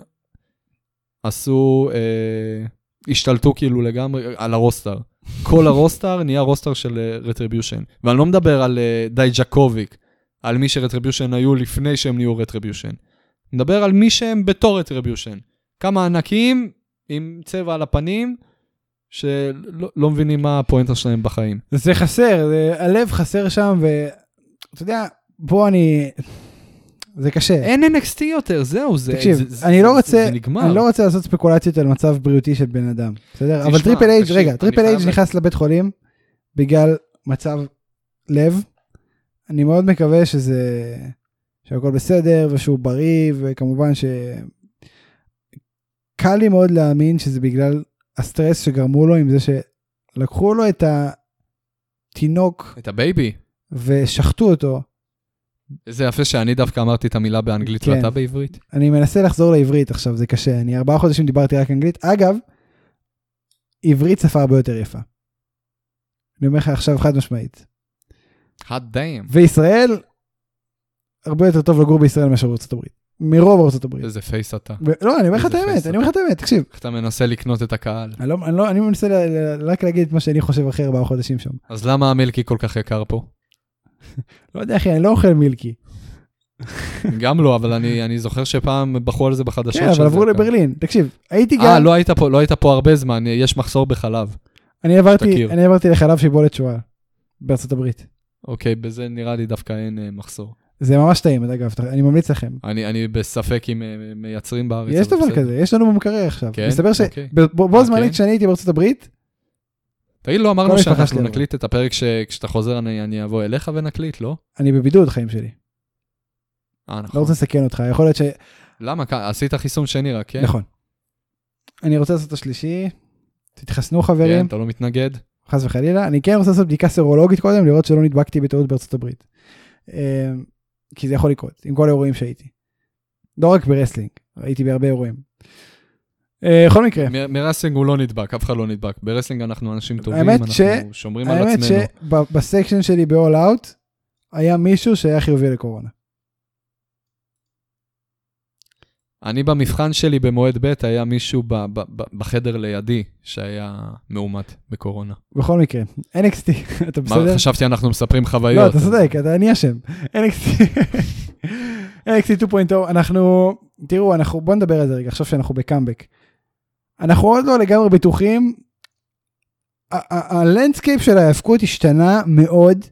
עשו, אה, השתלטו כאילו לגמרי על הרוסטר. כל הרוסטר נהיה רוסטר של רטריביושן. ואני לא מדבר על אה, די ג'קוביק, על מי שרטריביושן היו לפני שהם נהיו רטריביושן. אני מדבר על מי שהם בתור רטריביושן. כמה ענקים עם צבע על הפנים, שלא לא מבינים מה הפואנטה שלהם בחיים. זה חסר, זה- הלב חסר שם, ואתה יודע, פה אני... זה קשה. אין NXT יותר, זהו, זה... תקשיב, זה- זה- אני לא זה- רוצה- זה נגמר. אני לא רוצה לעשות ספקולציות על מצב בריאותי של בן אדם, בסדר? תשמע, אבל טריפל אייג', תקשיב, רגע, אני טריפל חייב אייג' לה- נכנס לבית חולים בגלל מצב לב. אני מאוד מקווה שזה... שהכל בסדר ושהוא בריא, וכמובן ש... קל לי מאוד להאמין שזה בגלל הסטרס שגרמו לו עם זה שלקחו לו את התינוק את הבייבי. ושחטו אותו. איזה יפה שאני דווקא אמרתי את המילה באנגלית כן. ואתה בעברית. אני מנסה לחזור לעברית עכשיו, זה קשה. אני ארבעה חודשים דיברתי רק אנגלית. אגב, עברית שפה הרבה יותר יפה. אני אומר לך עכשיו חד משמעית. hot damn. וישראל, הרבה יותר טוב לגור בישראל מאשר בארצות הברית. מרוב ארצות הברית. איזה פייס אתה. ו- לא, אני אומר לך את איזה האמת, פייס אני אומר לך את האמת, תקשיב. איך אתה מנסה לקנות את הקהל. אני, לא, אני, לא, אני מנסה ל, ל, רק להגיד את מה שאני חושב אחרי ארבעה חודשים שם. אז למה המילקי כל כך יקר פה? לא יודע אחי, אני לא אוכל מילקי. גם לא, אבל אני אני זוכר שפעם בחרו על זה בחדשות. כן, אבל שזה עברו יקר. לברלין. תקשיב, הייתי אה, גם, לא היית פה, לא היית פה הרבה זמן, יש מחסור בחלב. אני עברתי, תכיר. אני עברתי לחלב שיבולת שועל בארצות הברית. אוקיי, בזה נראה לי דווקא אין אה, מחסור. זה ממש טעים, אגב, אני ממליץ לכם. אני אני בספק אם אה, מייצרים בארץ. יש אבל דבר בסדר. כזה, יש לנו במקרר עכשיו. כן? מסתבר ש... אוקיי. ב- בו- בו אה, זמנית כן? כשאני הייתי בארצות הברית, תגיד, לא כל אמרנו המשפחה שלי שאנחנו עברה. נקליט את הפרק שכשאתה חוזר אני אני אבוא אליך ונקליט, לא? אני בבידוד חיים שלי. אה, לא נכון. רוצה לסכן אותך, יכול להיות ש... למה? כ- עשית חיסון שני רק, כן? נכון. אני רוצה לעשות את השלישי, תתחסנו כן, חברים, אתה לא מתנגד? חס וחלילה. אני כן רוצה לעשות בדיקה סרולוגית קודם, לראות שלא נדבקתי בטעות בארצות הברית. אה, כי זה יכול לקרות, עם כל האירועים שהייתי. לא רק ברסלינג, הייתי בהרבה אירועים. אה, בכל מקרה, מ- מרסלינג הוא לא נדבק, אף אחד לא נדבק. ברסלינג אנחנו אנשים טובים, האמת ש- אנחנו שומרים על האמת עצמנו. שבסקשן שלי ב-all out, היה מישהו שהיה חיובי לקורונה. אני במבחן שלי במועד ב' היה מישהו ב- ב- ב- בחדר לידי שהיה מאומת בקורונה. בכל מקרה, NXT, אתה מה, בסדר? חשבתי אנחנו מספרים לא, חוויות. אתה צודק, אתה אני אשם. NXT, NXT 2.0, oh, אנחנו, תראו, אנחנו, בוא נדבר על זה רגע, עכשיו שאנחנו בקאמבק. אנחנו עוד לא לגמרי בטוחים, ה- ה- הלנדסקייפ של ההאבקות השתנה מאוד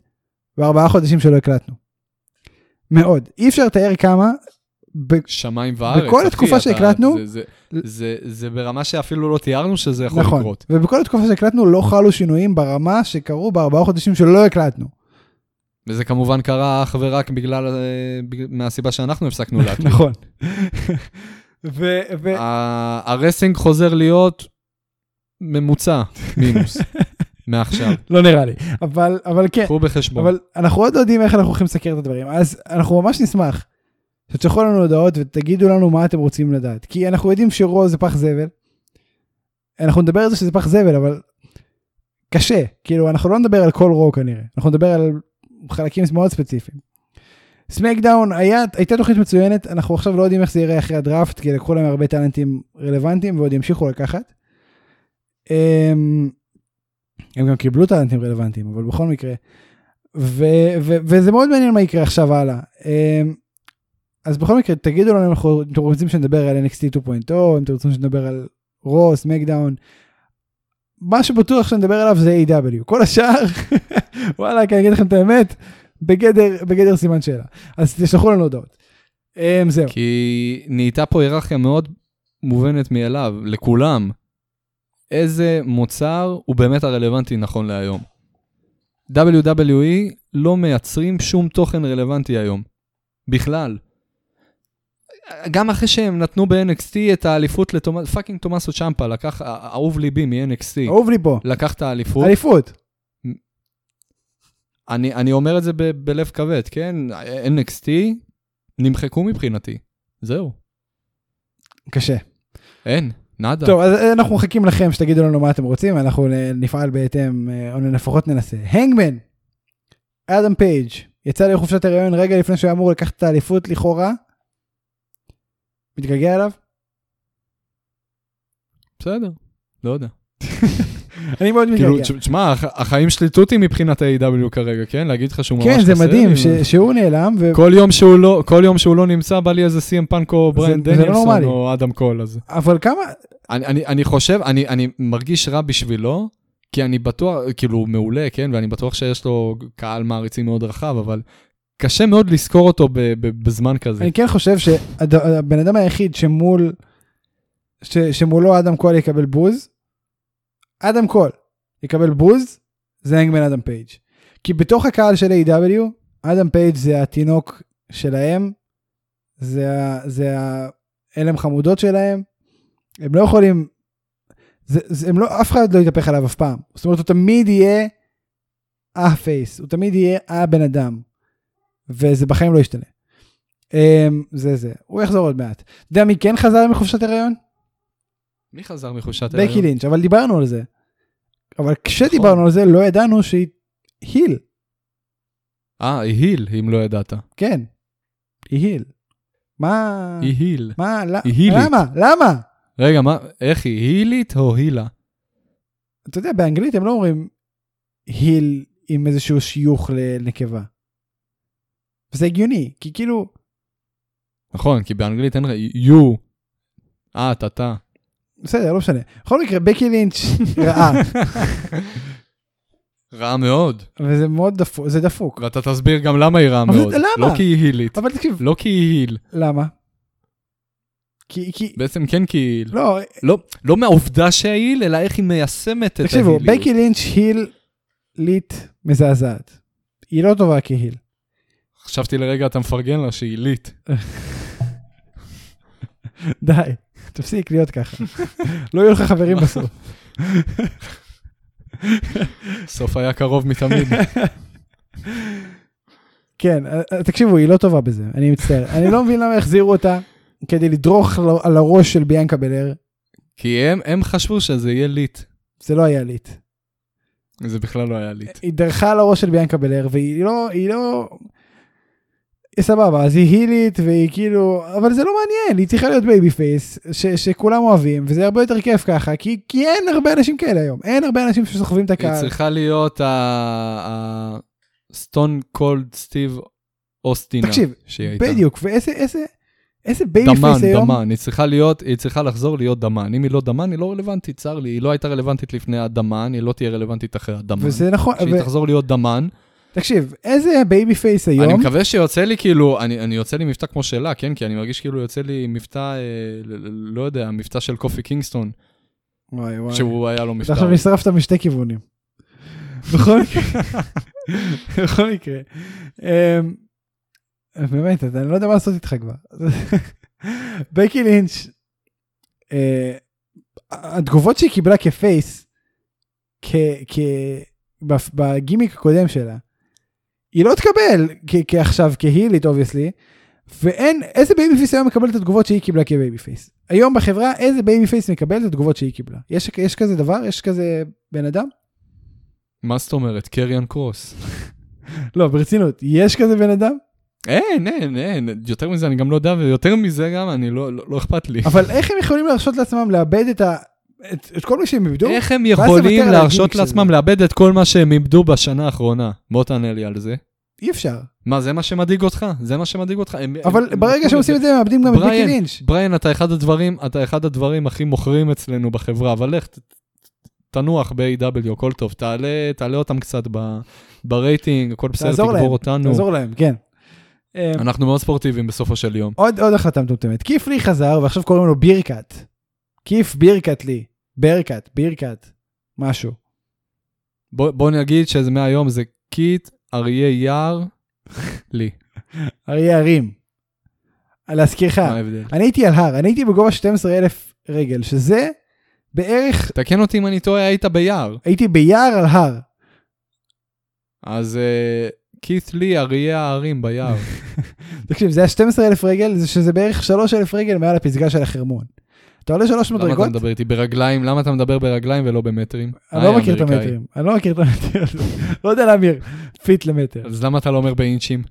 בארבעה חודשים שלא הקלטנו. מאוד. אי אפשר לתאר כמה, ב- שמיים וארץ. בכל אחי, התקופה אתה- שהקלטנו- זה- זה- זה- זה ברמה שאפילו לא תיארנו שזה יכול נכון, לקרות. ובכל התקופה שהקלטנו לא חלו שינויים ברמה שקרו בארבעה חודשים שלא הקלטנו. וזה כמובן קרה אך ורק בגלל, אה, בג- מהסיבה שאנחנו הפסקנו להקליט. נכון. ו- ו- ה- הרסינג חוזר להיות ממוצע מינוס מעכשיו. לא נראה לי, אבל, אבל כן, קחו בחשבון. אבל אנחנו עוד לא יודעים איך אנחנו הולכים לסקר את הדברים, אז אנחנו ממש נשמח שתשלחו לנו הודעות ותגידו לנו מה אתם רוצים לדעת, כי אנחנו יודעים שרו זה פח זבל. אנחנו נדבר על זה שזה פח זבל, אבל קשה, כאילו אנחנו לא נדבר על כל רו כנראה, אנחנו נדבר על חלקים מאוד ספציפיים. סמקדאון היה, הייתה תוכנית מצוינת, אנחנו עכשיו לא יודעים איך זה ייראה אחרי הדראפט, כי לקחו להם הרבה טאלנטים רלוונטיים ועוד ימשיכו לקחת. אמ, הם גם קיבלו טאלנטים רלוונטיים, אבל בכל מקרה. ו- ו- וזה מאוד מעניין מה יקרה עכשיו הלאה. אמ, אז בכל מקרה, תגידו לנו אם אנחנו- אם אתם oh, רוצים שנדבר על NXT 2.0, אם אתם רוצים שנדבר על רו, סמקדאון, מה שבטוח שנדבר עליו זה A.W. כל השאר, וואלה, כי אני אגיד לכם את האמת, בגדר, בגדר סימן שאלה. אז תשלחו לנו הודעות. אמ, זהו. כן. כי נהייתה פה היררכיה מאוד מובנת מאליו, לכולם. איזה מוצר הוא באמת הרלוונטי נכון להיום. WWE לא מייצרים שום תוכן רלוונטי היום. בכלל. גם אחרי שהם נתנו ב-NXT את האליפות לתומ... פאקינג תומאסו צ'מפה, לקח, אה- אהוב ליבי מ-NXT, אהוב לי פה. לקח את האליפות. אליפות. אני, אני אומר את זה ב, בלב כבד, כן? NXT נמחקו מבחינתי. זהו. קשה. אין, נאדה. טוב, אז אה, אנחנו מחכים לכם שתגידו לנו מה אתם רוצים, אנחנו נ- נפעל בהתאם, אה, או לפחות ננסה. הנגמן, אדם פייג', יצא לחופשת הריון רגע לפני שהוא היה אמור לקחת את האליפות לכאורה. מתגעגע אליו? בסדר, לא יודע. אני מאוד מתגעגע. כאילו, תש- תשמע, הח- החיים שלי תותים מבחינת ה-AW כרגע, כן? להגיד לך שהוא ממש כן, חסר זה מדהים לי, ש- שהוא נעלם, ו- כל יום שהוא לא- כל יום שהוא לא נמצא, בא לי איזה סי.אם פאנק או זה בריין לא דניאלסון נורמלי. או אדם קול, אז... אבל כמה, אני, אני, אני חושב, אני, אני מרגיש רע בשבילו, כי אני בטוח, כאילו, הוא מעולה, כן? ואני בטוח שיש לו קהל מעריצים מאוד רחב, אבל קשה מאוד לזכור אותו ב, ב, בזמן כזה. אני כן חושב שהבן אדם היחיד שמול, ש, שמולו אדם קול יקבל בוז, אדם קול יקבל בוז, זה הנגמן אדם פייג'. כי בתוך הקהל של A.W, אדם פייג' זה התינוק שלהם, זה, ה- זה ההלם חמודות שלהם, הם לא יכולים, זה, זה, הם לא, אף אחד לא יתהפך עליו אף פעם. זאת אומרת, הוא תמיד יהיה הפייס, הוא תמיד יהיה הבן אדם, וזה בחיים לא ישתנה. אמ, זה זה, הוא יחזור עוד מעט. אתה יודע מי כן חזר מחופשת הריון? מי חזר מחופשת ההיריון? בקי לינץ', אבל דיברנו על זה. אבל נכון. כשדיברנו על זה לא ידענו שהיא היל, אה, היא היל, אם לא ידעת. כן. היא היל. מה? היא היל. מה? ל- היא הילית. למה? למה? רגע, מה, איך היא? הילית או הילה? אתה יודע, באנגלית הם לא אומרים היל עם איזשהו שיוך לנקבה. זה הגיוני, כי כאילו, נכון, כי באנגלית אין לך יו. אה, אתה, אתה. בסדר, לא משנה. בכל מקרה, בקי לינץ' רעה, רע מאוד. וזה מאוד דפוק, זה דפוק. ואתה תסביר גם למה היא רעה אבל מאוד. למה? לא כי היא הילית. אבל תקשיב, לא כי היא היל. למה? כי, כי, בעצם כן כי היא היל. לא, לא, לא מהעובדה שהיל, אלא איך היא מיישמת את ההיליות. תקשיבו, בקי לינץ' היל ליט מזעזעת. היא לא טובה כהיל. חשבתי לרגע, אתה מפרגן לה שהיא הילית. די, תפסיק להיות ככה. לא יהיו לך חברים בסוף. סוף היה קרוב מתמיד. כן, אה, תקשיבו, היא לא טובה בזה, אני מצטער. אני לא מבין למה החזירו אותה כדי לדרוך על- על הראש של ביאנקה בלר. כי הם, הם חשבו שזה יהיה ליט. זה לא היה ליט. זה בכלל לא היה ליט. היא דרכה על הראש של ביאנקה בלר, והיא לא, היא לא... היא סבבה, אז היא הילית, והיא כאילו... אבל זה לא מעניין, היא צריכה להיות בייבי פייס, ש- שכולם אוהבים, וזה הרבה יותר כיף ככה, כי, כי אין הרבה אנשים כאלה היום. אין הרבה אנשים שסוחבים את היא הקהל. צריכה להיות הסטון קולד סטיב אוסטינה. תקשיב, שהיא הייתה. בדיוק, ואיזה איזה, איזה בייבי דמן, פייס היום... דמן, היא צריכה להיות, היא צריכה לחזור להיות דמן. אם היא לא דמן, היא לא רלוונטית, צר לי. היא לא הייתה רלוונטית לפני הדמן, היא לא תהיה רלוונטית אחרי הדמן. וזה נכון, כשהיא ו- תחזור להיות דמן, תקשיב, איזה בייבי פייס אני היום... מקווה שיוצא לי כאילו, אני, אני יוצא לי מבטא כמו שלה, כן? כי אני מרגיש כאילו יוצא לי מבטא, אה, ל- ל- לא יודע, מבטא של קופי קינגסטון, וואי וואי. שהוא היה לו מבטא. אתה עכשיו נשרפת משתי כיוונים. בכל מקרה, בכל מקרה. אמ, באמת, אתה- אני לא יודע מה לעשות איתך כבר. בקי לינץ', אה, התגובות שהיא קיבלה כפייס, כ- כ- בפ- בגימיק הקודם שלה, היא לא תקבל כ- כעכשיו כהילית אובייסלי, ואין, איזה בייבי פייס היום מקבל את התגובות שהיא קיבלה כבייבי פייס? היום בחברה, איזה בייבי פייס מקבל את התגובות שהיא קיבלה? יש, יש כזה דבר? יש כזה בן אדם? מה זאת אומרת? קריאן קרוס. לא, ברצינות, יש כזה בן אדם? אין, אין, אין. יותר מזה אני גם לא יודע, ויותר מזה גם, אני לא, לא, לא אכפת לי. אבל איך הם יכולים להרשות לעצמם לאבד את ה... את, את כל מה שהם איבדו? איך הם לוותר יכולים על להרשות הגימיק של לעצמם זה? לאבד את כל מה שהם איבדו בשנה האחרונה? בוא תענה לי על זה. אי אפשר. מה, זה מה שמדאיג אותך? זה מה שמדאיג אותך? הם- אבל הם- ברגע שהם עושים את זה, הם מאבדים גם את בריאן. מיקי לינץ'. בריין, אתה אחד הדברים, אתה אחד הדברים הכי מוכרים אצלנו בחברה, אבל לך, ת- ת- תנוח ב-AW, הכל טוב, תעלה, תעלה אותם קצת ב, ברייטינג, הכל בסדר, תעזור תגבור להם, אותנו. תעזור להם, כן. אה, אנחנו מאוד ספורטיביים בסופו של יום. עוד עוד החלטה מטומטמת. כיפלי חזר ועכשיו קוראים לו בירקאט. כיף בירקאט לי. ברקאט, בירקאט, משהו. בוא, בוא נגיד שזה מהיום זה קיט, אריה יער, לי. אריה הרים. להזכירך, מה ההבדל? אני הייתי על הר, אני הייתי בגובה 12,000 רגל, שזה בערך, תקן אותי אם אני טועה, היית ביער. הייתי ביער על הר. אז uh, קית' לי, אריה ההרים ביער. תקשיב, זה היה 12,000 רגל, זה שזה בערך 3,000 רגל מעל הפסגה של החרמון. אתה עולה 3 למה אתה מדרגות, מדבר איתי ברגליים? למה אתה מדבר ברגליים ולא במטרים? אני היי, לא מכיר את אמריקאי. המטרים, אני לא מכיר את המטרים, לא יודע להמיר, פיט למטר. אז למה אתה לא אומר באינצ'ים?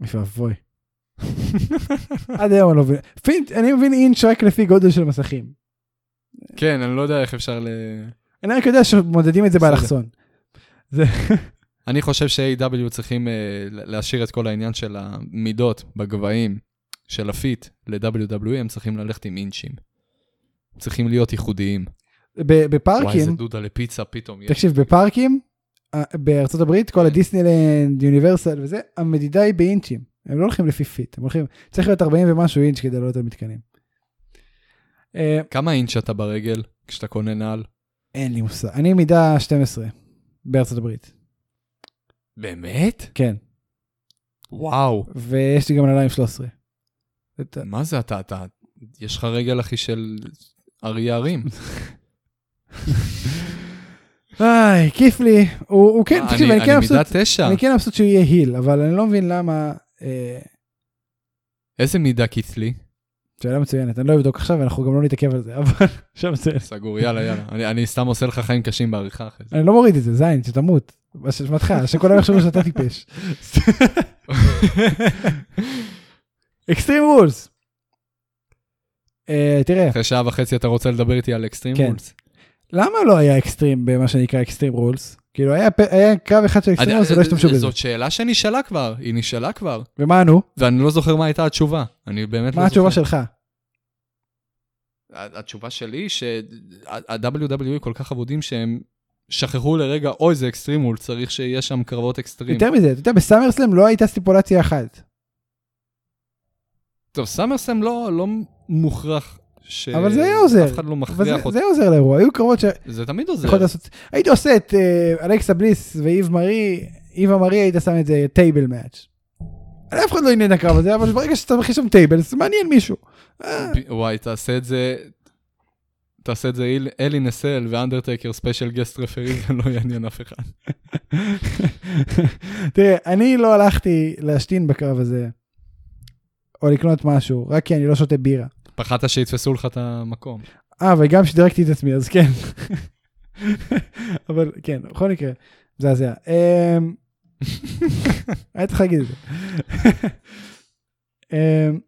אוי ואבוי. עד היום אני לא מבין. פינט, אני מבין אינץ' רק לפי גודל של מסכים. כן, אני לא יודע איך אפשר ל... אני רק יודע שמודדים את זה בסדר. באלכסון. אני חושב ש-AW צריכים אה, להשאיר את כל העניין של המידות בגבהים של הפיט ל-WWE, הם צריכים ללכת עם אינצ'ים. צריכים להיות ייחודיים. ב- וואי, איזה בפארקים, דודה לפיצה פתאום. יש. תקשיב, בפארקים, אה, בארצות הברית, כל הדיסנילנד, יוניברסל וזה, המדידה היא באינצ'ים. הם לא הולכים לפי פיט, הם הולכים, צריך להיות 40 ומשהו אינץ' כדי לעלות על מתקנים. אה, כמה אינץ' אתה ברגל כשאתה קונה נעל? אין לי מושג. אני מידה 12 בארצות הברית, באמת? כן. וואו. ויש לי גם נעליים 13. אתה- מה זה אתה, אתה, יש לך רגל אחי של אריה הרים. איי, כיף לי. הוא הוא כן, מה, תקשיב, אני כן אני מבסוט. מידה תשע. אני כן מבסוט שהוא יהיה היל, אבל אני לא מבין למה... אה, כן- איזה מידה קיצלי? שאלה מצוינת, אני לא אבדוק עכשיו, אנחנו גם לא נתעכב על זה, אבל שאלה מצוינת. סגור, יאללה, יאללה. אני, אני סתם עושה לך חיים קשים בעריכה אחרי זה. אני לא מוריד את זה, זין, שתמות. באשמתך, שכולם יחשבו שאתה טיפש. אקסטרים רולס. תראה, אחרי שעה וחצי אתה רוצה לדבר איתי על אקסטרים כן. רולס? למה לא היה אקסטרים במה שנקרא אקסטרים רולס? כאילו היה פ- היה קו אחד של אקסטרים אני- אה, רולס ולא השתמשו בזה. זאת שאלה שנשאלה כבר, היא נשאלה כבר, ומה ענו? ואני לא זוכר מה הייתה התשובה. אני באמת לא מה התשובה זוכר. שלך? ה- התשובה שלי היא שה-WWE כל כך אבודים שהם שכחו לרגע, אוי, זה אקסטרים רולס, צריך שיהיה שם קרבות אקסטרים. יותר מזה, אתה יודע, בסאמרסלאם לא הייתה סטיפולציה אחת. טוב, סאמרסם לא, לא מוכרח ש... אבל זה היה עוזר. אף אחד לא אבל זה- מכריח אותו. זה עוזר לאירוע, היו קרבות ש... זה... זה תמיד עוזר. יכולת לעשות, הייתי עושה את אה, אלכסה בליס ואיב מרי, איבה מרי היית שם את זה טייבל מאץ'. אף אחד לא עניין הקרב הזה, אבל ברגע שאתה מכין שם טייבל, זה מעניין מישהו. ב- וואי, תעשה את זה... תעשה את זה איל- אלי נסל ואנדרטקר ספיישל גסט רפרי, זה לא יעניין אף אחד. תראה, אני לא הלכתי להשתין בקרב הזה, או לקנות משהו, רק כי אני לא שותה בירה. פחדת שיתפסו לך את המקום. אה, וגם שדרגתי את עצמי, אז כן. אבל כן, בכל מקרה, מזעזע. אמ, היה צריך להגיד את זה. אמ,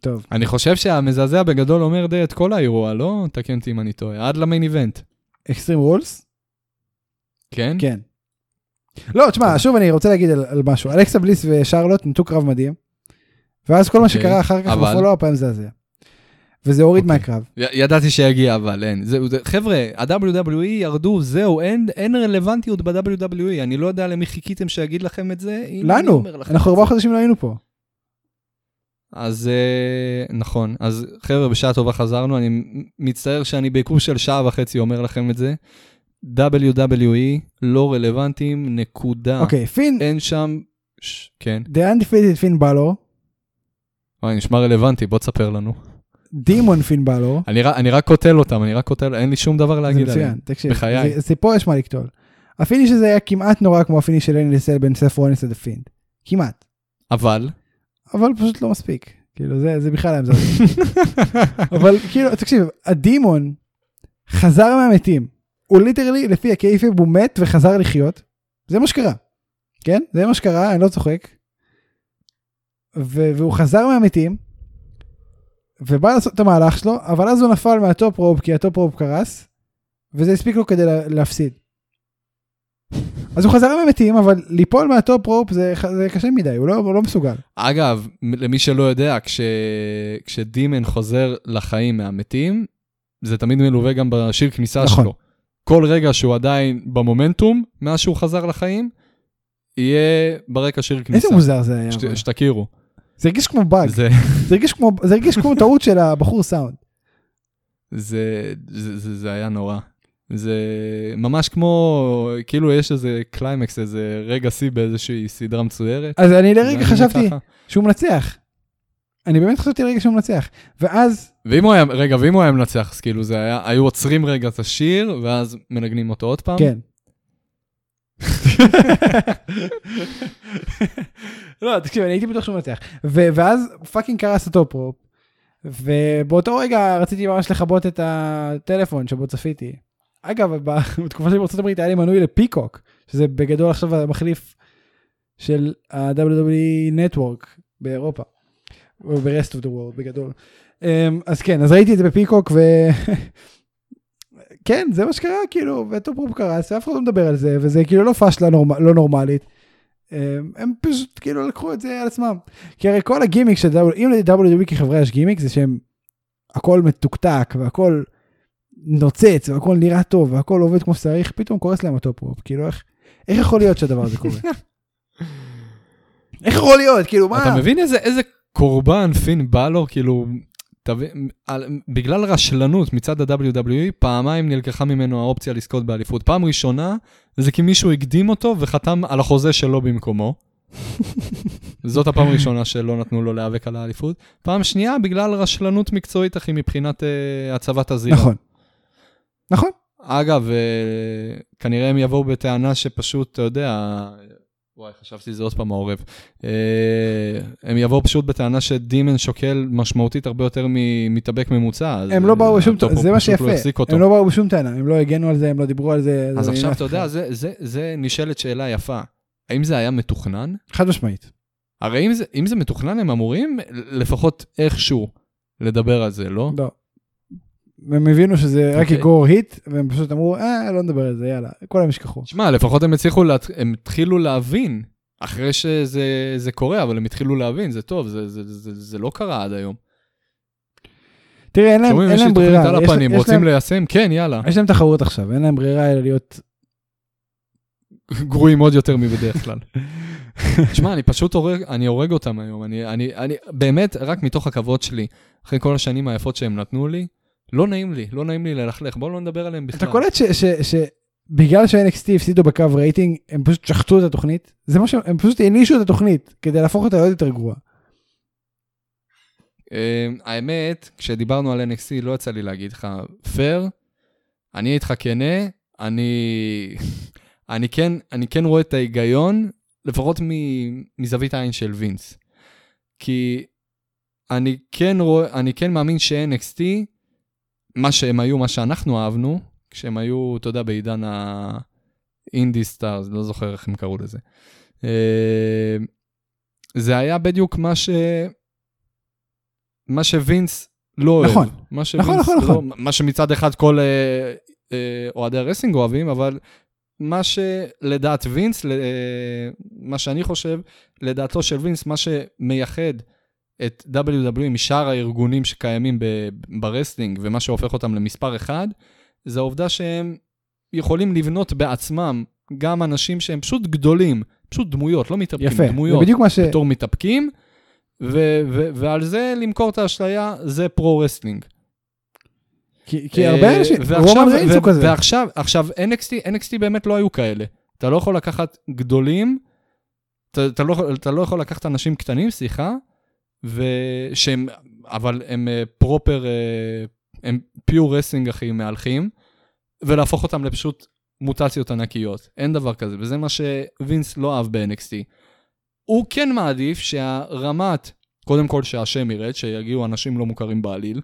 טוב. אני חושב שהמזעזע בגדול אומר די את כל האירוע, לא? תקן אותי אם אני טועה. עד למיין איבנט. אקסטרים רולס? כן? כן. לא, אוקיי. תשמע, שוב אני רוצה להגיד על, על משהו. אלכסה בליס ושרלוט נתנו קרב מדהים, ואז כל מה אוקיי, שקרה אחר כך אבל? בפולו-אפ היה מזעזע. וזה הוריד אוקיי. מהקרב. י- ידעתי שיגיע, אבל אין. זהו, זה, חבר'ה, ה-WWE ירדו, זהו, אין, אין רלוונטיות ב-WWE. אני לא יודע למי חיכיתם שיגיד לכם את זה. הנה, אני לנו, אומר לכם אנחנו את זה. ארבעה חודשים לא היינו פה. אז אה, נכון, אז חבר'ה, בשעה טובה חזרנו, אני מצטער שאני בעיכוב של שעה וחצי אומר לכם את זה. WWE לא רלוונטיים, נקודה. אוקיי, פין, אין שם... ש... כן. The Undefeated פין בלור, וואי, נשמע רלוונטי, בוא תספר לנו. דימון פין בלור. אני, ר... אני רק קוטל אותם, אני רק קוטל, אין לי שום דבר זה להגיד עליהם. מצוין, תקשיב, בחיי. זה- זה פה יש מה לקטול. הפיניש הזה היה כמעט נורא כמו הפיניש של אלי לסל בין סף רולינס לדה פינד. כמעט. אבל... אבל פשוט לא מספיק. כאילו זה זה בכלל היה מזעזע. אבל כאילו, תקשיב, הדימון חזר מהמתים. הוא ליטרלי, לפי הקייפיב, הוא מת וחזר לחיות. זה מה שקרה. כן? זה מה שקרה, אני לא צוחק. ו- והוא חזר מהמתים, ובא לעשות את המהלך שלו, אבל אז הוא נפל מהטופ רופ, כי הטופ רופ קרס, וזה הספיק לו כדי לה- להפסיד. אז הוא חזר מהמתים, אבל ליפול מהטופ רופ זה, ח- זה קשה מדי, הוא לא, הוא לא מסוגל. אגב, מ- למי שלא יודע, כש... כשדימן חוזר לחיים מהמתים, זה תמיד מלווה גם בשיר כניסה נכון. שלו. כל רגע שהוא עדיין במומנטום, מאז שהוא חזר לחיים, יהיה ברקע שיר איזה כניסה. מוזר זה היה. שת- אבל. שתכירו. זה הרגיש כמו באג, זה, זה הרגיש כמו- זה הרגיש כמו טעות של הבחור סאונד. זה, זה, זה, זה היה נורא. זה ממש כמו, כאילו יש איזה קליימקס, איזה רגע שיא באיזושהי סדרה מצוירת. אז אני זה לרגע היה חשבתי ככה. שהוא מנצח. אני באמת חשבתי לרגע שהוא מנצח. ואז ואם הוא היה, רגע, ואם הוא היה מנצח, אז כאילו זה היה, היו עוצרים רגע את השיר, ואז מנגנים אותו עוד פעם. כן. לא, תקשיב, אני הייתי בטוח שהוא מנצח. ו- ואז פאקינג קרס אותו פרופ, ובאותו רגע רציתי ממש לכבות את הטלפון שבו צפיתי. אגב, ב- בתקופה שלי בארצות הברית היה לי מנוי לפיקוק, שזה בגדול עכשיו המחליף של ה-WWE Network באירופה, או ב-Rest of the World בגדול. אמ, אז כן, אז ראיתי את זה בפיקוק, ו... כן, זה מה שקרה, כאילו, וטופרופ קרס, ואף אחד לא מדבר על זה, וזה כאילו לא פשלה נורמ... לא נורמלית. הם, הם פשוט כאילו לקחו את זה על עצמם. כי הרי כל הגימיק של W, אם ל-WWE כחברה יש גימיק, זה שהם, הכל מתוקתק, והכל נוצץ, והכל נראה טוב, והכל עובד כמו שצריך, פתאום קורס להם הטופרופ, כאילו, איך, איך יכול להיות שהדבר הזה קורה? איך יכול להיות? כאילו, מה? אתה מבין איזה, איזה קורבן פין בלור, כאילו, תבין, על, בגלל רשלנות מצד ה-WWE, פעמיים נלקחה ממנו האופציה לזכות באליפות. פעם ראשונה, זה כי מישהו הקדים אותו וחתם על החוזה שלו במקומו. זאת הפעם הראשונה שלא נתנו לו להיאבק על האליפות. פעם שנייה, בגלל רשלנות מקצועית, אחי, מבחינת uh, הצבת הזירה. נכון. נכון. אגב, אה, כנראה הם יבואו בטענה שפשוט, אתה יודע, וואי, חשבתי שזה עוד פעם העורב. אה, הם יבואו פשוט בטענה שדימן שוקל משמעותית הרבה יותר ממתאבק ממוצע. אז, הם לא באו אה, בשום, הטופ זה מה פשוט לא שיפה, החזיק אותו. הם לא באו בשום טענה, הם לא הגנו על זה, הם לא דיברו על זה. אז זה עכשיו, אף אתה יודע, אחד. זה, זה, זה נשאלת שאלה יפה. האם זה היה מתוכנן? חד משמעית. הרי אם זה, אם זה מתוכנן, הם אמורים לפחות איכשהו לדבר על זה, לא? לא. הם הבינו שזה רק אוקיי. יגרור היט, והם פשוט אמרו, אה, לא נדבר על זה, יאללה, כולם ישכחו. שמע, לפחות הם הצליחו, לה... הם התחילו להבין, אחרי שזה זה קורה, אבל הם התחילו להבין, זה טוב, זה, זה, זה, זה לא קרה עד היום. תראה, אין להם שומעים, אין יש לי להם תוכנית ברירה, על יש- הפנים, יש רוצים להם- ליישם? כן, יאללה. יש להם תחרות עכשיו, אין להם ברירה אלא להיות... גרועים עוד יותר מבדרך כלל. שמע, אני פשוט הורג, אני הורג אותם היום, אני, אני, אני, באמת, רק מתוך הכבוד שלי, אחרי כל השנים היפות שהם נתנו לי, לא נעים לי, לא נעים לי ללכלך, בואו לא נדבר עליהם בכלל. אתה קולט ש- ש- שבגלל ש-NXT הפסידו בקו רייטינג, הם פשוט שחטו את התוכנית? זה מה שהם, הם פשוט הענישו את התוכנית כדי להפוך אותה לעוד יותר גרועה. אה, האמת, כשדיברנו על NXT, לא יצא לי להגיד לך פייר, אני איתך כנה, אני, אני, כן, אני כן רואה את ההיגיון, לפחות מ, מזווית העין של וינס. כי אני כן, רוא, אני כן מאמין ש-NXT, מה שהם היו, מה שאנחנו אהבנו, כשהם היו, אתה יודע, בעידן האינדי סטארס, לא זוכר איך הם קראו לזה. אה, זה היה בדיוק מה ש... מה שווינס לא אוהב. נכון. מה שווינס נכון, נכון, לא, נכון. מה שמצד אחד כל אה, אה, אוהדי הרסינג אוהבים, אבל מה שלדעת וינס, ל- אה, מה שאני חושב, לדעתו של וינס, מה שמייחד את WWE משאר הארגונים שקיימים ב- ברסטינג, ומה שהופך אותם למספר אחד, זה העובדה שהם יכולים לבנות בעצמם גם אנשים שהם פשוט גדולים, פשוט דמויות, לא מתאפקים, יפה, זה דמויות, בדיוק מה ש... בתור מתאפקים, ו- ו- ועל זה למכור את האשליה, זה פרו-רסטינג. כי כי אה, הרבה אנשים, ועכשיו- רומן ריינס ו- הוא כזה. ועכשיו, עכשיו, NXT, NXT באמת לא היו כאלה. אתה לא יכול לקחת גדולים, אתה, אתה, לא, יכול- אתה לא יכול לקחת אנשים קטנים, סליחה, ושהם, אבל הם פרופר, הם פיור רסינג, אחי, מהלכים, ולהפוך אותם לפשוט מוטציות ענקיות. אין דבר כזה, וזה מה שווינס לא אהב ב-NXT. הוא כן מעדיף שהרמת, קודם כל שהשם ירד, שיגיעו אנשים לא מוכרים בעליל,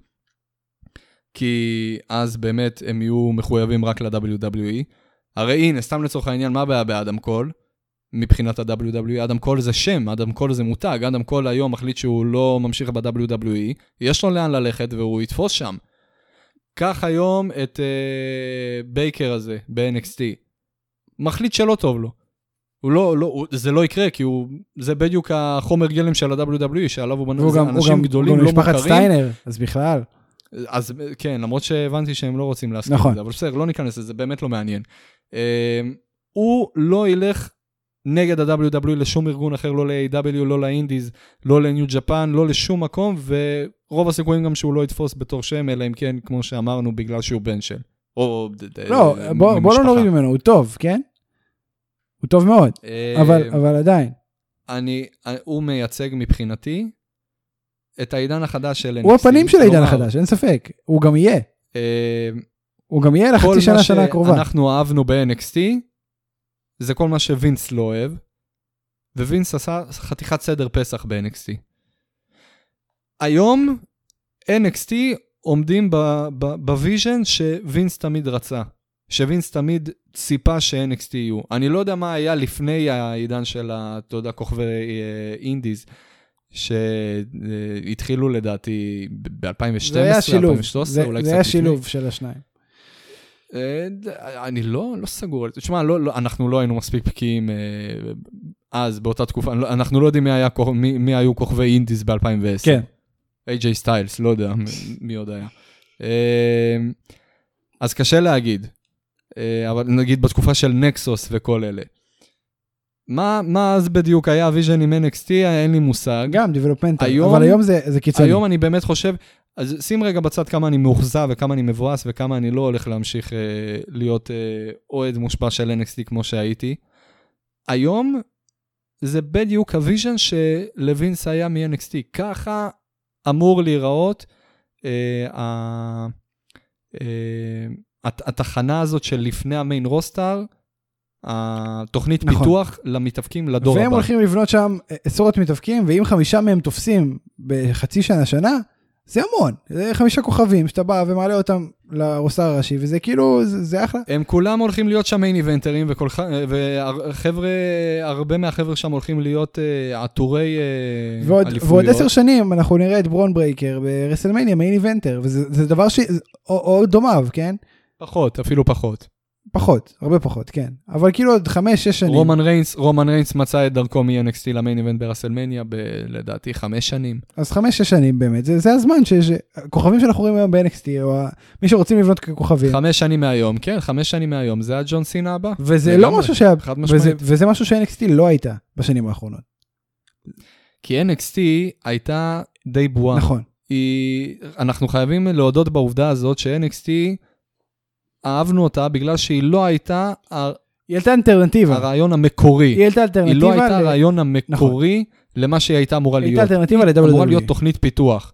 כי אז באמת הם יהיו מחויבים רק ל-WWE. הרי הנה, סתם לצורך העניין, מה הבעיה באדם קול? מבחינת ה-WWE, אדם קול זה שם, אדם קול זה מותג, אדם קול היום מחליט שהוא לא ממשיך ב-WWE, יש לו לאן ללכת והוא יתפוס שם. קח היום את אה, בייקר הזה ב-NXT, מחליט שלא טוב לו. הוא לא, לא, הוא, זה לא יקרה, כי הוא, זה בדיוק החומר גלם של ה-WWE, שעליו הוא בנו, והוא זה גם, הוא אנשים גם, הוא גדולים גם לא משפחת מוכרים. סטיינר, אז בכלל. אז אה, כן, למרות שהבנתי שהם לא רוצים להסכים נכון. נכון. לזה, אבל בסדר, לא ניכנס לזה, באמת לא מעניין. אה, הוא לא ילך נגד ה-WWE לשום ארגון אחר, לא ל-AW, לא לאינדיז, לא לניו ג'פן, לא לשום מקום, ורוב הסיכויים גם שהוא לא יתפוס בתור שם, אלא אם כן, כמו שאמרנו, בגלל שהוא בן של. או... ד- ד- לא, אה, בוא בוא לא משפחה. נוריד ממנו, הוא טוב, כן? הוא טוב מאוד, אה, אבל אבל עדיין. אני, הוא מייצג מבחינתי את העידן החדש של NXT. הוא הפנים של העידן כלומר, החדש, אין ספק. הוא גם יהיה. אה, הוא גם יהיה כל לחצי מה שנה, שנה הקרובה. שאנחנו אהבנו ב-NXT, זה כל מה שווינס לא אוהב, ווינס עשה חתיכת סדר פסח ב-NXT. היום NXT עומדים ב- ב- בוויז'ן שווינס תמיד רצה, שווינס תמיד ציפה ש-NXT יהיו. אני לא יודע מה היה לפני העידן של, ה- אתה יודע, כוכבי אה, אינדיז. שהתחילו לדעתי ב-2012, זה היה שילוב, 2013, זה- זה אולי קצת היה לפני. שילוב של השניים. אה, אני לא, לא סגור על זה. תשמע, לא, לא, אנחנו לא היינו מספיק בקיאים אה, אז, באותה תקופה, אני לא- אנחנו לא יודעים מי, היה, כוכ- מי, מי היו כוכבי אינדיז ב-2010. כן. איי-ג'יי סטיילס, לא יודע מ- מי עוד היה. אה, אז קשה להגיד, אה, אבל נגיד בתקופה של נקסוס וכל אלה. מה, מה אז בדיוק היה הוויז'ן עם NXT? אין לי מושג. גם developmental, היום- אבל היום זה זה קיצוני. היום אני באמת חושב, אז שים רגע בצד כמה אני מאוכזב וכמה אני מבואס וכמה אני לא הולך להמשיך אה, להיות אה, אוהד מושפע של NXT כמו שהייתי. היום זה בדיוק הוויז'ן שלווינס היה מ-NXT. ככה אמור להיראות אה, ה- אה, הת- התחנה הזאת של לפני המיין רוסטר, התוכנית נכון. פיתוח למתאבקים לדור והם הבא. הולכים לבנות שם אה, עשרות מתאבקים, ואם חמישה מהם תופסים בחצי שנה, שנה, זה המון. זה חמישה כוכבים שאתה בא ומעלה אותם לרוסר הראשי, וזה כאילו, זה זה אחלה. הם כולם הולכים להיות שם מיין איבנטרים, וכל ח- וחבר'ה, הרבה מהחבר'ה שם הולכים להיות אה, עטורי אה, ועוד, אליפויות. ועוד עשר שנים אנחנו נראה את ברון ברייקר ברסלמניה מיין איבנטר, וזה זה דבר ש... או, או דומיו, כן? פחות, אפילו פחות. פחות, הרבה פחות, כן. אבל כאילו עוד חמש, שש שנים. רומן ריינס, רומן ריינס מצא את דרכו מ-NXT למיין איבנט ברסלמניה ב- לדעתי חמש שנים. אז חמש, שש שנים באמת, זה, זה הזמן ש... ש... הכוכבים שאנחנו רואים היום ב-NXT, או ה... מי שרוצים לבנות ככוכבים. חמש שנים מהיום, כן, חמש שנים מהיום, זה הג'ון סינה הבא. וזה לגמרי, לא משהו שהיה, חד וזה, משמעית. וזה משהו ש-NXT לא הייתה בשנים האחרונות. כי NXT הייתה די בועה. נכון. היא, אנחנו חייבים להודות בעובדה הזאת ש-NXT, אהבנו אותה בגלל שהיא לא הייתה ה- היא הייתה אלטרנטיבה. הרעיון המקורי. היא הייתה היא לא אלטרנטיבה, הייתה ל- הרעיון המקורי למה שהיא הייתה אמורה היא אה, E. הייתה להיות. אלטרנטיבה אמורה להיות ל-WWE. תוכנית פיתוח.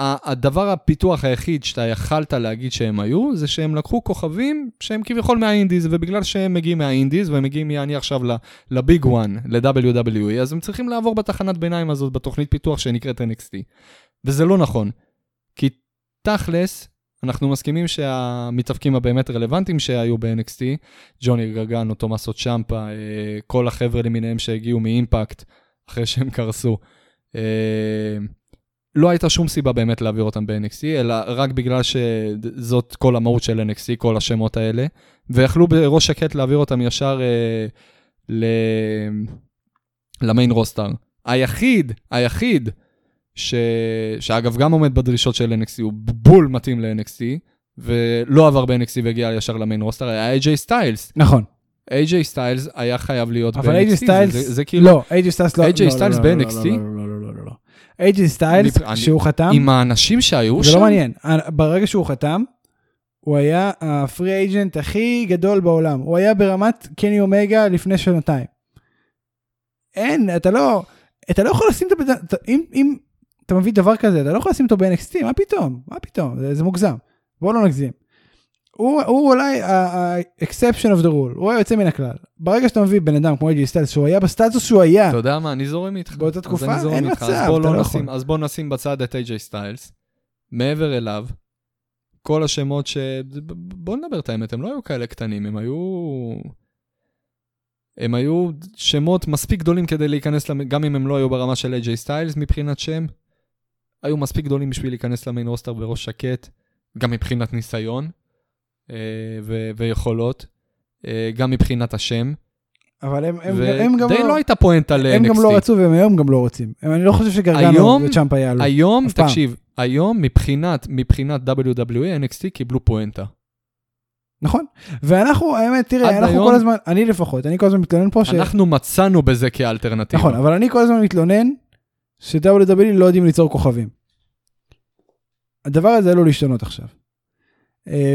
ה- הדבר הפיתוח היחיד שאתה יכלת להגיד שהם היו, זה שהם לקחו כוכבים שהם כביכול מהאינדיז, ובגלל שהם מגיעים מהאינדיז, והם מגיעים, יעני עכשיו ל- לביג וואן, ל-WWE, אז הם צריכים לעבור בתחנת ביניים הזאת, בתוכנית פיתוח שנקראת NXT. וזה לא נכון. כי תכלס, אנחנו מסכימים שהמתאבקים הבאמת רלוונטיים שהיו ב-NXT, ג'וני גרגנו, תומאסו צ'מפה, אה, כל החבר'ה למיניהם שהגיעו מאימפקט אחרי שהם קרסו. אה, לא הייתה שום סיבה באמת להעביר אותם ב-NXT, אלא רק בגלל שזאת כל המהות של NXT, כל השמות האלה, ויכלו בראש שקט להעביר אותם ישר אה, ל... למיין רוסטר. היחיד, היחיד, ש... שאגב גם עומד בדרישות של NXT, הוא בול מתאים ל-NXT, ולא עבר ב-NXT והגיע ישר למיין רוסטר, היה AJ סטיילס. נכון. AJ סטיילס היה חייב להיות אבל ב-NXT, AJ סטיילס, זה, זה כאילו, לא, AJ סטיילס לא, AJ לא, לא, סטיילס לא, ב-NXT? לא, לא, לא, לא, לא, לא. AJ סטיילס, אני- כשהוא חתם, עם האנשים שהיו זה שם, לא מעניין, אה, ברגע שהוא חתם, הוא היה הפרי אייג'נט הכי גדול בעולם, הוא היה ברמת קני אומגה לפני שנתיים. אין, אתה לא, אתה לא יכול לשים את הבן אדם, אם, אם אתה מביא דבר כזה, אתה לא יכול לשים אותו ב-NXT, מה פתאום, מה פתאום, זה, זה מוגזם, בואו לא נגזים. הוא, הוא אולי ה-exception of the rule, הוא היוצא מן הכלל. ברגע שאתה מביא בן אדם כמו אייג'י סטלס, שהוא היה בסטטוס שהוא היה, אתה יודע מה, אני זורם איתך. באותה אז תקופה, אני זורם אין איתך, אז מצב, בוא אתה לא לא נשים- יכול. אז בוא נשים בצד את AJ סטיילס, מעבר אליו, כל השמות ש... ב- בוא נדבר את האמת, הם לא היו כאלה קטנים, הם היו... הם היו שמות מספיק גדולים כדי להיכנס, למ- גם אם הם לא היו ברמה של AJ סטיילס מבחינת שם, היו מספיק גדולים בשביל להיכנס למיין רוסטר בראש שקט, גם מבחינת ניסיון אה, ו- ויכולות, אה, גם מבחינת השם, אבל הם, הם, ודי הם גם לא... לא הייתה פואנטה ל-NXT. הם גם לא רצו והם היום גם לא רוצים. הם- אני לא חושב שגרגנו היום- וצ'אמפ היה לו. היום, אף פעם. תקשיב, היום מבחינת, מבחינת E, WWE, NXT קיבלו פואנטה. נכון. ואנחנו, האמת, עד תראה, אנחנו היום- כל הזמן, אני לפחות, אני כל הזמן מתלונן פה, ש... אנחנו מצאנו בזה כאלטרנטיבה. נכון, אבל אני כל הזמן מתלונן ש-WWE לא יודעים ליצור כוכבים. הדבר הזה עלול להשתנות עכשיו. אה,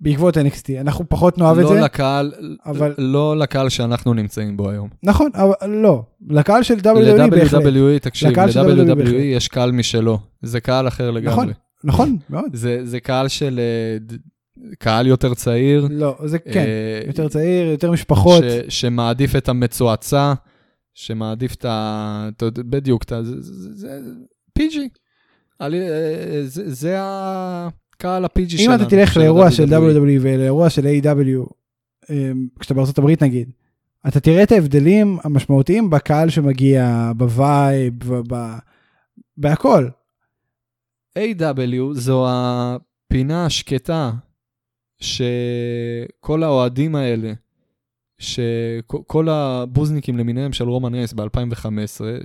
בעקבות NXT, אנחנו פחות נאהב את זה. לא לקהל, אבל- לא לקהל שאנחנו נמצאים בו היום. נכון, אבל לא. לקהל של WWE בהחלט. ל-WWE, תקשיב, E לקהל של WWE ל-WWE בהחלט. יש קהל משלו, זה קהל אחר נכון, לגמרי. נכון, מאוד. זה זה קהל של, אה, ד- קהל יותר צעיר. לא, זה כן. אה, יותר צעיר, יותר משפחות. ש- שמעדיף את המצועצע, שמעדיף את ה... אתה יודע, בדיוק, את ה... זה- זה- זה פיג'י. עלי- אה, זה זה הקהל הפיג'י אם שלנו. אתה תלך של לאירוע של WWE. WWE ולאירוע של A.W. אמ, כשאתה בארצות הברית נגיד, אתה תראה את ההבדלים המשמעותיים בקהל שמגיע, בווייב, ב- ב- בהכל. A.W. זו הפינה השקטה שכל האוהדים האלה, שכל הבוזניקים למיניהם של רומן רייס ב-2015,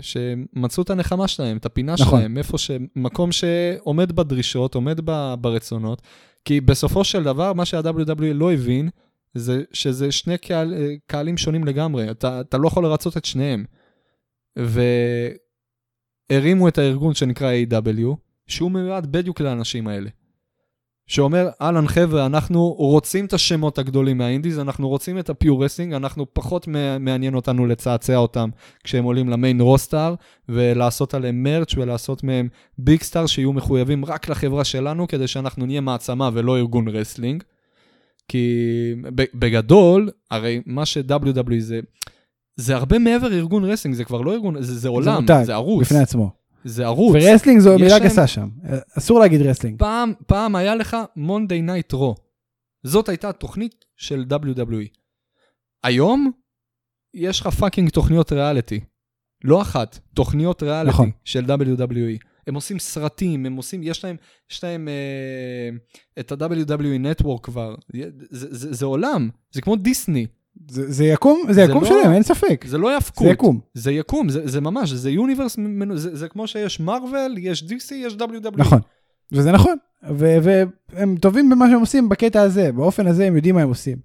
שמצאו את הנחמה שלהם, את הפינה נכון. שלהם, איפה ש... מקום שעומד בדרישות, עומד ב... ברצונות, כי בסופו של דבר, מה שה-WWE לא הבין, זה שזה שני קהל, קהלים שונים לגמרי, אתה, אתה לא יכול לרצות את שניהם. והרימו את הארגון שנקרא A.W. שהוא מיועד בדיוק לאנשים האלה. שאומר, אהלן חבר'ה, אנחנו רוצים את השמות הגדולים מהאינדיז, אנחנו רוצים את הפיורסינג, אנחנו פחות מע- מעניין אותנו לצעצע אותם כשהם עולים למיין רוסטאר, ולעשות עליהם מרץ' ולעשות מהם ביג סטאר שיהיו מחויבים רק לחברה שלנו, כדי שאנחנו נהיה מעצמה ולא ארגון רסלינג. כי ב- בגדול, הרי מה ש-WWE זה, זה הרבה מעבר ארגון רסלינג, זה כבר לא ארגון, זה, זה עולם, מותג, זה, זה ערוץ, בפני עצמו. זה ערוץ. ורסלינג זו יש מילה להם- גסה שם. אסור להגיד רסלינג. פעם, פעם היה לך Monday Night Raw. זאת הייתה התוכנית של WWE. היום, יש לך פאקינג תוכניות ריאליטי. לא אחת, תוכניות ריאליטי נכון. נכון. של WWE. הם עושים סרטים, הם עושים, יש להם, יש להם אה, את ה-WWE Network כבר. זה, זה, זה עולם, זה כמו דיסני, זה זה יקום, זה זה יקום לא- שלהם, אין ספק. זה לא זה יפקות. יקום. זה יקום, זה, זה ממש, זה יוניברס, ממנו- זה, זה כמו שיש מרוויל, יש DC, יש E. WWE. נכון. וזה נכון. ו- והם טובים במה שהם עושים בקטע הזה, באופן הזה הם יודעים מה הם עושים.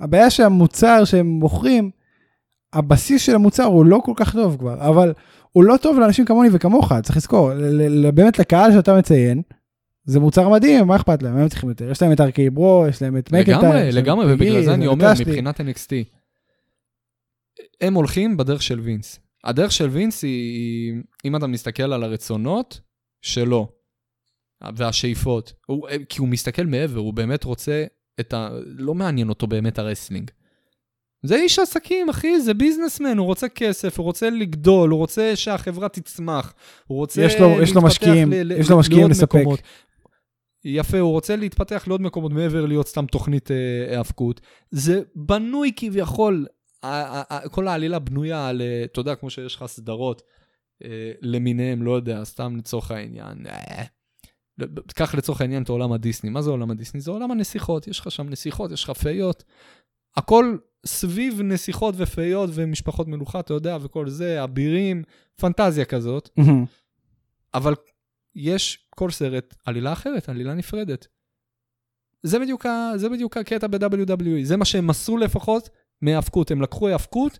הבעיה שהמוצר שהם מוכרים, הבסיס של המוצר הוא לא כל כך טוב כבר, אבל הוא לא טוב לאנשים כמוני וכמוך, צריך לזכור, ל- ל- באמת לקהל שאתה מציין, זה מוצר מדהים, מה אכפת להם, מה הם צריכים יותר? יש להם את ארקי ברו, יש להם את מקנטייר. לגמרי, יש להם לגמרי, את ובגלל גיל, זה אני יש להם את אומר, אשלי. מבחינת NXT, הם הולכים בדרך של וינס. הדרך של וינס היא, היא- אם אתה מסתכל על הרצונות שלו, והשאיפות, הוא, אה, כי הוא מסתכל מעבר, הוא באמת רוצה את ה... לא מעניין אותו באמת הרסלינג. זה איש עסקים, אחי, זה ביזנסמן, הוא רוצה כסף, הוא רוצה לגדול, הוא רוצה שהחברה תצמח, הוא רוצה יש לו- יש לו להתפתח משקיעים, ל- ל- יש לו משקיעים לעוד לספק. מקומות. יפה, הוא רוצה להתפתח לעוד מקומות מעבר להיות סתם תוכנית אה, האבקות. זה בנוי כביכול, ה- ה- ה- כל העלילה בנויה על, אה, אתה יודע, כמו שיש לך סדרות אה, למיניהם, לא יודע, סתם לצורך העניין. אה, קח לצורך העניין את עולם הדיסני. מה זה עולם הדיסני? זה עולם הנסיכות, יש לך שם נסיכות, יש לך פיות. הכל סביב נסיכות ופיות ומשפחות מלוכה, אתה יודע, וכל זה, אבירים, פנטזיה כזאת. מהמם. אבל יש כל סרט עלילה אחרת, עלילה נפרדת. זה בדיוק, ה, זה בדיוק הקטע ב-WWE, זה מה שהם עשו לפחות מהאבקות. הם לקחו האבקות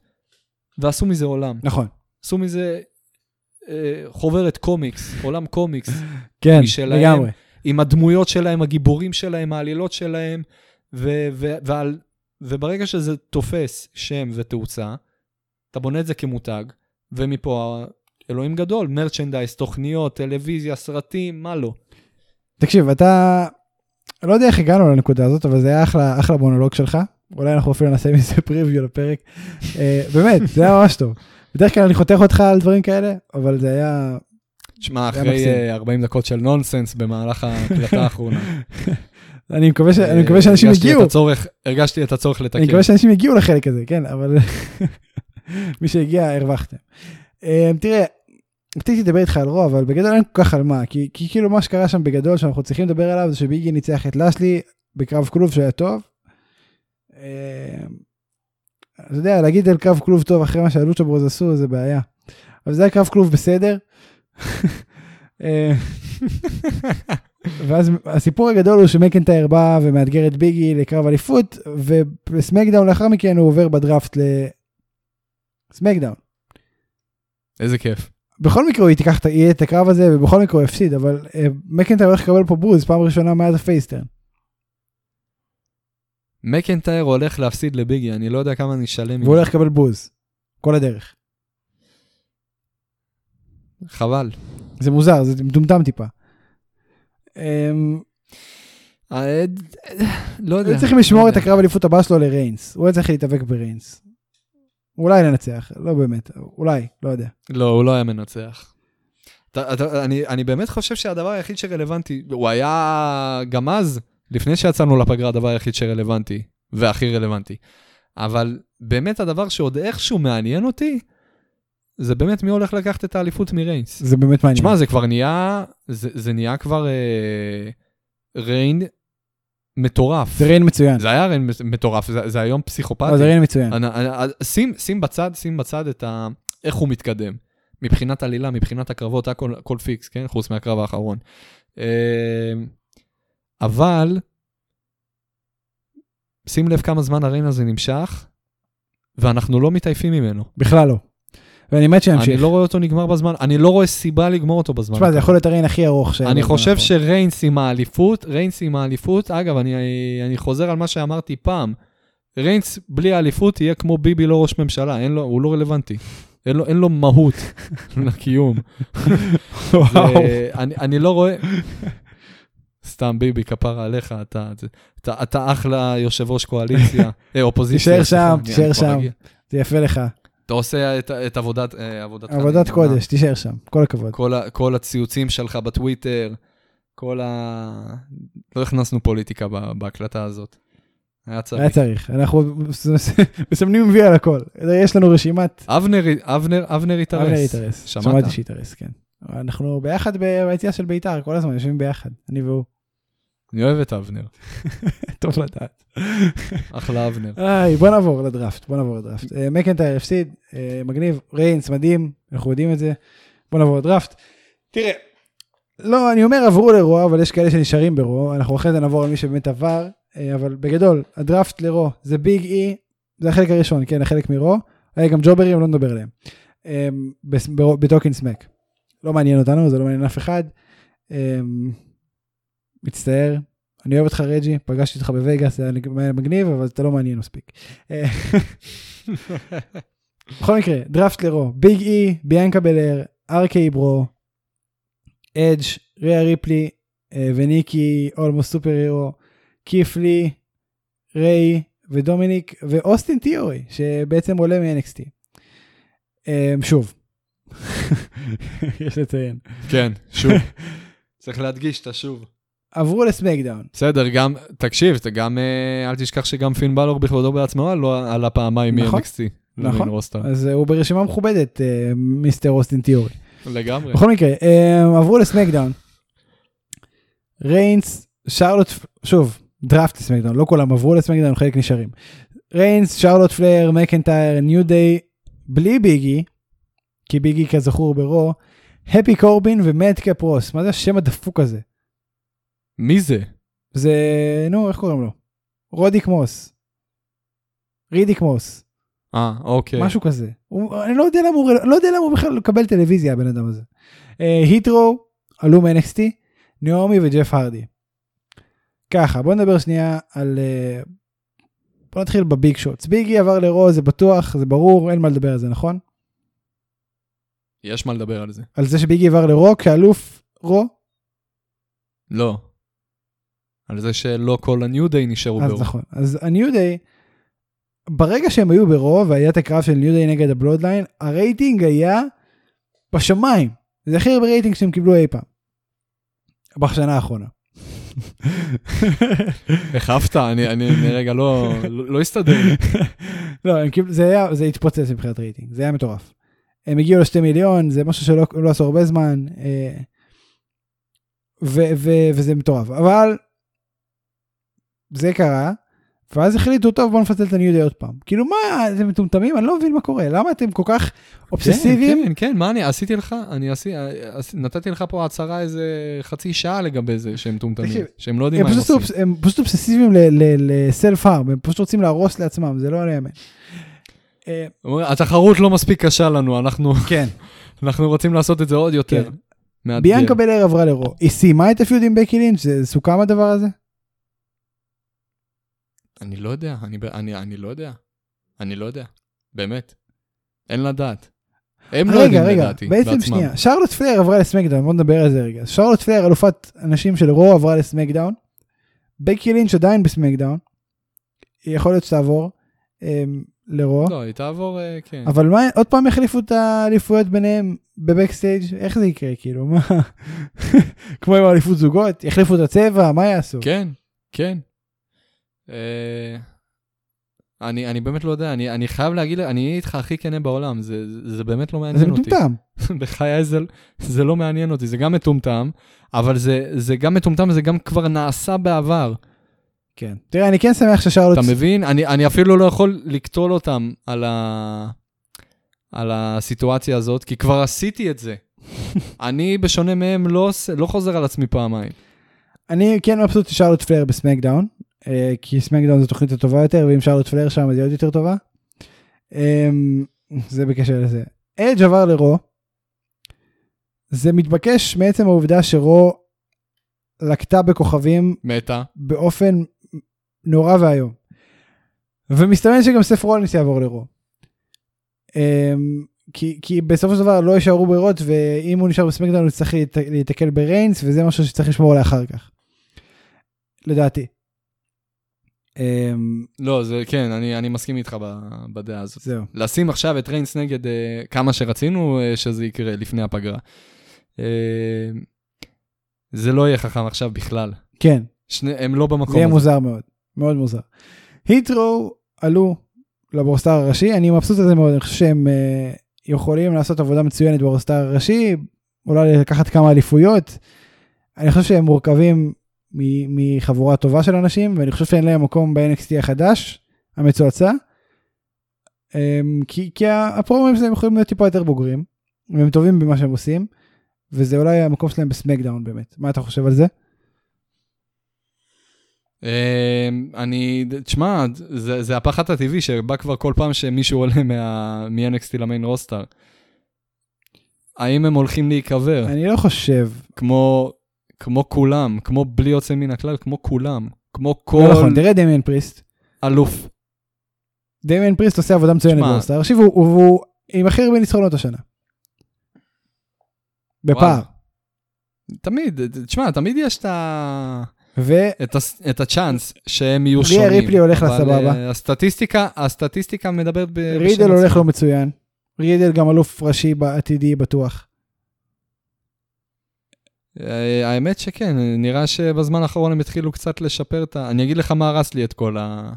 ועשו מזה עולם. נכון, עשו מזה אה, חוברת קומיקס, עולם קומיקס, כן, משלהם. לגמרי. עם הדמויות שלהם, הגיבורים שלהם, העלילות שלהם, ו, ו, ועל, וברגע שזה תופס שם ותאוצה, אתה בונה את זה כמותג, ומפה אלוהים גדול, מרצ'נדייז, תוכניות, טלוויזיה, סרטים, מה לא. תקשיב, אתה... לא יודע איך הגענו לנקודה הזאת, אבל זה היה אחלה, אחלה מונולוג שלך. אולי אנחנו אפילו נעשה מזה פריוויו לפרק. אה, באמת, זה היה ממש טוב. בדרך כלל אני חותך אותך על דברים כאלה, אבל זה היה... תשמע, היה אחרי מקסים. אה, 40 דקות של נונסנס במהלך ההקלטה האחרונה. אני מקווה, ש... כן, אני מקווה אה, שאנשים הרגשתי יגיעו, את הצורך- הרגשתי את הצורך לתקן. אני מקווה שאנשים יגיעו לחלק הזה, כן, אבל מי שהגיע, הרווחתם. אה, תראה, רציתי לדבר איתך על רוע, אבל בגדול אין כל כך על מה, כי, כי כאילו מה שקרה שם בגדול, שאנחנו צריכים לדבר עליו, זה שביגי ניצח את לשלי בקרב כלוב שהיה טוב. אה, אתה יודע, להגיד על קרב כלוב טוב אחרי מה שהלוצ'ה ברוז עשו, זה בעיה. אבל זה היה קרב כלוב בסדר. אה, ואז הסיפור הגדול הוא שמקנטייר בא ומאתגר את ביגי לקרב אליפות, ובסמקדאון לאחר מכן הוא עובר בדראפט לסמקדאון. איזה כיף. בכל מקרה הוא ייקח את- יהיה את הקרב הזה ובכל מקרה הוא הפסיד אבל אה, מקנטייר הולך לקבל פה בוז פעם ראשונה מאז הפייסטרן. מקנטייר הולך להפסיד לביגי, אני לא יודע כמה אני אשלם. והוא הולך לקבל בוז. כל הדרך. חבל. זה מוזר זה מטומטם טיפה. אמ, אה, לא יודע. הם צריכים לשמור לא את יודע. הקרב אליפות הבא שלו לריינס. הוא היה צריך להתאבק בריינס. אולי לנצח לא באמת אולי לא יודע. לא, הוא לא היה מנצח. אתה, אתה, אני, אני באמת חושב שהדבר היחיד שרלוונטי, הוא היה גם אז, לפני שיצאנו לפגרה, הדבר היחיד שרלוונטי, והכי רלוונטי. אבל באמת הדבר שעוד איכשהו מעניין אותי, זה באמת מי הולך לקחת את האליפות מריינס. זה באמת מעניין. תשמע, זה כבר נהיה, זה, זה נהיה כבר אה, ריין מטורף. זה ריין מצוין. זה היה ריין מטורף, זה, זה היום פסיכופתי. לא, זה ריין מצוין. אני- אני- אני- שים, שים בצד, שים בצד את ה... איך הוא מתקדם. מבחינת עלילה, מבחינת הקרבות, הכל, הכל פיקס, כן? חוץ מהקרב האחרון. אמ, אבל, שים לב כמה זמן הריין הזה נמשך, ואנחנו לא מתעייפים ממנו. בכלל לא. ואני מת אני שימשיך. לא רואה אותו נגמר בזמן, אני לא רואה סיבה לגמור אותו בזמן. תשמע זה יכול להיות הריין הכי ארוך. שהיה אני בזמן חושב האחרון. שריינס עם האליפות, ריינס עם האליפות, אגב, אני, אני חוזר על מה שאמרתי פעם, ריינס בלי האליפות יהיה כמו ביבי לא ראש ממשלה, אין לו, הוא לא רלוונטי. אין לו, אין לו מהות לקיום. וואו. זה- אני, אני לא רואה... סתם ביבי, כפרה עליך, אתה, אתה, אתה, אתה אחלה יושב ראש קואליציה, אה, אופוזיציה. תישאר סליחה, שם, אני- אני תישאר כבר שם. אגיע. זה יפה לך. אתה עושה את, את עבודת, אה, עבודתך. עבודת נאמנה. קודש תישאר שם כל הכבוד. כל, ה, כל הציוצים שלך בטוויטר, כל ה... לא הכנסנו פוליטיקה ב, בהקלטה הזאת. היה היה צריך. צריך, אנחנו מסמנים וי על הכל. יש לנו רשימת אבנר, אבנר, אבנר אבנר התארס. התארס. שמעת? שמעתי שהתארס, כן. אנחנו ביחד ב- ביציאה של בית"ר, כל הזמן יושבים ביחד, אני והוא. אני אוהב את אבנר, טוב לדעת. אחלה אבנר. איי, בוא נעבור לדראפט, בוא נעבור לדראפט. אה, מקנטייר הפסיד, אה, מגניב, ריינס מדהים, אנחנו יודעים את זה. בוא נעבור לדראפט. תראה, לא, אני אומר עברו לרו, אבל יש כאלה שנשארים ברו, אנחנו אחרי זה נעבור על מי שבאמת עבר, אה, אבל בגדול, הדראפט לרו זה ביג אי, זה החלק הראשון, כן, החלק מרו. היה גם ג'וברים, לא נדבר עליהם. אה, בס- ברו- בטוקן סמק. לא מעניין אותנו, זה לא מעניין אף אחד. אה, מצטער, אני אוהב אותך רג'י, פגשתי אותך בווגאס, זה היה נג- היה מגניב, אבל אתה לא מעניין מספיק. אה, בכל מקרה, דראפט לרו, ביג אי, ביאנקה בלר, ארקי ברו, אדג', ריה ריפלי אה, וניקי, אולמוס סופר הירו, קיפלי, ריי ודומיניק ואוסטין תיאורי, שבעצם עולה מ-NXT. אה, שוב, יש לציין. כן, שוב. צריך להדגיש, אתה שוב. עברו לסמקדאון. בסדר, גם, תקשיב, אתה גם, אה, אל תשכח שגם פין בלור בכבודו בעצמו לא עלה פעמיים נכון. מ-NXT. נכון. אז אה, הוא ברשימה מכובדת, אה, מיסטר אוסטין תיאורי. לגמרי. בכל מקרה, הם עברו לסמקדאון. ריינס, שרלוט, שוב, דראפט לסמקדאון, לא כולם עברו לסמקדאון, חלק נשארים. ריינס, שרלוט פלר, מקנטייר, ניו דיי, בלי ביגי, כי ביגי כזכור ברו, הפי קורבין ומדקאפ רוס, מה זה השם הדפוק הזה? מי זה? זה, נו, איך קוראים לו? רודיק מוס. רידיק מוס, אה, אוקיי. משהו כזה. הוא, אני לא יודע למה הוא, לא יודע למה הוא בכלל מקבל טלוויזיה הבן אדם הזה. אה, היטרו עלו מ-NXT, נעמי וג'ף הרדי. ככה בוא נדבר שנייה על אה, בוא נתחיל בביג שוטס ביגי עבר לרו זה בטוח זה ברור אין מה לדבר על זה נכון יש מה לדבר על זה. על זה שביגי עבר לרו כאלוף רו לא. על זה שלא כל ה-New Day נשארו אז ברוב. נכון אז הניו דיי ברגע שהם היו ברו והיה את הקרב של ניו דיי נגד הבלודליין הרייטינג היה בשמיים זה הכי הרבה רייטינג שהם קיבלו אי פעם. בשנה האחרונה. החפת, אני, אני, אני רגע לא, לא, לא הסתדר. לי. לא, הם קיבלו, זה היה, זה התפוצץ מבחינת רייטינג, זה היה מטורף. הם הגיעו לשתי מיליון, זה משהו שלא לא עשו הרבה זמן, אה, ו, ו, וזה מטורף. אבל זה קרה, ואז החליטו, טוב, בוא נפצל את הניו דיי עוד פעם. כאילו, מה, אתם מטומטמים? אני לא מבין מה קורה. למה אתם כל כך אובססיביים? כן, כן, מה אני עשיתי לך? אני עשי, עשי, נתתי לך פה הצהרה איזה חצי שעה לגבי זה שהם מטומטמים, תקשיב, שהם לא יודעים הם מה הם פשוט, עושים. אובס, הם פשוט אובססיביים לסלף הארם, הם פשוט רוצים להרוס לעצמם, זה לא יאמן. אה, הם אומרים, התחרות לא מספיק קשה לנו, אנחנו, כן. אנחנו רוצים לעשות את זה עוד יותר. כן. מאתגר. ביאנקה בלר עברה לרו, היא סיימה את הפיוד עם בקי לינץ', זה סוכם הדבר הזה? אני לא יודע, אני, ב- אני, אני לא יודע. אני לא יודע, באמת. אין לדעת. הם לא רגע, יודעים רגע, לדעתי, בעצם בעצמם. שנייה, שרלוט פלר עברה לסמקדאון, בוא נדבר על זה רגע. שרלוט פלר אלופת הנשים של רו עברה לסמקדאון, בקי לינץ' עדיין בסמקדאון, יכול להיות שתעבור אמ, לרו, לא, היא תעבור, אה, כן. אבל מה, עוד פעם יחליפו את האליפויות ביניהם בבקסטייג', איך זה יקרה כאילו, מה, כמו עם האליפות זוגות, יחליפו את הצבע, מה יעשו? כן, כן. אה, אני, אני באמת לא יודע, אני, אני חייב להגיד, אני אהיה איתך הכי כנה בעולם, זה, זה, זה באמת לא זה מעניין אותי. מטומטם. בחיי זה, זה לא מעניין אותי, זה גם מטומטם, אבל זה, זה גם מטומטם וזה גם כבר נעשה בעבר. כן. תראה, אני כן שמח ששרלוט... אתה מבין? אני, אני אפילו לא יכול לקטול אותם על, ה, על הסיטואציה הזאת, כי כבר עשיתי את זה. אני, בשונה מהם, לא, עושה- לא חוזר על עצמי פעמיים. אני כן מבסוט ששרלוט פלר בסמקדאון, אה, כי סמקדאון זו תוכנית הטובה יותר, ואם שרלוט פלר שם אז היא עוד יותר טובה. אה, זה בקשר לזה. אדג' עבר לרו. זה מתבקש מעצם העובדה שרו לקתה בכוכבים מתה. באופן נורא ואיום. ומסתמן שגם סף רולינס יעבור לרו. אמ, כי, כי בסופו של דבר לא יישארו ברירות ואם הוא נשאר בסמקדאון הוא צריך להת- להיתקל בריינס וזה משהו שצריך לשמור עליה אחר כך. לדעתי. אמ, לא, זה כן, אני, אני מסכים איתך ב- בדעה הזאת. זהו. לשים עכשיו את ריינס נגד אה, כמה שרצינו אה, שזה יקרה לפני הפגרה. אה, זה לא יהיה חכם עכשיו בכלל. כן, שני, הם לא במקום זה יהיה הזה. מוזר מאוד. מאוד מוזר. היטרו עלו לברוסטאר הראשי, אני מבסוט על זה מאוד, אני חושב שהם אה, יכולים לעשות עבודה מצוינת ברוסטאר הראשי, אולי לקחת כמה אליפויות. אני חושב שהם מורכבים מ- מחבורה טובה של אנשים, ואני חושב שאין להם מקום ב-NXT החדש, המצועצע. אמ, כי, כי ה- הפרומים שלהם יכולים להיות טיפה יותר בוגרים, והם טובים במה שהם עושים, וזה אולי המקום שלהם בסמקדאון באמת. מה אתה חושב על זה? אה, אני, תשמע, זה, זה הפחד הטבעי שבא כבר כל פעם שמישהו עולה מה, מ-NXT למיין רוסטר. האם הם הולכים להיקבר, אני לא חושב כמו, כמו כולם, כמו בלי יוצא מן הכלל, כמו כולם, כמו כל לא נכון, תראה דמיין פריסט. אלוף. דמיין פריסט עושה עבודה מצוינת שמע. באוסטר. תקשיב, הוא- הוא הוא עם הכי הרבה ניצחונות השנה. בפער. וואלה. תמיד, תשמע, תמיד יש את, ה... ואני את, הס... את הצ'אנס שהם יהיו ריה שונים. ריפלי הולך אבל, לסבבה. אה, הסטטיסטיקה, הסטטיסטיקה מדברת ב... בשם רידל הולך עצמה. לו מצוין. רידל גם אלוף ראשי בעתידי בטוח. אה, האמת שכן, נראה שבזמן האחרון הם התחילו קצת לשפר את ה... אני אגיד לך מה הרס לי את כל ה...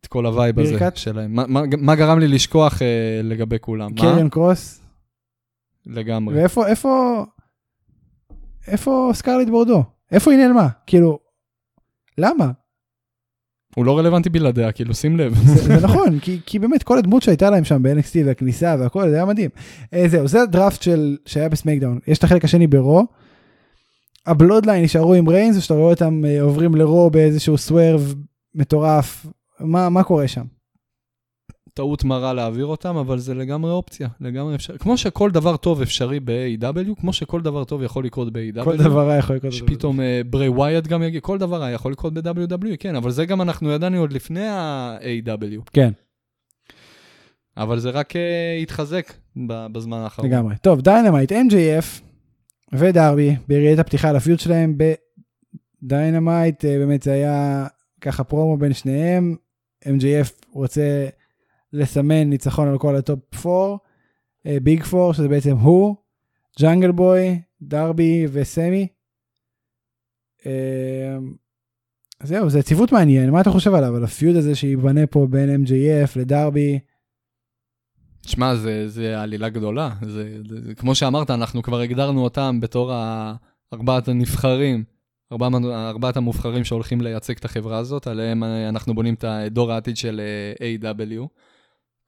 את כל הווייב הזה ברכת? שלהם. מה, מה, מה גרם לי לשכוח אה, לגבי כולם? מה? קרן קרוס. לגמרי. ואיפה, איפה, איפה סקרלט בורדו? איפה היא נעלמה? כאילו, למה? הוא לא רלוונטי בלעדיה, כאילו, שים לב. זה זה נכון, כי, כי באמת כל הדמות שהייתה להם שם ב-NXT והכניסה והכל, זה היה מדהים. אה, זהו, זה הדראפט של, שהיה בסמקדאון. יש את החלק השני ברו. הבלודליין נשארו עם ריינס, או שאתה רואה אותם אה, עוברים לרו באיזשהו סוורב מטורף. מה, מה קורה שם? טעות מרה להעביר אותם, אבל זה לגמרי אופציה, לגמרי אפשרי. כמו שכל דבר טוב אפשרי ב-AW, כמו שכל דבר טוב יכול לקרות ב-AW. כל דבר היה יכול לקרות. שפתאום אה, ברי ווייד גם יגיע, כל דבר היה יכול לקרות ב-WWE, כן, אבל זה גם אנחנו ידענו עוד לפני ה-AW, כן, אבל זה רק אה, התחזק ב- בזמן האחרון. לגמרי. טוב, דיינמייט, MJF ודרבי, בראיית הפתיחה על הפיוט שלהם בדיינמייט, אה, באמת זה היה ככה פרומו בין שניהם, MJF רוצה לסמן ניצחון על כל הטופ 4, ביג 4, שזה בעצם הוא, ג'אנגל בוי, דרבי וסמי. אה, זהו, זה ציוות מעניין, מה אתה חושב עליו? על הפיוד הזה שייבנה פה בין MJF לדרבי? שמע, זה, זה עלילה גדולה, זה, זה, זה, כמו שאמרת, אנחנו כבר הגדרנו אותם בתור ה- ארבעת הנבחרים, ארבע, ארבעת המובחרים שהולכים לייצג את החברה הזאת, עליהם אה, אנחנו בונים את דור העתיד של אה, A.W.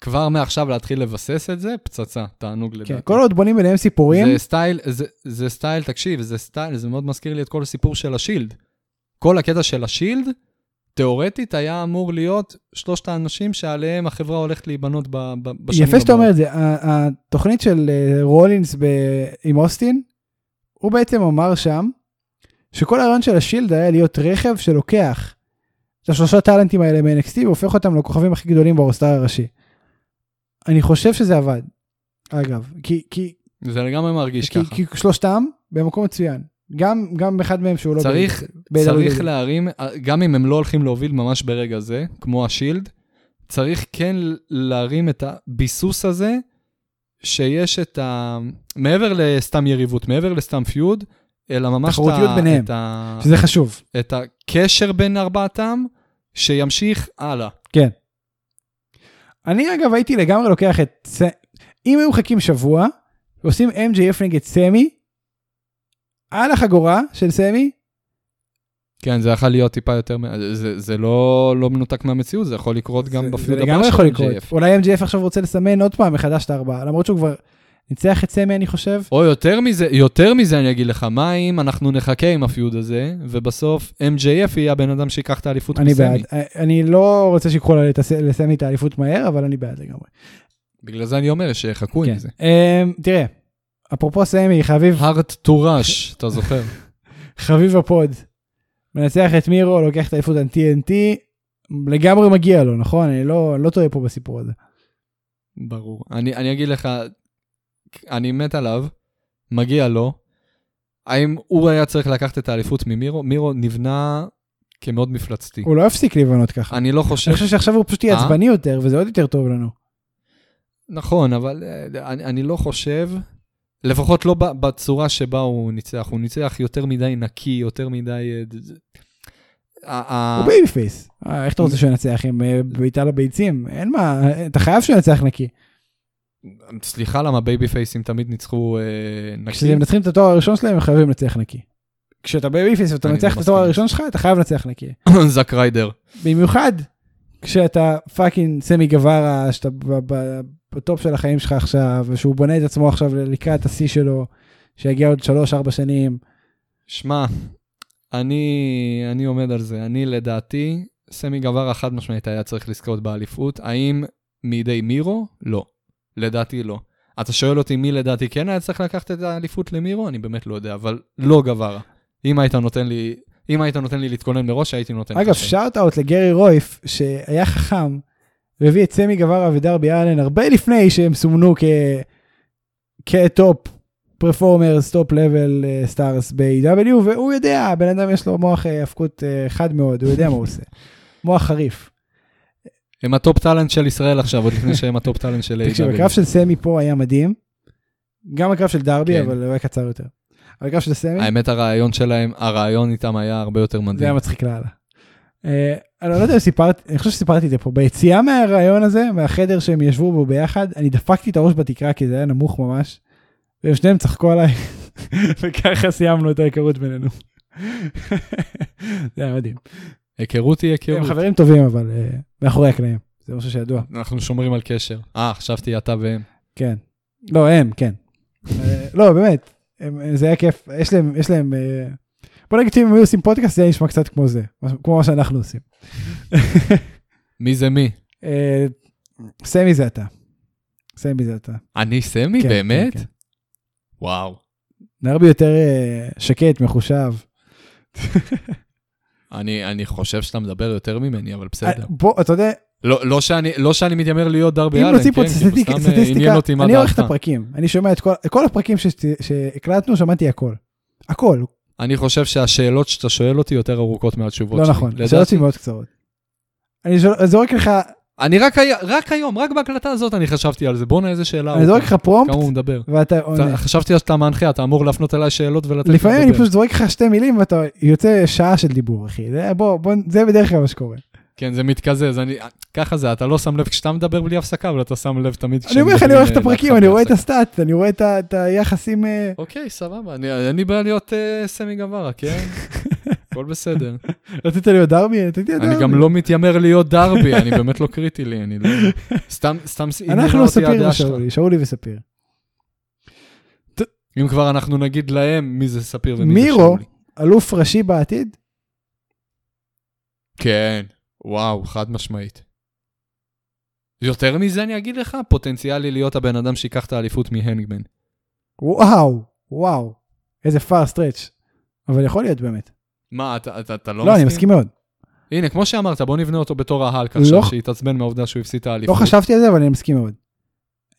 כבר מעכשיו להתחיל לבסס את זה, פצצה, תענוג לדעתי. כן, כל עוד בונים ביניהם סיפורים, זה סטייל, זה, זה סטייל, תקשיב, זה סטייל, זה מאוד מזכיר לי את כל הסיפור של השילד. כל הקטע של השילד, תיאורטית היה אמור להיות שלושת האנשים שעליהם החברה הולכת להיבנות ב, ב, בשנים הבאות. יפה שאתה אומר את זה, ה- התוכנית של אה, רולינס ב- עם אוסטין, הוא בעצם אמר שם, שכל הרעיון של השילד היה להיות רכב שלוקח את השלושה טאלנטים האלה מ-NXT והופך אותם לכוכבים הכי גדולים ברוסטר הראשי. אני חושב שזה עבד, אגב, כי, כי, זה לגמרי מרגיש כי, ככה. כי שלושתם במקום מצוין, גם, גם אחד מהם שהוא לא... צריך, ב- ב- צריך ב- להרים, גם אם הם לא הולכים להוביל ממש ברגע זה, כמו השילד, צריך כן להרים את הביסוס הזה, שיש את ה... מעבר לסתם יריבות, מעבר לסתם פיוד, אלא ממש את תחרותיות ה... ביניהם. את ה... שזה חשוב, את הקשר בין ארבעתם, שימשיך הלאה. כן. אני אגב הייתי לגמרי לוקח את... ס- אם היו מחכים שבוע, עושים MJF נגד סמי, על החגורה של סמי, כן, זה יכול להיות טיפה יותר, מ- זה, זה לא, לא מנותק מהמציאות, זה יכול לקרות גם זה- בפיוד זה הבא לגמרי של יכול לקרות. MJF. אולי MJF עכשיו רוצה לסמן עוד פעם מחדש את הארבעה, למרות שהוא כבר ניצח את סמי אני חושב. או יותר מזה, יותר מזה אני אגיד לך, מה אם אנחנו נחכה עם הפיוד הזה, ובסוף MJF יהיה הבן אדם שיקח את האליפות אני מסמי. בעד, אה, אני לא רוצה שיקחו לה את הס- לסמי את האליפות מהר, אבל אני בעד לגמרי. בגלל זה אני אומר שיחכו כן. עם זה. אמ, תראה, אפרופו סמי, חביב, הארט טו ראש, אתה זוכר? חביב הפוד, מנצח את מירו, לוקח את האליפות על TNT, לגמרי מגיע לו, נכון? אני לא, אני לא טועה פה בסיפור הזה. ברור. אני, אני אגיד לך, אני מת עליו, מגיע לו. האם הוא היה צריך לקחת את האליפות ממירו? מירו נבנה כמאוד מפלצתי. הוא לא יפסיק להיבנות ככה. אני לא חושב... אני חושב שעכשיו הוא פשוט יהיה אה? עצבני יותר, וזה עוד יותר טוב לנו. נכון, אבל אה, אני, אני לא חושב, לפחות לא ב- בצורה שבה הוא ניצח. הוא ניצח יותר מדי נקי, יותר מדי... אה, ד- ד- ה- ה- הוא בייבי פייס. אה, איך אתה רוצה שהוא ינצח עם אה, בעיטה לביצים? אין מה, אה, אתה חייב שהוא ינצח נקי. סליחה למה בייבי פייסים תמיד ניצחו אה, נקי. כשהם מנצחים את התואר הראשון שלהם, הם חייבים לנצח נקי. כשאתה בייבי פייס ואתה אני מנצח לא את התואר מסכים. הראשון שלך, אתה חייב לנצח נקי. זק ריידר. במיוחד כשאתה פאקינג סמי גווארה, שאתה ב- ב- בטופ של החיים שלך עכשיו, ושהוא בונה את עצמו עכשיו לקראת השיא שלו, שיגיע עוד 3-4 שנים. שמע, אני, אני עומד על זה. אני לדעתי, סמי גווארה חד משמעית היה צריך לזכות באליפות. האם מידי מירו? לא. לדעתי לא. אתה שואל אותי מי לדעתי כן היה צריך לקחת את האליפות למירו? אני באמת לא יודע, אבל לא גווארה. אם היית נותן לי, אם היית נותן לי להתכונן מראש, הייתי נותן אגב, לך שם. שאוט אאוט לגרי רויף, שהיה חכם, והביא את סמי גווארה ודרבי אלן הרבה לפני שהם סומנו כ... כטופ פרפורמרס, טופ לבל סטארס ב-AW, E והוא יודע, הבן אדם יש לו מוח אה, האבקות אה, חד מאוד, הוא יודע מה הוא עושה. מוח חריף. הם הטופ טאלנט של ישראל עכשיו, עוד לפני שהם הטופ טאלנט של תקשיב, A.W. הקרב של סמי פה היה מדהים, גם הקרב של דרבי, כן. אבל הוא היה קצר יותר. אבל הקרב של סמי, האמת, הרעיון שלהם, הרעיון איתם היה הרבה יותר זה היה מדהים. מצחיק לאללה. אה, אני לא יודע אם סיפרתי, אני חושב שסיפרתי את זה פה, ביציאה מהרעיון הזה, מהחדר שהם ישבו בו ביחד, אני דפקתי את הראש בתקרה כי זה היה נמוך ממש, והם שניהם צחקו עליי, וככה סיימנו את ההיכרות בינינו. זה היה מדהים. היכרות היא היכרות. הם חברים טובים אבל, אה, מאחורי הקלעים, זה משהו שידוע, אנחנו שומרים על קשר. אה, חשבתי אתה והם. כן. לא, הם, כן. אה, לא, באמת, הם- זה היה כיף, יש להם, יש להם, אה, בוא נגיד שאם הם היו עושים פודקאסט זה היה נשמע קצת כמו זה, כמו מה שאנחנו עושים. מי זה מי? אה, סמי זה אתה. סמי זה אתה. אני סמי? כן, באמת? כן, כן. וואו. נרבי יותר אה, שקט, מחושב. אני, אני חושב שאתה מדבר יותר ממני, אבל בסדר. אה, בוא, אתה יודע, לא, לא, שאני, לא שאני מתיימר להיות דרבי אם אלן, נוציא כן, פה סטטיסטיק- כאילו, סתם אה, עניין סטטיסטיקה, אותי מה אני עורך את דעתך. הפרקים, אני שומע את כל- כל הפרקים שת- שהקלטנו, שמעתי הכל. הכל, אני חושב שהשאלות שאתה שואל אותי יותר ארוכות מהתשובות לא שלי. נכון, לדעתי- השאלות שלי מאוד קצרות. אני זו- זורק לך, אני רק, היה- רק היום, רק בהקלטה הזאת אני חשבתי על זה. בואנה, איזה שאלה. אני זורק ארוכה. לך כמה הוא פרומפט, מדבר. ואתה אתה- עונה. חשבתי שאתה מנחה, אתה אמור להפנות אליי שאלות ולתת לי לפעמים אני לדבר. פשוט זורק לך שתי מילים ואתה יוצא שעה של דיבור, אחי. זה- בוא, בוא, זה בדרך כלל מה שקורה. כן, זה מתקזז. אני- ככה זה, אתה לא שם לב כשאתה מדבר בלי הפסקה, אבל אתה שם לב תמיד אני אומר לך, אני כשמדברים, עורך את אה, הפרקים, להתחבר אני רואה את הפסקה. הסטאט, אני רואה את ה- את היחסים... אה, אוקיי, סבבה, אני, אני בא להיות uh, סמי גווארה, אה, כן? הכל בסדר. רצית להיות דרבי? רציתי להיות דרבי. אני גם לא מתיימר להיות דרבי, אני באמת לא קריטי לי, אני לא... סתם, סתם, לא עניינה אנחנו לא אותי ספיר הדעה ושאולי, שאולי וספיר. שלך. אם כבר אנחנו נגיד להם מי זה ספיר ומי זה מירו, שאולי. אלוף ראשי בעתיד, כן, וואו, חד משמעית. יותר מזה אני אגיד לך, פוטנציאלי להיות הבן אדם שיקח את האליפות מהנגמן. וואו, וואו, איזה פאר סטרץ', אבל יכול להיות באמת. מה, אתה, אתה, אתה לא, לא, אני מסכים מאוד. הנה, כמו שאמרת, בוא נבנה אותו בתור ההלק לא. עכשיו, שהתעצבן מהעובדה שהוא הפסיד את לא האליפות. חשבתי על זה, אבל אני מסכים מאוד.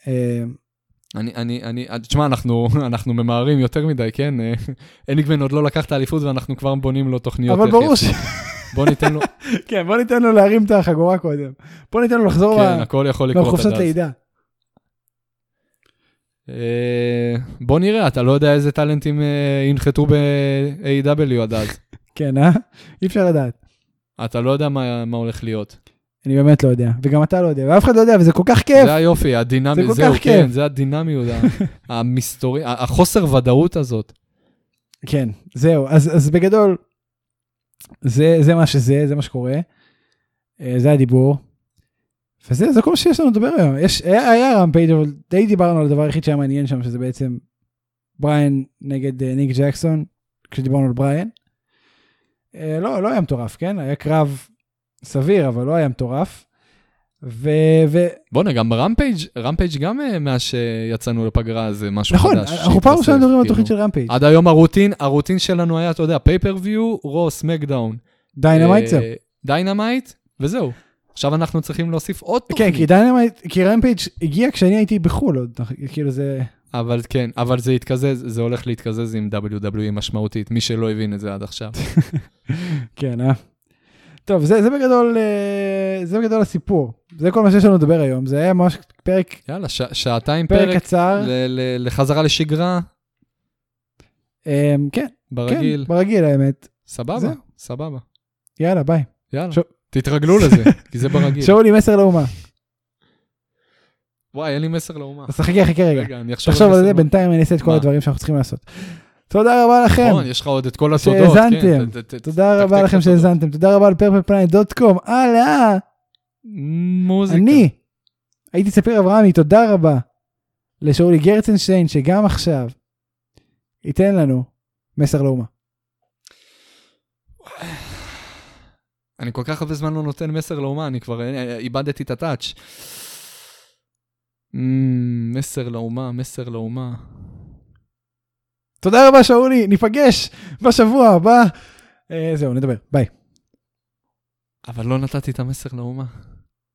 אה, אני, אני, אני, תשמע, אנחנו, אנחנו ממהרים יותר מדי, כן? אה, הנגמן עוד לא לקח את האליפות ואנחנו כבר בונים לו תוכניות. אבל איך ברור יש- ש... בוא ניתן לו, כן, בוא ניתן לו להרים את החגורה קודם. בוא ניתן לו לחזור כן, ל- הכל יכול לקרות לחופשת עד אז. לידה. אה, בוא נראה, אתה לא יודע איזה טאלנטים אה, ינחתו ב-AW עד אז. כן, אה? אי אפשר לדעת. אתה לא יודע מה, מה הולך להיות. אני באמת לא יודע, וגם אתה לא יודע, ואף אחד לא יודע, וזה כל כך כיף. זה היופי, זה כל הדינמיות, זהו, כך כן, כיף. זה הדינמיות, ה- המסתורי, ה- החוסר ודאות הזאת. כן, זהו, אז, אז בגדול, זה, זה מה שזה, זה מה שקורה, אה, זה הדיבור, וזה זה כל מה שיש לנו לדבר היום. יש, היה, היה רמפייג' אבל די דיברנו על הדבר היחיד שהיה מעניין שם, שזה בעצם בריין נגד אה, ניק ג'קסון, כשדיברנו על בריין. אה, לא, לא היה מטורף, כן? היה קרב סביר, אבל לא היה מטורף. ו... ו בואנה, גם רמפייג', רמפייג' גם אה, מאז שיצאנו לפגרה זה משהו נכון, חדש. אנחנו פעם ראשונה שהתווסף, מדברים על כאילו. תוכנית של רמפייג'. עד היום הרוטין, הרוטין שלנו היה, אתה יודע, פייפריוויו, רו, סמקדאון. דיינמייט זהו. דיינמייט, אה, וזהו. עכשיו אנחנו צריכים להוסיף עוד כן, תוכנית. כי דיינמייט, כי רמפייג' הגיע כשאני הייתי בחו"ל עוד, כאילו זה... אבל כן, אבל זה התקזז, זה הולך להתקזז עם WWE משמעותית, מי שלא הבין את זה עד עכשיו. כן, אה? טוב, זה, זה בגדול, אה, זה בגדול הסיפור. זה כל מה שיש לנו לדבר היום. זה היה ממש פרק, פרק, יאללה, ש- שעתיים פרק פרק קצר. ל... ל- ל- לחזרה לשגרה, כן, ברגיל. כן, ברגיל האמת. סבבה, זהו. סבבה. יאללה, ביי. יאללה, שו- תתרגלו לזה, כי זה ברגיל. שאולי מסר לאומה. וואי, אין לי מסר לאומה. אז חכה, חכה רגע. רגע, אני אחשוב תחשוב על מסר זה, לאומה. בינתיים אני אעשה את כל מה? הדברים שאנחנו צריכים לעשות. תודה רבה לכם. נכון, יש לך עוד את כל התודות. כן, שהאזנתם. ת- ת- ת- תודה תקתק רבה את לכם התודות. שהאזנתם. תודה רבה על פרפלפלנט.קום. הלאה, מוזיקה. אני הייתי ספיר אברהמי, תודה רבה לשאולי גרצנשטיין, שגם עכשיו ייתן לנו מסר לאומה. אני כל כך הרבה זמן לא נותן מסר לאומה, אני כבר אה, איבדתי את הטאץ'. Mm, מסר לאומה, מסר לאומה. תודה רבה שאולי, ניפגש בשבוע הבא. אה, זהו, נדבר, ביי. אבל לא נתתי את המסר לאומה.